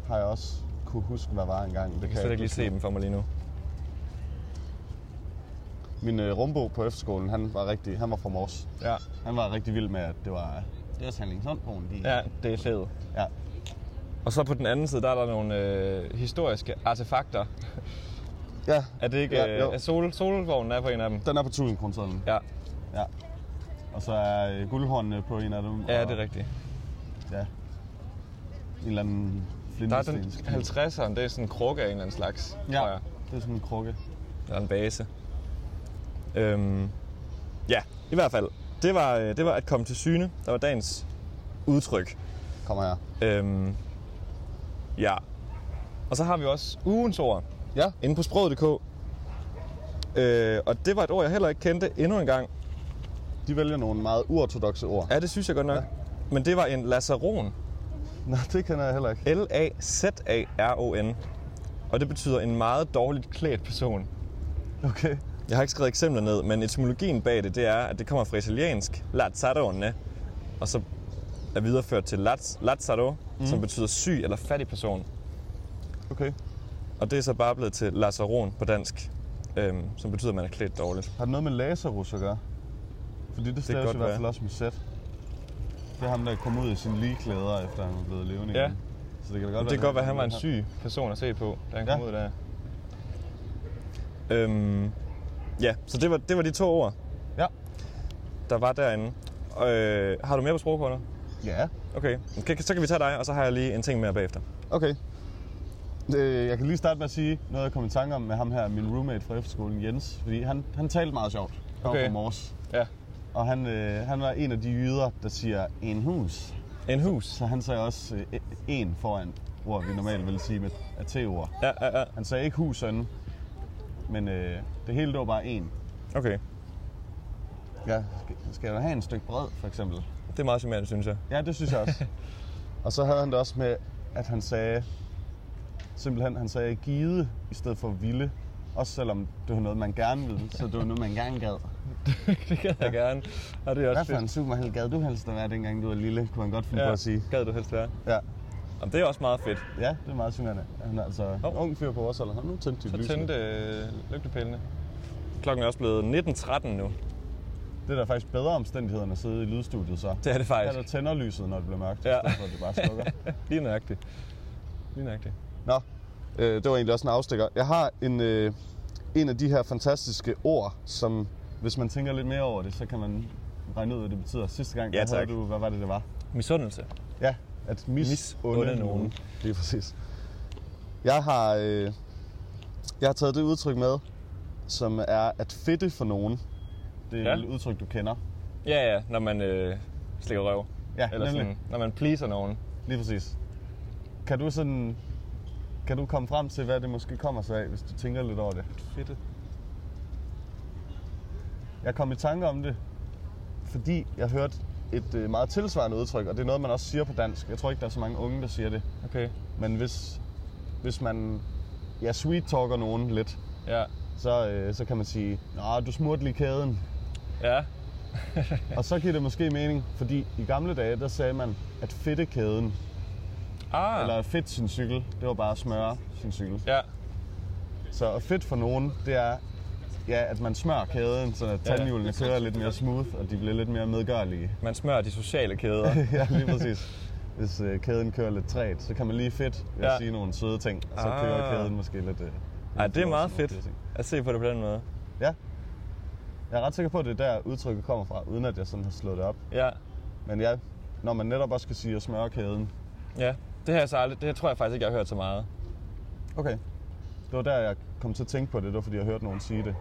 Speaker 2: har jeg også kunne huske, hvad var engang. Det
Speaker 1: Jeg kan slet ikke lige se dem for mig lige nu.
Speaker 2: Min øh, rumbo på efterskolen, han var rigtig, han var fra Mors.
Speaker 1: Ja.
Speaker 2: Han var rigtig vild med, at det var... Det var Sandlingsundbroen, de...
Speaker 1: Ja, det er fedt.
Speaker 2: ja.
Speaker 1: Og så på den anden side, der er der nogle øh, historiske artefakter.
Speaker 2: Ja,
Speaker 1: Er det ikke...
Speaker 2: Ja, jo.
Speaker 1: øh, er sol, solvognen er på en af dem?
Speaker 2: den er på 1000 kronersedlen.
Speaker 1: Ja.
Speaker 2: Ja. Og så er øh, guldhornene på en af dem.
Speaker 1: Ja,
Speaker 2: og,
Speaker 1: det er rigtigt.
Speaker 2: Ja. En eller anden
Speaker 1: Der er den
Speaker 2: flintestensk.
Speaker 1: 50'eren, det er sådan en krukke af en eller anden slags,
Speaker 2: Ja,
Speaker 1: tror jeg.
Speaker 2: det er sådan en krukke.
Speaker 1: Eller en base. Øhm, ja, i hvert fald. Det var, øh, det var at komme til syne. Der var dagens udtryk.
Speaker 2: Kommer her.
Speaker 1: Øhm, ja. Og så har vi også ugens ord
Speaker 2: Ja,
Speaker 1: inde på sproget.dk. Øh, og det var et ord, jeg heller ikke kendte endnu en gang.
Speaker 2: de vælger nogle meget uortodoxe ord.
Speaker 1: Ja, det synes jeg godt nok. Men det var en lasaron.
Speaker 2: Nej, det kender jeg heller ikke.
Speaker 1: L-A-Z-A-R-O-N. Og det betyder en meget dårligt klædt person.
Speaker 2: Okay.
Speaker 1: Jeg har ikke skrevet eksempler ned, men etymologien bag det, det er, at det kommer fra italiensk, lazzarone, og så er videreført til laz, lazzaro, mm. som betyder syg eller fattig person.
Speaker 2: Okay.
Speaker 1: Og det er så bare blevet til lazaron på dansk, øhm, som betyder, at man er klædt dårligt.
Speaker 2: Har det noget med Lazarus at gøre? Fordi det staves
Speaker 1: godt
Speaker 2: i hvert fald
Speaker 1: være.
Speaker 2: også med Z. Det er ham, der kom ud i sine ligeklæder, efter han var blevet levende
Speaker 1: Ja.
Speaker 2: igen. Så det kan da godt
Speaker 1: Det kan godt være, at han var en
Speaker 2: har-
Speaker 1: syg person at se på, da han
Speaker 2: Ja.
Speaker 1: kom ud der. Øhm, ja, så det var, det var de to ord,
Speaker 2: Ja.
Speaker 1: der var derinde. Øh, har du mere på sprogkortet?
Speaker 2: Ja.
Speaker 1: Okay, okay, så kan vi tage dig, og så har jeg lige en ting mere bagefter.
Speaker 2: Okay. Øh, Jeg kan lige starte med at sige noget, jeg kom i tanke om med ham her, min roommate fra efterskolen, Jens. Fordi han, han talte meget sjovt. Han
Speaker 1: Okay.
Speaker 2: okay. Mors.
Speaker 1: Ja.
Speaker 2: Og han, øh, han var en af de jyder, der siger en hus.
Speaker 1: En hus.
Speaker 2: Så han sagde også øh, en foran ord, vi normalt ville sige med at ord.
Speaker 1: Ja, ja, ja.
Speaker 2: Han sagde ikke hus sådan, men øh, det hele det var bare en.
Speaker 1: Okay,
Speaker 2: Ja, skal, skal du have en stykke brød, for eksempel?
Speaker 1: det er meget charmerende, synes jeg.
Speaker 2: Ja, det synes jeg også. og så havde han det også med, at han sagde, simpelthen han sagde gide i stedet for ville. Også selvom det var noget, man gerne ville, så det var noget, man gerne gad.
Speaker 1: det gad jeg gerne. Og det er også
Speaker 2: Hvad for en superheld gad du helst at være, dengang du var lille, kunne han godt finde ja. på at sige.
Speaker 1: gad du helst være.
Speaker 2: Ja.
Speaker 1: Jamen, det er også meget fedt.
Speaker 2: ja, det er meget synerende. Han er altså
Speaker 1: Hov.
Speaker 2: oh. ung fyr på vores alder. Han nu tændte de
Speaker 1: Så
Speaker 2: lysene.
Speaker 1: tændte øh, lygtepælene. Klokken er også blevet 19.13 nu.
Speaker 2: Det er da faktisk bedre omstændigheder, end at sidde i lydstudiet så.
Speaker 1: Det er det
Speaker 2: Her
Speaker 1: faktisk.
Speaker 2: der tænder lyset, når det bliver mørkt,
Speaker 1: Ja.
Speaker 2: ja. i stedet for at det bare slukker.
Speaker 1: Lige nøjagtigt. Lige nøjagtigt.
Speaker 2: Nå, øh, det var egentlig også en afstikker. Jeg har en, øh, en af de her fantastiske ord, som hvis man tænker lidt mere over det, så kan man regne ud, hvad det betyder. Sidste gang,
Speaker 1: Ja,
Speaker 2: ja, der
Speaker 1: tak.
Speaker 2: havde du, hvad var det, det var?
Speaker 1: Misundelse.
Speaker 2: Ja, at mis,
Speaker 1: Misunde
Speaker 2: onde
Speaker 1: nogen.
Speaker 2: Lige præcis. Jeg har, øh, jeg har taget det udtryk med, som er at fedte for nogen. Det er
Speaker 1: Ja.
Speaker 2: ja. et udtryk, du kender.
Speaker 1: Ja, ja, når man øh, slikker røv.
Speaker 2: Ja,
Speaker 1: Eller
Speaker 2: nemlig.
Speaker 1: sådan, når man pleaser nogen.
Speaker 2: Lige præcis. Kan du sådan... Kan du komme frem til, hvad det måske kommer sig af, hvis du tænker lidt over det?
Speaker 1: Fedt.
Speaker 2: Jeg kom i tanke om det, fordi jeg hørte et øh, meget tilsvarende udtryk, og det er noget, man også siger på dansk. Jeg tror ikke, der er så mange unge, der siger det.
Speaker 1: Okay.
Speaker 2: Men hvis, hvis man ja, sweet-talker nogen lidt,
Speaker 1: Ja.
Speaker 2: så, øh, så kan man sige, Nå, du smurte lige kæden.
Speaker 1: Ja.
Speaker 2: og så giver det måske mening, fordi i gamle dage, der sagde man, at fedte kæden,
Speaker 1: Ah.
Speaker 2: eller fedt sin cykel, det var bare at smøre sin cykel.
Speaker 1: Ja.
Speaker 2: Så at fedt for nogen, det er, ja, at man smører kæden, så
Speaker 1: Ja.
Speaker 2: tandhjulene kører lidt mere smooth, og de bliver lidt mere medgørlige.
Speaker 1: Man smører de sociale kæder.
Speaker 2: ja, lige præcis. Hvis øh, kæden kører lidt træt, så kan man lige fedt ved
Speaker 1: Ja.
Speaker 2: ja. sige nogle søde ting, og så
Speaker 1: Ah.
Speaker 2: ah. kører kæden måske lidt...
Speaker 1: Ej, det
Speaker 2: Øh,
Speaker 1: er meget
Speaker 2: sådan nogle
Speaker 1: fedt
Speaker 2: ting.
Speaker 1: at se på det på den måde.
Speaker 2: Ja. Jeg er ret sikker på, at det er der udtrykket kommer fra, uden at jeg sådan har slået det op.
Speaker 1: Ja.
Speaker 2: Men ja, når man netop også skal sige at smøre kæden.
Speaker 1: Ja. Det her, er så aldrig, det her tror jeg faktisk ikke, jeg har hørt så meget.
Speaker 2: Okay. Det var der, jeg kom til at tænke på det, det var fordi, jeg hørte nogen sige det.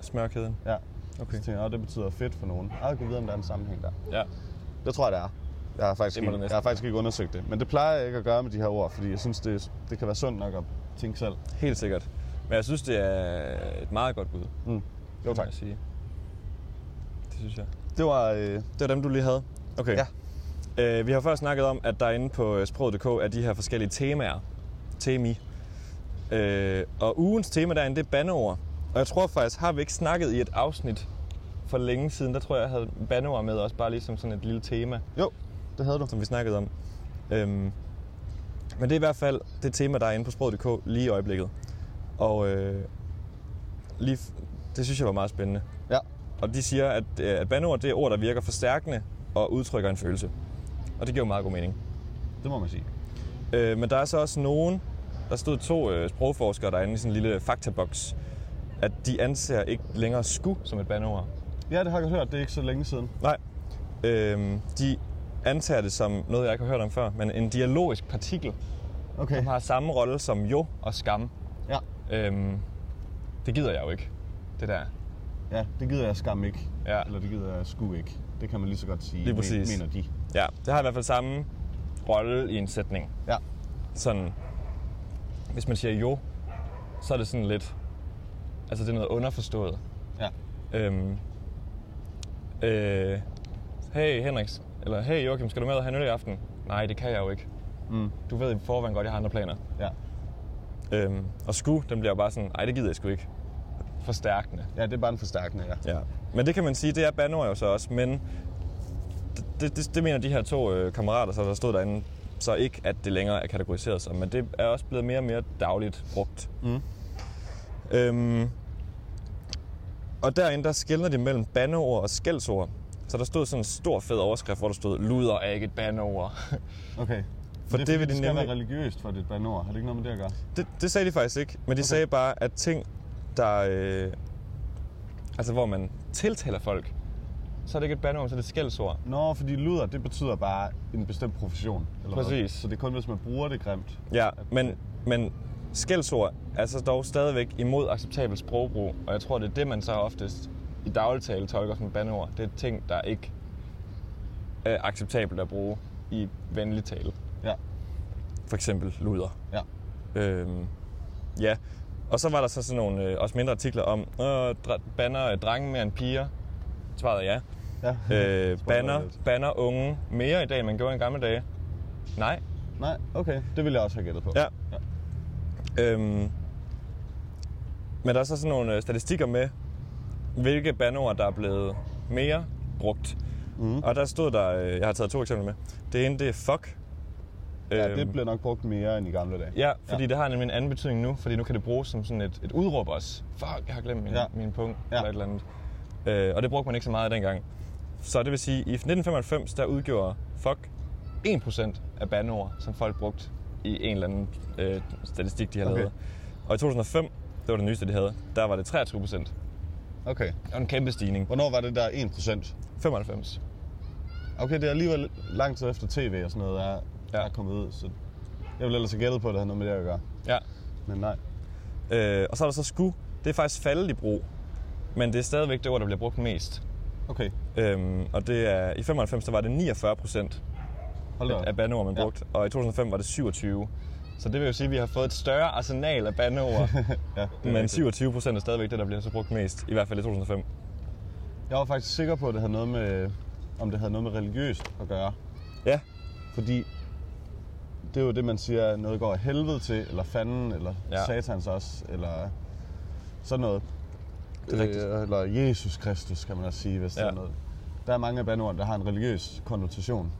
Speaker 1: Smørkæden.
Speaker 2: Ja.
Speaker 1: Okay.
Speaker 2: Så tænkte jeg, "Nå, det betyder fedt for nogen. Ah, jeg kan vide, om der er en sammenhæng der.
Speaker 1: Ja.
Speaker 2: Det tror jeg, det er. Jeg har, faktisk
Speaker 1: Det må
Speaker 2: ikke,
Speaker 1: det næsten
Speaker 2: jeg har faktisk ikke undersøgt det. Men det plejer jeg ikke at gøre med de her ord, fordi jeg synes, det, det kan være sundt nok at tænke selv.
Speaker 1: Helt sikkert. Men jeg synes, det er et meget godt bud.
Speaker 2: Mm.
Speaker 1: må
Speaker 2: Jo, tak.
Speaker 1: jeg Sige. Det synes jeg.
Speaker 2: Det var... Øh,
Speaker 1: Det var dem, du lige havde? Okay.
Speaker 2: Ja.
Speaker 1: Øh, vi har før snakket om, at der inde på øh, sproget.dk er de her forskellige temaer. Temi. Øh, og ugens tema derinde, det er bandeord. Og jeg tror faktisk, har vi ikke snakket i et afsnit for længe siden, der tror jeg, jeg havde bandeord med også, bare lige som sådan et lille tema,
Speaker 2: jo, det havde du.
Speaker 1: som vi snakkede om. Øhm, men det er i hvert fald det tema, der er inde på sproget.dk lige i øjeblikket. Og øh, lige, f- det synes jeg var meget spændende.
Speaker 2: Ja.
Speaker 1: Og de siger, at, øh, at bandeord det er ord, der virker forstærkende og udtrykker en følelse. Og det giver jo meget god mening.
Speaker 2: Det må man sige.
Speaker 1: Øh, men der er så også nogen, der stod to øh, sprogforskere derinde i sådan en lille faktaboks, at de anser ikke længere sku som et bandeord.
Speaker 2: Ja, det har jeg hørt. Det er ikke så længe siden.
Speaker 1: Nej. Øh, de antager det som noget, jeg ikke har hørt om før, men en dialogisk partikel,
Speaker 2: Okay.
Speaker 1: som har samme rolle som jo og skam.
Speaker 2: Ja.
Speaker 1: Øh, det gider jeg jo ikke, det der.
Speaker 2: ja, det gider jeg skam ikke.
Speaker 1: Ja.
Speaker 2: Eller det gider jeg sku ikke. Det kan man lige så godt sige,
Speaker 1: Lige
Speaker 2: men-
Speaker 1: præcis.
Speaker 2: mener de.
Speaker 1: Ja, det har i hvert fald samme rolle i en sætning.
Speaker 2: Ja.
Speaker 1: sådan, hvis man siger jo, så er det sådan lidt, altså det er noget underforstået.
Speaker 2: ja.
Speaker 1: Øhm, øh, hey Henriks, eller hey Joachim, skal du med og have en øl i aften? Nej, det kan jeg jo ikke.
Speaker 2: Mm.
Speaker 1: Du ved i forvejen godt, jeg har andre planer.
Speaker 2: Ja.
Speaker 1: Øhm, og sku, den bliver jo bare sådan, nej, det gider jeg sgu ikke. forstærkende.
Speaker 2: Ja, det er bare en forstærkende, ja.
Speaker 1: Ja. Men det kan man sige, det er banord jo så også, men det, det, det mener de her to øh, kammerater, så der stod derinde, så ikke, at det længere er kategoriseret som, men det er også blevet mere og mere dagligt brugt.
Speaker 2: Mm.
Speaker 1: Øhm, og derinde, der skældner de mellem bandeord og skældsord. Så der stod sådan en stor fed overskrift, hvor der stod, luder er ikke et bandeord.
Speaker 2: Okay.
Speaker 1: For det
Speaker 2: det, er
Speaker 1: vil
Speaker 2: fordi,
Speaker 1: de
Speaker 2: det skal
Speaker 1: nemlig-
Speaker 2: være religiøst for dit banord. Har det ikke noget med det at gøre?
Speaker 1: det, det sagde de faktisk ikke, men de okay. sagde bare, at ting, der... Øh, altså, hvor man tiltaler folk, så er det ikke et bandeord, så er det et skældsord.
Speaker 2: Nå, fordi luder, det betyder bare en bestemt profession. Eller hvad?
Speaker 1: Præcis.
Speaker 2: Så det er kun, hvis man bruger det grimt.
Speaker 1: Ja, men, men skældsord er så dog stadigvæk imod acceptabel sprogbrug, og jeg tror, det er det, man så oftest i dagligtale tolker som bandeord. Det er ting, der ikke er acceptabelt at bruge i venlig tale.
Speaker 2: Ja,
Speaker 1: For eksempel luder.
Speaker 2: ja.
Speaker 1: Øhm, ja, og så var der så sådan nogle øh, også mindre artikler om, øh, dr- banner øh, drenge mere end piger. Svaret er
Speaker 2: ja.
Speaker 1: ja. Øh,
Speaker 2: Spoiler
Speaker 1: banner,
Speaker 2: alert.
Speaker 1: banner unge mere i dag, end man gjorde i gamle dage. Nej.
Speaker 2: Nej, okay. Det ville jeg også have gættet på.
Speaker 1: Ja.
Speaker 2: ja.
Speaker 1: Øhm, men der er så sådan nogle øh, statistikker med, hvilke bandeord, der er blevet mere brugt. Mm. Og der stod der, øh, jeg har taget to eksempler med. Det ene, det er fuck. Øhm,
Speaker 2: Ja, det blev nok brugt mere end i gamle dage.
Speaker 1: Ja, fordi ja. det har nemlig en anden betydning nu, fordi nu kan det bruges som sådan et, et udråb også. Fuck, jeg har glemt min, ja.
Speaker 2: Ja.
Speaker 1: min punkt ja.
Speaker 2: Ja.
Speaker 1: eller et eller andet. Øh, og det brugte man ikke så meget dengang. Så det vil sige, at i 1995, der udgjorde fuck 1% af bandeord, som folk brugte i en eller anden øh, statistik, de har okay.
Speaker 2: Okay.
Speaker 1: lavet. Og i 2005, det var det nyeste, de havde, der var det 23%. Det
Speaker 2: Okay.
Speaker 1: var en kæmpe stigning.
Speaker 2: Hvornår var det der 1%?
Speaker 1: 95.
Speaker 2: Okay, det er alligevel lang tid efter tv og sådan noget er,
Speaker 1: Ja.
Speaker 2: ja. er kommet ud, så jeg ville ellers have gættet på, at det havde noget med det at gøre.
Speaker 1: Ja.
Speaker 2: Men nej.
Speaker 1: Øh, og så er der så sku. Det er faktisk faldet i brug, men det er stadigvæk det ord, der bliver brugt mest.
Speaker 2: Okay,
Speaker 1: Øhm, og det er, i 95 der var det 49 procent
Speaker 2: hold da op.
Speaker 1: af bandeord, man
Speaker 2: Ja.
Speaker 1: brugte, og i 2005 var det 27. Så det vil jo sige, at vi har fået et større arsenal af bandeord,
Speaker 2: Ja, det er
Speaker 1: men
Speaker 2: rigtigt.
Speaker 1: 27 procent er stadigvæk det, der bliver så brugt mest, i hvert fald i 2005.
Speaker 2: Jeg var faktisk sikker på, at det havde noget med, om det havde noget med religiøst at gøre.
Speaker 1: Ja,
Speaker 2: Fordi det er jo det, man siger, at noget går af helvede til, eller fanden, eller
Speaker 1: Ja.
Speaker 2: ja. satans også, eller sådan noget.
Speaker 1: Det er rigtigt.
Speaker 2: Øh, eller Jesus Kristus, kan man også sige, hvis ja.
Speaker 1: Ja.
Speaker 2: det er noget. Der er mange af bandordene, der har en religiøs konnotation.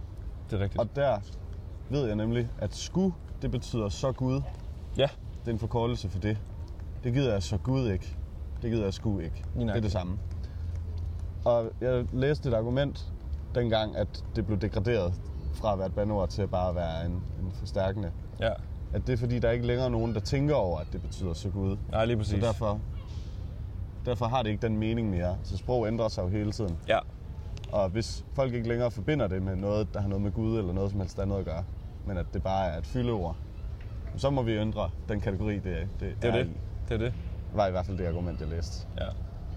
Speaker 1: det er rigtigt.
Speaker 2: Og der ved jeg nemlig, at sku, det betyder så Gud.
Speaker 1: Ja,
Speaker 2: Det er en forkortelse for det. Det gider jeg så Gud ikke. Det gider jeg sku ikke.
Speaker 1: Lige
Speaker 2: det er
Speaker 1: nøjagtigt.
Speaker 2: det samme. Og jeg læste et argument dengang, at det blev degraderet fra at være et bandord til at bare være en, en forstærkende.
Speaker 1: ja.
Speaker 2: At det er fordi, der er ikke længere er nogen, der tænker over, at det betyder så Gud.
Speaker 1: Nej, lige
Speaker 2: Så
Speaker 1: præcis.
Speaker 2: derfor, derfor har det ikke den mening mere. Så sprog ændrer sig jo hele tiden.
Speaker 1: Ja,
Speaker 2: Og hvis folk ikke længere forbinder det med noget, der har noget med Gud eller noget som helst andet at gøre, men at det bare er et fyldeord, så må vi ændre den kategori, det, det,
Speaker 1: det er
Speaker 2: er
Speaker 1: det.
Speaker 2: i.
Speaker 1: Det er det.
Speaker 2: var i hvert fald det argument, jeg læste.
Speaker 1: Ja.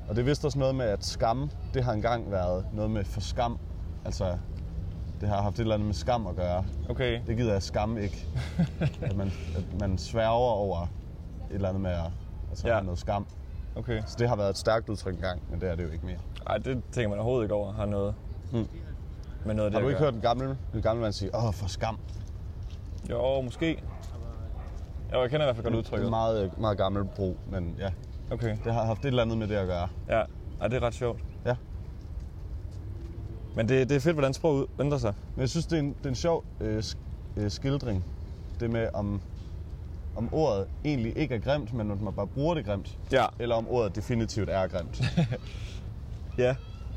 Speaker 2: Og det vidste også noget med, at skam, det har engang været noget med for skam. Altså, det har haft et eller andet med skam at gøre.
Speaker 1: Okay.
Speaker 2: Det gider jeg skam ikke. at, man, at man sværger over et eller andet med at altså,
Speaker 1: Ja.
Speaker 2: ja. noget skam.
Speaker 1: Okay.
Speaker 2: Så det har været et stærkt udtryk engang, men det er det jo ikke mere.
Speaker 1: Nej, det tænker man overhovedet ikke over har noget
Speaker 2: Mm.
Speaker 1: med noget af det
Speaker 2: Har du
Speaker 1: at
Speaker 2: ikke
Speaker 1: gøre.
Speaker 2: hørt den gamle, den gamle mand sige, åh, for skam?
Speaker 1: Jo, måske. Jo, jeg kender i hvert fald godt
Speaker 2: Mm, Det er
Speaker 1: udtrykket.
Speaker 2: meget, meget gammel brug, men ja,
Speaker 1: Okay.
Speaker 2: det har haft et eller andet med det at gøre.
Speaker 1: Ja, Ej, det er ret sjovt.
Speaker 2: Ja.
Speaker 1: Men det, det er fedt, hvordan sproget ændrer sig.
Speaker 2: Men jeg synes, det er en, det er en sjov øh, sk- øh, skildring, det med om, om ordet egentlig ikke er grimt, men at man bare bruger det grimt.
Speaker 1: Ja.
Speaker 2: Eller om ordet definitivt er grimt.
Speaker 1: Ja.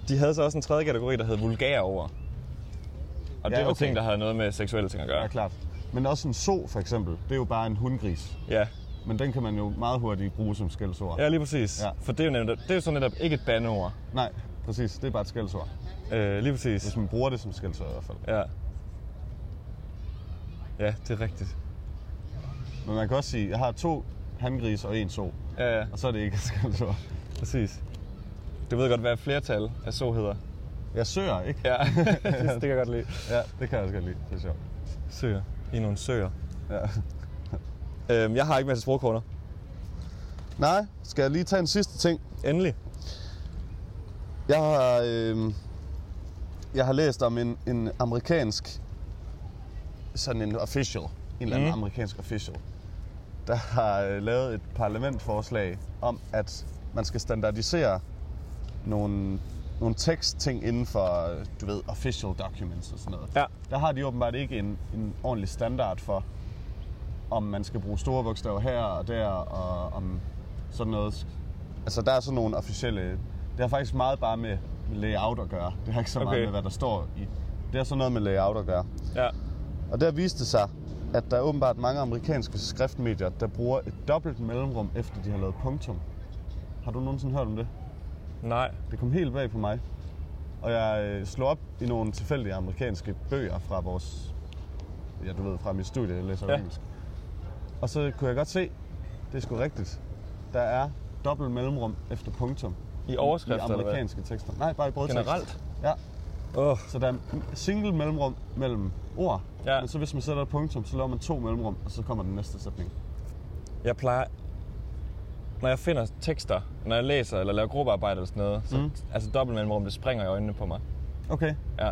Speaker 1: De havde så også en tredje kategori, der hed vulgære over. Og ja, det var
Speaker 2: Ja,
Speaker 1: okay.
Speaker 2: okay.
Speaker 1: ting, der havde noget med seksuelle ting at gøre.
Speaker 2: ja, klart. Men også en so, for eksempel, det er jo bare en hundgris.
Speaker 1: Ja,
Speaker 2: Men den kan man jo meget hurtigt bruge som skældsord.
Speaker 1: ja lige præcis. Ja.
Speaker 2: Ja.
Speaker 1: For det er, jo netop, det er jo så netop ikke et bandeord.
Speaker 2: Nej, præcis. Det er bare et skældsord.
Speaker 1: Øh, lige præcis.
Speaker 2: Hvis man bruger det som skældsord i hvert fald.
Speaker 1: Ja. Ja, det er rigtigt.
Speaker 2: Men man kan også sige, jeg har to hangris og en so.
Speaker 1: Ja, ja,
Speaker 2: Og så er det ikke et skældsord.
Speaker 1: præcis. Du ved godt, hvad flertal af så hedder.
Speaker 2: Jeg søger, ikke?
Speaker 1: Ja, det, det kan jeg godt lide.
Speaker 2: Ja, det kan jeg også godt lide. Det er sjovt.
Speaker 1: Søer. I er nogle søer.
Speaker 2: Ja.
Speaker 1: Øhm, jeg har ikke mere til sprogkorter.
Speaker 2: Nej, skal jeg lige tage en sidste ting?
Speaker 1: Endelig.
Speaker 2: Jeg har, øh, jeg har læst om en, en amerikansk, sådan en official, en eller anden
Speaker 1: Mhm.
Speaker 2: mm. amerikansk official, der har øh, lavet et parlamentforslag om, at man skal standardisere nogle, nogle tekstting inden for, øh, du ved, official documents og sådan noget.
Speaker 1: Ja.
Speaker 2: Der har de åbenbart ikke en, en ordentlig standard for, om man skal bruge store bogstaver her og der, og om sådan noget. Altså, der er sådan nogle officielle... Det har faktisk meget bare med layout at gøre. Det har ikke så okay.
Speaker 1: Okay.
Speaker 2: meget med, hvad der står i. Det har sådan noget med layout at gøre.
Speaker 1: Ja.
Speaker 2: Og der viste det sig, at der er åbenbart mange amerikanske skriftmedier, der bruger et dobbelt mellemrum, efter de har lavet punktum. Har du nogensinde hørt om det?
Speaker 1: Nej.
Speaker 2: Det kom helt bag på mig. Og jeg øh, slog op i nogle tilfældige amerikanske bøger fra vores... Ja, du ved, fra mit studie, jeg læser
Speaker 1: Ja.
Speaker 2: ja. engelsk. Og så kunne jeg godt se, det er sgu rigtigt. Der er dobbelt mellemrum efter punktum.
Speaker 1: I overskrifter,
Speaker 2: I amerikanske tekster. Nej, bare i brødtekst.
Speaker 1: Generelt?
Speaker 2: Ja.
Speaker 1: eller hvad? Åh,
Speaker 2: Så der er single mellemrum mellem ord.
Speaker 1: Ja.
Speaker 2: Men så hvis man sætter et punktum, så laver man to mellemrum, og så kommer den næste sætning.
Speaker 1: jeg plejer... Når jeg finder tekster, når jeg læser eller laver gruppearbejde eller sådan noget, så,
Speaker 2: Mm.
Speaker 1: altså dobbelt mellemrum, det springer i øjnene på mig.
Speaker 2: Okay.
Speaker 1: Ja,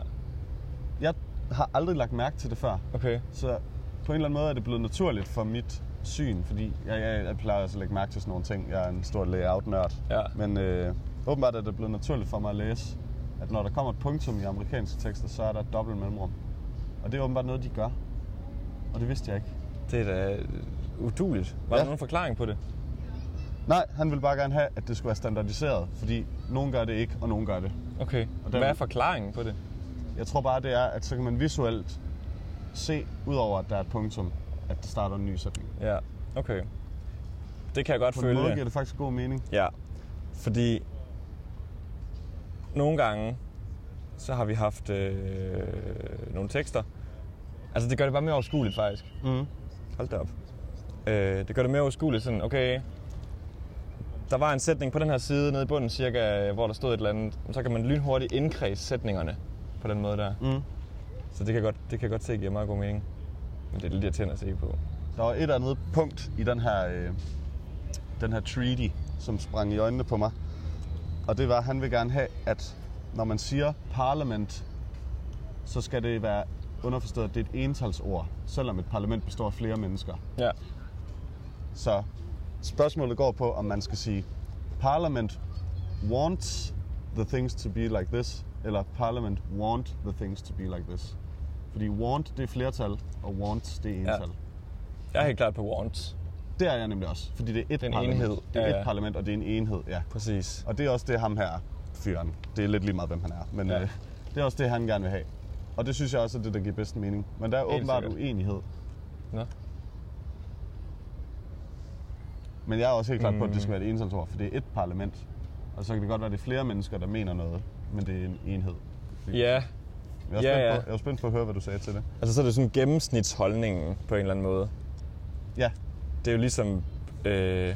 Speaker 2: Jeg har aldrig lagt mærke til det før.
Speaker 1: okay.
Speaker 2: Så på en eller anden måde er det blevet naturligt for mit syn, fordi jeg, jeg, jeg plejer altså at lægge mærke til sådan nogle ting. Jeg er en stor layout-nørd.
Speaker 1: Ja.
Speaker 2: Men øh, åbenbart er det blevet naturligt for mig at læse, at når der kommer et punktum i amerikanske tekster, så er der et dobbelt mellemrum. Og det er åbenbart noget, de gør. Og det vidste jeg ikke.
Speaker 1: Det er da øh, uduligt. Var ja.
Speaker 2: Ja.
Speaker 1: der nogen forklaring på det?
Speaker 2: Nej, han ville bare gerne have, at det skulle være standardiseret, fordi nogen gør det ikke, og nogen gør det.
Speaker 1: Okay.
Speaker 2: Og der-
Speaker 1: Hvad er forklaringen på det?
Speaker 2: Jeg tror bare, det er, at så kan man visuelt se, udover at der er et punktum, at der starter en ny sætning.
Speaker 1: Ja, okay. Det kan jeg godt
Speaker 2: På en
Speaker 1: følge.
Speaker 2: måde giver det faktisk god mening.
Speaker 1: Ja, fordi nogle gange, så har vi haft øh, nogle tekster. Altså det gør det bare mere overskueligt faktisk.
Speaker 2: Mm.
Speaker 1: Hold da op. Øh, det gør det mere overskueligt sådan, okay, der var en sætning på den her side nede i bunden cirka, øh, hvor der stod et eller andet. Så kan man lynhurtigt indkredse sætningerne på den måde der.
Speaker 2: Mm.
Speaker 1: Så det kan jeg godt, det kan jeg godt se giver meget god mening. Men det er lidt irriterende at se på.
Speaker 2: Der var et eller andet punkt i den her, øh, den her treaty, som sprang i øjnene på mig. Og det var, at han vil gerne have, at når man siger parlament, så skal det være underforstået, at det er et entalsord, selvom et parlament består af flere mennesker.
Speaker 1: Ja,
Speaker 2: Så spørgsmålet går på, om man skal sige, Parliament wants the things to be like this, eller Parliament want the things to be like this. Fordi want, det er flertal, og wants, det er ental. Ja.
Speaker 1: jeg er helt klart på wants.
Speaker 2: Det er jeg nemlig også, fordi det er et
Speaker 1: Det er en
Speaker 2: parlament.
Speaker 1: enhed.
Speaker 2: Det er
Speaker 1: Ja,
Speaker 2: ja,
Speaker 1: ja.
Speaker 2: et parlament, og det er en enhed, ja.
Speaker 1: Præcis.
Speaker 2: Og det er også det, ham her fyren. Det er lidt lige meget, hvem han er. Men
Speaker 1: Ja.
Speaker 2: ja. øh, det er også det, han gerne vil have. Og det synes jeg også er det, der giver bedst mening. Men der er åbenbart
Speaker 1: sikkert.
Speaker 2: uenighed.
Speaker 1: Nå.
Speaker 2: Men jeg er også helt klart på, at det
Speaker 1: Mm.
Speaker 2: skal være et ensamt for det er et parlament. Og så kan det godt være, at det er flere mennesker, der mener noget, men det er en enhed.
Speaker 1: Ja,
Speaker 2: Jeg er,
Speaker 1: Ja,
Speaker 2: spændt
Speaker 1: ja.
Speaker 2: På, jeg er spændt på at høre, hvad du sagde til det.
Speaker 1: altså så er det sådan gennemsnitsholdningen på en eller anden måde.
Speaker 2: Ja,
Speaker 1: Det er jo ligesom... Øh...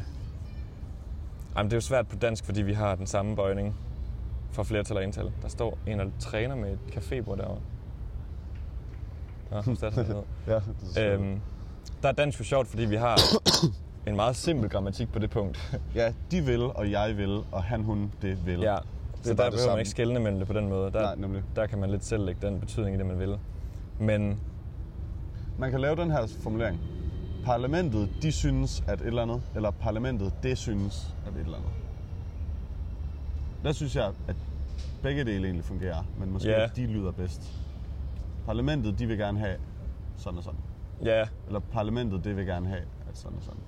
Speaker 1: Jamen, det er jo svært på dansk, fordi vi har den samme bøjning for flertal og ental. Der står en og træner med et cafébord derovre. Nå, hun satte sig ned.
Speaker 2: ja det er øhm.
Speaker 1: øhm, der er dansk jo sjovt, fordi vi har en meget simpel grammatik på det punkt.
Speaker 2: Ja, de vil, og jeg vil, og han, hun, det vil.
Speaker 1: ja.
Speaker 2: Så
Speaker 1: Så
Speaker 2: der
Speaker 1: der
Speaker 2: er det
Speaker 1: behøver man
Speaker 2: samme.
Speaker 1: ikke skældne mellem det på den måde. Der,
Speaker 2: Nej, nemlig.
Speaker 1: der kan man lidt selv lægge den betydning i det, man vil. Men
Speaker 2: Man kan lave den her formulering. Parlamentet, de synes, at et eller andet. Eller parlamentet, det synes, at et eller andet. Der synes jeg, at begge dele egentlig fungerer, men måske
Speaker 1: Ja.
Speaker 2: yeah. de lyder bedst. Parlamentet, de vil gerne have sådan og sådan.
Speaker 1: ja,
Speaker 2: Eller parlamentet, det vil gerne have at sådan og sådan.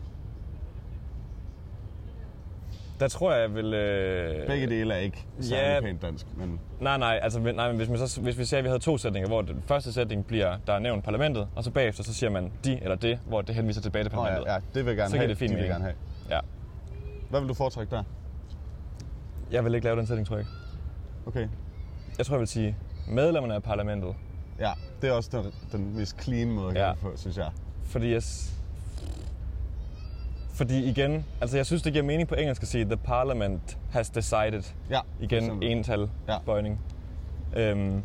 Speaker 1: der tror jeg, jeg vil... Øh...
Speaker 2: Begge dele er ikke særlig
Speaker 1: ja.
Speaker 2: yeah. pænt dansk, men
Speaker 1: Nej, nej, altså nej, men hvis, man så, hvis vi siger, at vi havde to sætninger, hvor den første sætning bliver, der er nævnt parlamentet, og så bagefter så siger man de eller det, hvor det henviser tilbage til
Speaker 2: Nå,
Speaker 1: parlamentet.
Speaker 2: ja, ja, det vil jeg gerne
Speaker 1: Så giver
Speaker 2: have,
Speaker 1: det fin
Speaker 2: de vil
Speaker 1: mening.
Speaker 2: gerne have.
Speaker 1: ja. ja.
Speaker 2: Hvad vil du foretrække der?
Speaker 1: Jeg vil ikke lave den sætning, tror jeg ikke.
Speaker 2: Okay.
Speaker 1: Jeg tror, jeg vil sige medlemmerne af parlamentet,
Speaker 2: Ja, det er også den, den mest clean måde at gøre
Speaker 1: Ja.
Speaker 2: det på, synes jeg.
Speaker 1: fordi jeg... s- Fordi igen, altså jeg synes, det giver mening på engelsk at sige, the parliament has decided.
Speaker 2: Ja, for
Speaker 1: Igen,
Speaker 2: eksempel.
Speaker 1: ental ja.
Speaker 2: Ja.
Speaker 1: bøjning. Øhm,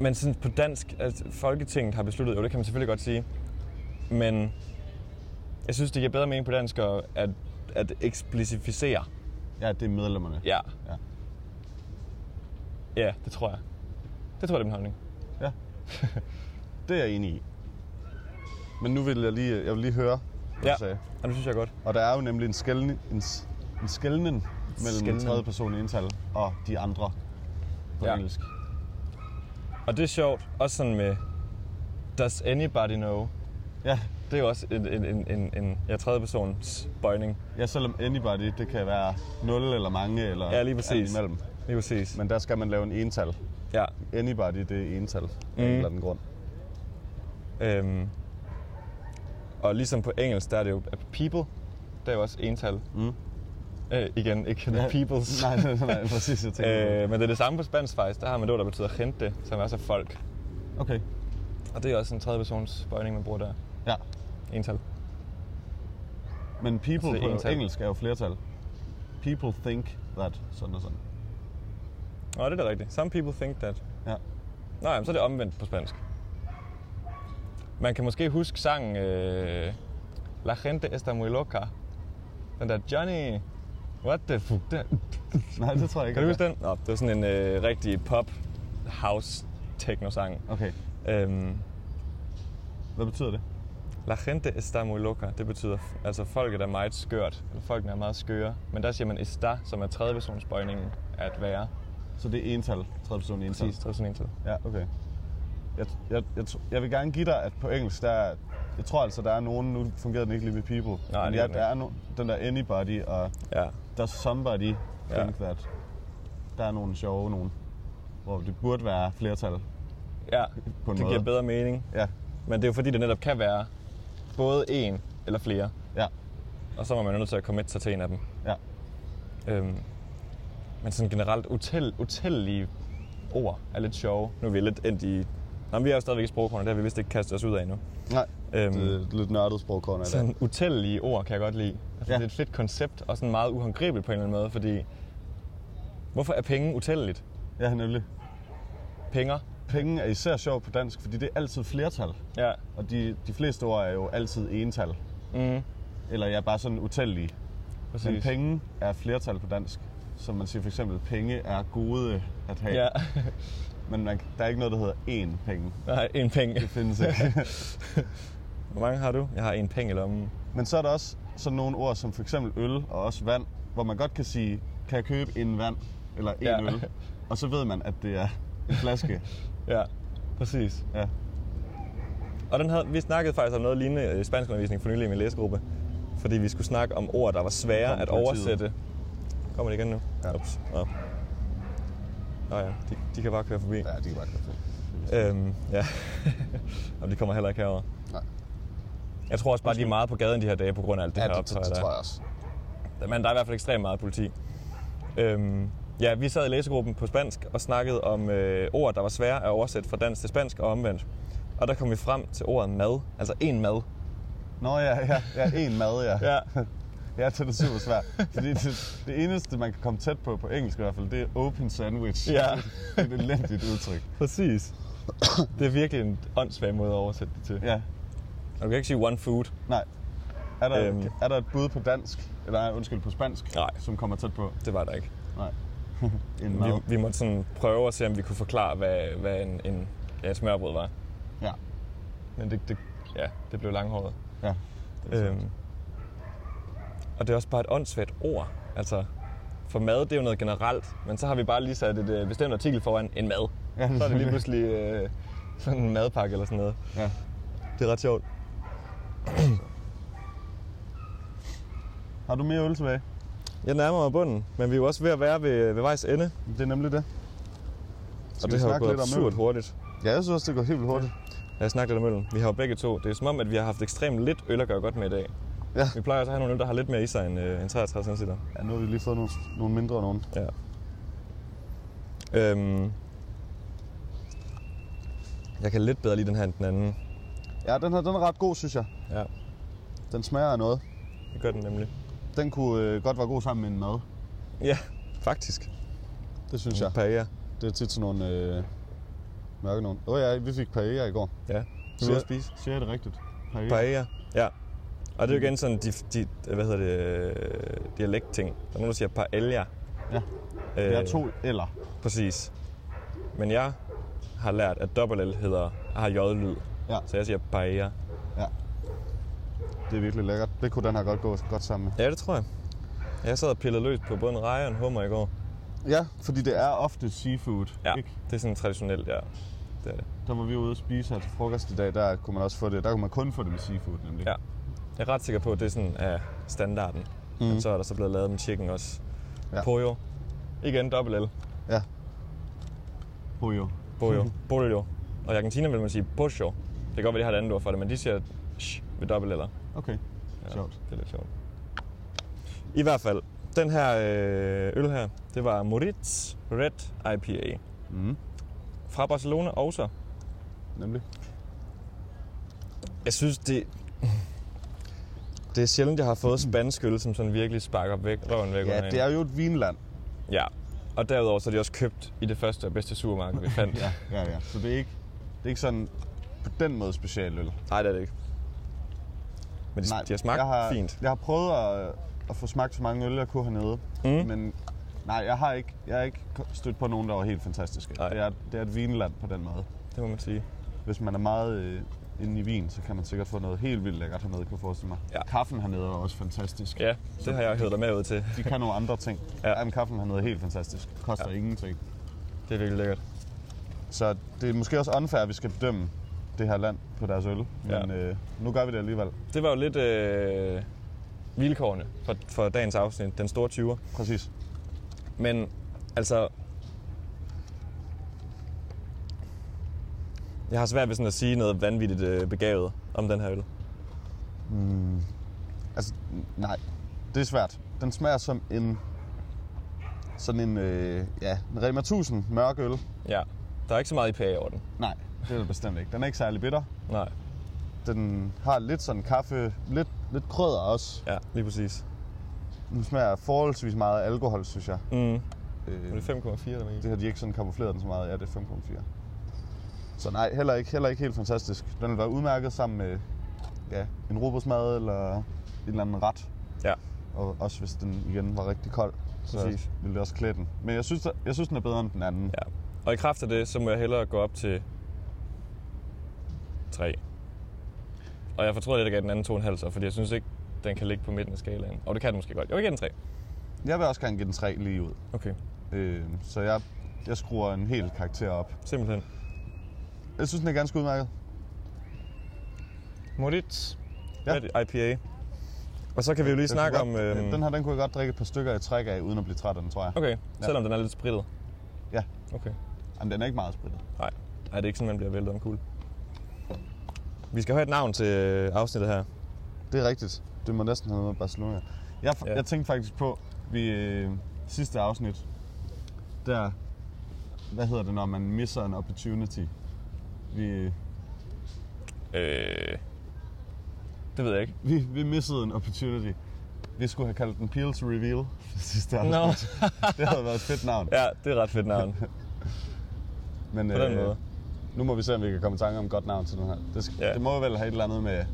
Speaker 1: men sådan på dansk, altså Folketinget har besluttet, jo det kan man selvfølgelig godt sige, men jeg synes, det giver bedre mening på dansk at, at, at eksplicificere.
Speaker 2: Ja, det er medlemmerne.
Speaker 1: Ja.
Speaker 2: Ja.
Speaker 1: ja, det tror jeg. Det tror jeg, det er min holdning.
Speaker 2: Ja. Det er jeg enig i. Men nu vil jeg lige, jeg vil lige høre, du ja. sagde.
Speaker 1: og det synes jeg er godt.
Speaker 2: Og der er jo nemlig en, skældning, en, s- en skældning mellem
Speaker 1: Skelnen.
Speaker 2: tredje person i ental og de andre på
Speaker 1: Ja.
Speaker 2: ja. engelsk.
Speaker 1: Og det er sjovt, også sådan med, does anybody know?
Speaker 2: Ja.
Speaker 1: Det er jo også en, en, en, en, en ja, tredje persons bøjning.
Speaker 2: ja, selvom anybody, det kan være 0 eller mange eller
Speaker 1: Ja, lige
Speaker 2: alt
Speaker 1: præcis.
Speaker 2: imellem.
Speaker 1: Lige præcis.
Speaker 2: Men der skal man lave en ental.
Speaker 1: Ja.
Speaker 2: Anybody, det er ental mm. af en
Speaker 1: Mm.
Speaker 2: eller anden grund.
Speaker 1: Øhm, og ligesom på engelsk, der er det jo people. Der er jo også ental.
Speaker 2: Mm.
Speaker 1: Øh, igen, ikke the peoples.
Speaker 2: Nej, nej, nej, præcis. Jeg tænker.
Speaker 1: Øh, men det er det samme på spansk faktisk. Der har man noget, der betyder gente, som er så folk.
Speaker 2: Okay.
Speaker 1: Og det er også en tredje persons bøjning, man bruger der.
Speaker 2: Ja.
Speaker 1: Ental.
Speaker 2: Men people
Speaker 1: Altså,
Speaker 2: altså, på
Speaker 1: ental.
Speaker 2: engelsk er jo flertal. People think that, sådan og sådan.
Speaker 1: Nå, det er da rigtigt. Some people think that.
Speaker 2: Ja.
Speaker 1: Nå, jamen, så er det omvendt på spansk. Man kan måske huske sangen øh, La gente está muy loca. Den der Johnny... What the fuck? Der.
Speaker 2: Nej, det tror jeg ikke.
Speaker 1: Kan du
Speaker 2: jeg
Speaker 1: huske den? Nå, det var sådan en øh, rigtig pop house techno sang.
Speaker 2: Okay.
Speaker 1: Øhm,
Speaker 2: Hvad betyder det?
Speaker 1: La gente está muy loca. Det betyder, altså folket er meget skørt. Eller folkene er meget skøre. Men der siger man está, som er tredjepersonsbøjningen at være.
Speaker 2: Så det er ental, tredje person ental.
Speaker 1: Præcis, tredjepersonsindtil.
Speaker 2: Ja, okay. Jeg, jeg, jeg, tr- jeg vil gerne give dig, at på engelsk, der er, jeg tror altså, der er nogen, nu fungerer den ikke lige med people.
Speaker 1: Nej,
Speaker 2: men
Speaker 1: det
Speaker 2: ja,
Speaker 1: gør den
Speaker 2: der er no, den der anybody og
Speaker 1: Ja.
Speaker 2: der somebody
Speaker 1: Ja.
Speaker 2: think that. Der er nogle sjove nogen, hvor det burde være flertal.
Speaker 1: Ja,
Speaker 2: På en
Speaker 1: det
Speaker 2: måde.
Speaker 1: giver bedre mening.
Speaker 2: Ja,
Speaker 1: Men det er jo fordi, det netop kan være både en eller flere.
Speaker 2: ja,
Speaker 1: Og så må man jo nødt til at komme sig til en af dem.
Speaker 2: ja.
Speaker 1: Øhm, men sådan generelt utæl, utællige ord er lidt sjove. Nu er vi lidt endt i... Nå, men vi er jo stadigvæk i sprogkornet, det har vi vist ikke kastet os ud af endnu.
Speaker 2: Nej,
Speaker 1: Øhm,
Speaker 2: det er et lidt nørdet sprogkorn af det.
Speaker 1: Sådan utællige ord kan jeg godt lide. Altså,
Speaker 2: Ja.
Speaker 1: Det er et fedt koncept, og sådan meget uhåndgribeligt på en eller anden måde, fordi... Hvorfor er penge utælleligt?
Speaker 2: Ja, nemlig.
Speaker 1: Penger?
Speaker 2: Penge er især sjovt på dansk, fordi det er altid flertal.
Speaker 1: Ja.
Speaker 2: Og de, de fleste ord er jo altid ental.
Speaker 1: Mm,
Speaker 2: Eller jeg er bare sådan utællige.
Speaker 1: præcis.
Speaker 2: Men penge er flertal på dansk. Som man siger for eksempel, penge er gode at have.
Speaker 1: Ja.
Speaker 2: Men man, der er ikke noget, der hedder én penge.
Speaker 1: Nej, en penge.
Speaker 2: Det findes ikke.
Speaker 1: Hvor mange har du? Jeg har en penge i lommen.
Speaker 2: Men så er der også sådan nogle ord som for eksempel øl og også vand, hvor man godt kan sige, kan jeg købe en vand eller en
Speaker 1: Ja.
Speaker 2: ja. øl? Og så ved man, at det er en flaske.
Speaker 1: Ja, præcis.
Speaker 2: Ja.
Speaker 1: Og den havde, vi snakkede faktisk om noget lignende i spansk undervisning for nylig i min læsegruppe. Fordi vi skulle snakke om ord, der var svære
Speaker 2: Kom,
Speaker 1: at
Speaker 2: politiet.
Speaker 1: oversætte. Kommer det igen nu?
Speaker 2: Ja.
Speaker 1: Ups. Nå. Nå ja, de, de kan bare køre forbi.
Speaker 2: ja, det kan bare kaffe.
Speaker 1: Ja. Øhm, ja. og de kommer heller ikke herover.
Speaker 2: Nej,
Speaker 1: Jeg tror også bare, de er meget på gaden de her dage på grund af alt det her optøj. der er.
Speaker 2: jeg også.
Speaker 1: Men der er i hvert fald ekstremt meget politi. Øhm, ja, vi sad i læsegruppen på spansk og snakkede om øh, ord, der var svære at oversætte fra dansk til spansk og omvendt. Og der kom vi frem til ordet mad, altså en mad.
Speaker 2: Nå ja, ja, ja, en mad, ja.
Speaker 1: Ja.
Speaker 2: Ja, det er super svært. Fordi det, det eneste, man kan komme tæt på på engelsk i hvert fald, det er open sandwich.
Speaker 1: Ja.
Speaker 2: det er et elendigt udtryk.
Speaker 1: Præcis. Det er virkelig en åndssvag måde at oversætte det til.
Speaker 2: Ja,
Speaker 1: Og du kan ikke sige one food.
Speaker 2: nej. Er der,
Speaker 1: Øhm.
Speaker 2: øhm. er der et bud på dansk, eller nej, undskyld, på spansk,
Speaker 1: Nej.
Speaker 2: som kommer tæt på?
Speaker 1: Det var der ikke.
Speaker 2: Nej. en mad.
Speaker 1: Vi, vi måtte sådan prøve at se, om vi kunne forklare, hvad, hvad en, en ja, et smørbrød var.
Speaker 2: Ja.
Speaker 1: Men det, det, ja, det blev langhåret.
Speaker 2: ja.
Speaker 1: Øhm, og det er også bare et åndssvagt ord. Altså, for mad, det er jo noget generelt, men så har vi bare lige sat et øh, bestemt artikel foran en mad.
Speaker 2: Ja.
Speaker 1: Så er det lige pludselig øh, sådan en madpakke eller sådan noget.
Speaker 2: ja.
Speaker 1: Det er ret sjovt.
Speaker 2: Har du mere øl tilbage?
Speaker 1: Jeg nærmer mig bunden, men vi er jo også ved at være ved, ved vejs ende.
Speaker 2: Det er nemlig det.
Speaker 1: og
Speaker 2: Skal vi
Speaker 1: det har jo
Speaker 2: snakke
Speaker 1: gået
Speaker 2: lidt om
Speaker 1: absurd
Speaker 2: øl?
Speaker 1: hurtigt.
Speaker 2: Ja, jeg synes også, det går helt vildt hurtigt.
Speaker 1: Jeg snakker lidt om øllen. Vi har jo begge to. Det er som om, at vi har haft ekstremt lidt øl at gøre godt med i dag.
Speaker 2: Ja.
Speaker 1: Vi plejer også at have nogle øl, der har lidt mere i sig end, øh, end 63 centiliter.
Speaker 2: ja nu har vi lige fået nogle, nogle mindre nogen.
Speaker 1: Ja. Øhm, jeg kan lidt bedre lide den her end den anden.
Speaker 2: Ja, den her den er ret god, synes jeg.
Speaker 1: Ja,
Speaker 2: Den smager af noget.
Speaker 1: det gør den nemlig.
Speaker 2: Den kunne øh, godt være god sammen med en mad.
Speaker 1: Ja, faktisk.
Speaker 2: Det synes jeg.
Speaker 1: Paella.
Speaker 2: Det er tit sådan nogle øh, mørke nogen. Åh oh, ja, vi fik paella i går.
Speaker 1: Ja. Du vil
Speaker 2: Siger-
Speaker 1: også spise.
Speaker 2: Siger jeg det rigtigt? Paella.
Speaker 1: Paella. Ja. Og det er jo igen sådan, de, de, hvad hedder det, øh, dialektting. Der er nogen, der siger paella.
Speaker 2: Ja.
Speaker 1: Øh,
Speaker 2: Det er to eller.
Speaker 1: Præcis. Men jeg har lært, at dobbelt L hedder, har J-lyd.
Speaker 2: Ja.
Speaker 1: Så jeg siger paella.
Speaker 2: Ja. det er virkelig lækkert. Det kunne den her godt gå godt sammen med.
Speaker 1: Ja, det tror jeg. Jeg sad og pillede løs på både en reje og en hummer i går.
Speaker 2: Ja, fordi det er ofte seafood,
Speaker 1: Ja,
Speaker 2: ikke?
Speaker 1: det er sådan traditionelt, ja. Det er det.
Speaker 2: Der var vi ude og spise her til frokost i dag, der kunne man også få det. Der kunne man kun få det med seafood, nemlig.
Speaker 1: Ja. Jeg er ret sikker på, at det er sådan er standarden. Mm. Men så er der så blevet lavet med chicken også.
Speaker 2: Ja.
Speaker 1: Ja. Pollo. Igen, dobbelt L.
Speaker 2: Ja. Pollo.
Speaker 1: Pollo. Pollo. Og i Argentina vil man sige pollo. Det kan godt være, de har et andet ord for det, men de siger sh ved dobbelt L'er.
Speaker 2: Okay, ja. sjovt.
Speaker 1: Det er lidt sjovt. I hvert fald, den her øh, øl her, det var Moritz Red IPA. Mhm.
Speaker 2: Mm.
Speaker 1: Fra Barcelona også.
Speaker 2: Nemlig.
Speaker 1: Jeg synes, det... Det er sjældent, jeg har fået spansk øl, som sådan virkelig sparker væk, røven væk under
Speaker 2: Ja,
Speaker 1: en.
Speaker 2: det er jo et vinland.
Speaker 1: Ja, og derudover så er de også købt i det første og bedste supermarked, vi fandt.
Speaker 2: Ja, ja, ja. Så det er ikke, det er ikke sådan på den måde specialøl.
Speaker 1: Nej, det er det ikke. Men de, de har smagt
Speaker 2: jeg har,
Speaker 1: fint.
Speaker 2: Jeg har prøvet at, at få smagt så mange øl, jeg kunne hernede. Mm. Men nej, jeg har ikke, jeg har ikke stødt på nogen, der var helt fantastiske.
Speaker 1: Nej.
Speaker 2: Det er, det er et vinland på den måde.
Speaker 1: Det må man sige.
Speaker 2: Hvis man er meget øh, inde i vin, så kan man sikkert få noget helt vildt lækkert hernede, kan jeg forestille mig.
Speaker 1: Ja.
Speaker 2: Kaffen hernede er også fantastisk.
Speaker 1: Ja, det har jeg hørt dig med ud til.
Speaker 2: De kan nogle andre ting.
Speaker 1: Ja.
Speaker 2: Ja. Jamen, kaffen hernede er helt fantastisk. Koster ja. ingenting.
Speaker 1: Det er virkelig lækkert.
Speaker 2: Så det er måske også unfair, at vi skal bedømme det her land på deres øl. Men
Speaker 1: Ja.
Speaker 2: øh, nu gør vi det alligevel.
Speaker 1: Det var jo lidt øh, vilkårene for, for dagens afsnit, den store 20'er.
Speaker 2: Præcis.
Speaker 1: Men altså... Jeg har svært ved sådan at sige noget vanvittigt øh, begavet om den her øl.
Speaker 2: Altså, n- nej. Det er svært. Den smager som en... Sådan en, øh, ja, en Rema 1000 mørk øl.
Speaker 1: Ja, der er ikke så meget IPA over den.
Speaker 2: Nej, det er det bestemt ikke. Den er ikke særlig bitter.
Speaker 1: Nej,
Speaker 2: Den har lidt sådan kaffe, lidt, lidt krødder også.
Speaker 1: ja, lige præcis.
Speaker 2: Den smager forholdsvis meget af alkohol, synes jeg.
Speaker 1: Mm.
Speaker 2: Øh,
Speaker 1: Men det er 5,4 der med i.
Speaker 2: det har de ikke sådan kamufleret den så meget. Ja, det er 5,4. Så nej, heller ikke, heller ikke helt fantastisk. Den vil være udmærket sammen med ja, en robotsmad eller en eller anden ret.
Speaker 1: Ja,
Speaker 2: Og også hvis den igen var rigtig kold, så
Speaker 1: Præcis.
Speaker 2: ville det også klæde den. Men jeg synes, jeg synes den er bedre end den anden.
Speaker 1: ja. Og i kraft af det, så må jeg hellere gå op til 3. Og jeg fortrød lidt, at jeg gav den anden 2,5 så, fordi jeg synes ikke, den kan ligge på midten af skalaen. Og det kan den måske godt. Jo, jeg giver den 3.
Speaker 2: Jeg vil også gerne give den 3 lige ud.
Speaker 1: Okay,
Speaker 2: Øh, så jeg, jeg skruer en hel karakter op.
Speaker 1: simpelthen.
Speaker 2: Jeg synes, den er ganske udmærket.
Speaker 1: Moritz.
Speaker 2: Ja.
Speaker 1: Ja. IPA. Og så kan vi jo lige
Speaker 2: Jeg
Speaker 1: snakke
Speaker 2: kunne
Speaker 1: om...
Speaker 2: godt,
Speaker 1: Øhm,
Speaker 2: Den her, den kunne jeg godt drikke et par stykker i træk af, uden at blive træt af den, tror jeg.
Speaker 1: Okay,
Speaker 2: Ja.
Speaker 1: selvom den er lidt spritet.
Speaker 2: Ja.
Speaker 1: Okay.
Speaker 2: Jamen, den er ikke meget sprittet.
Speaker 1: Nej, Ej, det er ikke sådan, man bliver væltet om kul. Vi skal have et navn til øh, afsnittet her.
Speaker 2: Det er rigtigt. Det må næsten have noget med Barcelona. Jeg, ja.
Speaker 1: Ja.
Speaker 2: jeg tænkte faktisk på, vi øh, sidste afsnit, der, hvad hedder det, når man misser en opportunity? Vi,
Speaker 1: Øh, det ved jeg ikke.
Speaker 2: vi, vi missede en opportunity. Vi skulle have kaldt den Peels Reveal sidste afsnit.
Speaker 1: Nå.
Speaker 2: det havde været et fedt navn.
Speaker 1: Ja, det er et ret fedt navn.
Speaker 2: Men, øh,
Speaker 1: På den måde.
Speaker 2: Nu må vi se, om vi kan komme i tanke om et godt navn til den her. Det, skal, ja.
Speaker 1: Ja.
Speaker 2: det må vel have et eller andet med...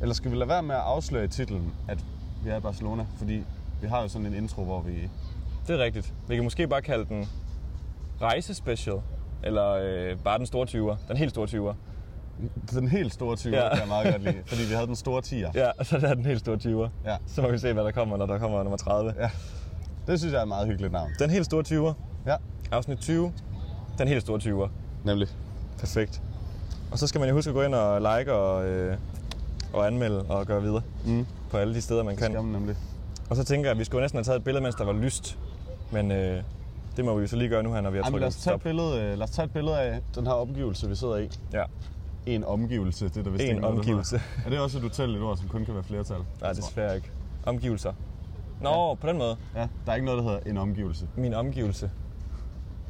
Speaker 2: Eller skal vi lade være med at afsløre i titlen, at vi er i Barcelona? Fordi vi har jo sådan en intro, hvor vi...
Speaker 1: Det er rigtigt. Vi kan måske bare kalde den rejsespecial. Eller øh, bare den store 20'er. Den helt store 20'er.
Speaker 2: Den helt store 20 ja.
Speaker 1: Ja.
Speaker 2: kan jeg meget godt lide, fordi vi havde den store 10'er. Ja.
Speaker 1: Ja, og så er den helt store 20'er.
Speaker 2: ja.
Speaker 1: Så må vi se, hvad der kommer, når der kommer nummer 30.
Speaker 2: Ja. Det synes jeg er et meget hyggeligt navn.
Speaker 1: Den helt store 20'er.
Speaker 2: Ja,
Speaker 1: Afsnit 20. Den helt store 20'er.
Speaker 2: nemlig.
Speaker 1: Perfekt. Og så skal man jo huske at gå ind og like og, øh, og anmelde og gøre videre
Speaker 2: Mm.
Speaker 1: på alle de steder, man
Speaker 2: Skal
Speaker 1: kan.
Speaker 2: man nemlig.
Speaker 1: Og så tænker jeg, at vi skulle næsten have taget et billede, mens der var lyst. Men øh, det må vi jo så lige gøre nu her, når vi har
Speaker 2: Jamen,
Speaker 1: trykket
Speaker 2: lad, os tage et
Speaker 1: stop.
Speaker 2: billede, øh, lad os tage et billede af den her omgivelse, vi sidder i.
Speaker 1: Ja.
Speaker 2: En omgivelse, det er der vist
Speaker 1: En
Speaker 2: ikke noget, der
Speaker 1: omgivelse.
Speaker 2: hedder. Er det også et utalligt ord, som kun kan være flertal?
Speaker 1: Nej, desværre ikke. Omgivelser. Nå, ja. på den måde.
Speaker 2: Ja, der er ikke noget, der hedder en omgivelse.
Speaker 1: Min omgivelse.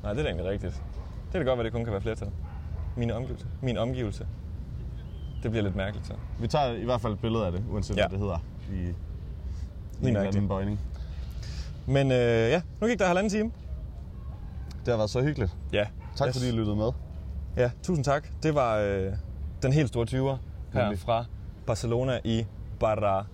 Speaker 1: Nej, det er da egentlig rigtigt. Det kan da godt være, det kun kan være flertal. Min omgivelse. Min omgivelse. Det bliver lidt mærkeligt så.
Speaker 2: Vi tager i hvert fald et billede af det, uanset ja.
Speaker 1: Ja.
Speaker 2: hvad det hedder i, i en
Speaker 1: Lige
Speaker 2: eller anden
Speaker 1: nøjagtigt.
Speaker 2: bøjning.
Speaker 1: Men øh, ja, nu gik der halvanden time.
Speaker 2: Det har været så hyggeligt.
Speaker 1: Ja.
Speaker 2: Tak yes.
Speaker 1: Yes.
Speaker 2: fordi I lyttede med.
Speaker 1: Ja, tusind tak. Det var øh, den helt store 20'er her
Speaker 2: Nemlig.
Speaker 1: fra Barcelona i Barra,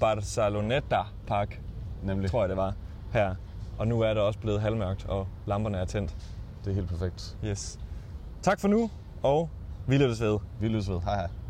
Speaker 1: Barceloneta Park,
Speaker 2: Nemlig.
Speaker 1: tror jeg det var, her. Og nu er det også blevet halvmørkt, og lamperne er tændt.
Speaker 2: Det er helt perfekt.
Speaker 1: Yes. Tak for nu, og vi lyttes ved.
Speaker 2: Vi lyttes ved. Hej hej.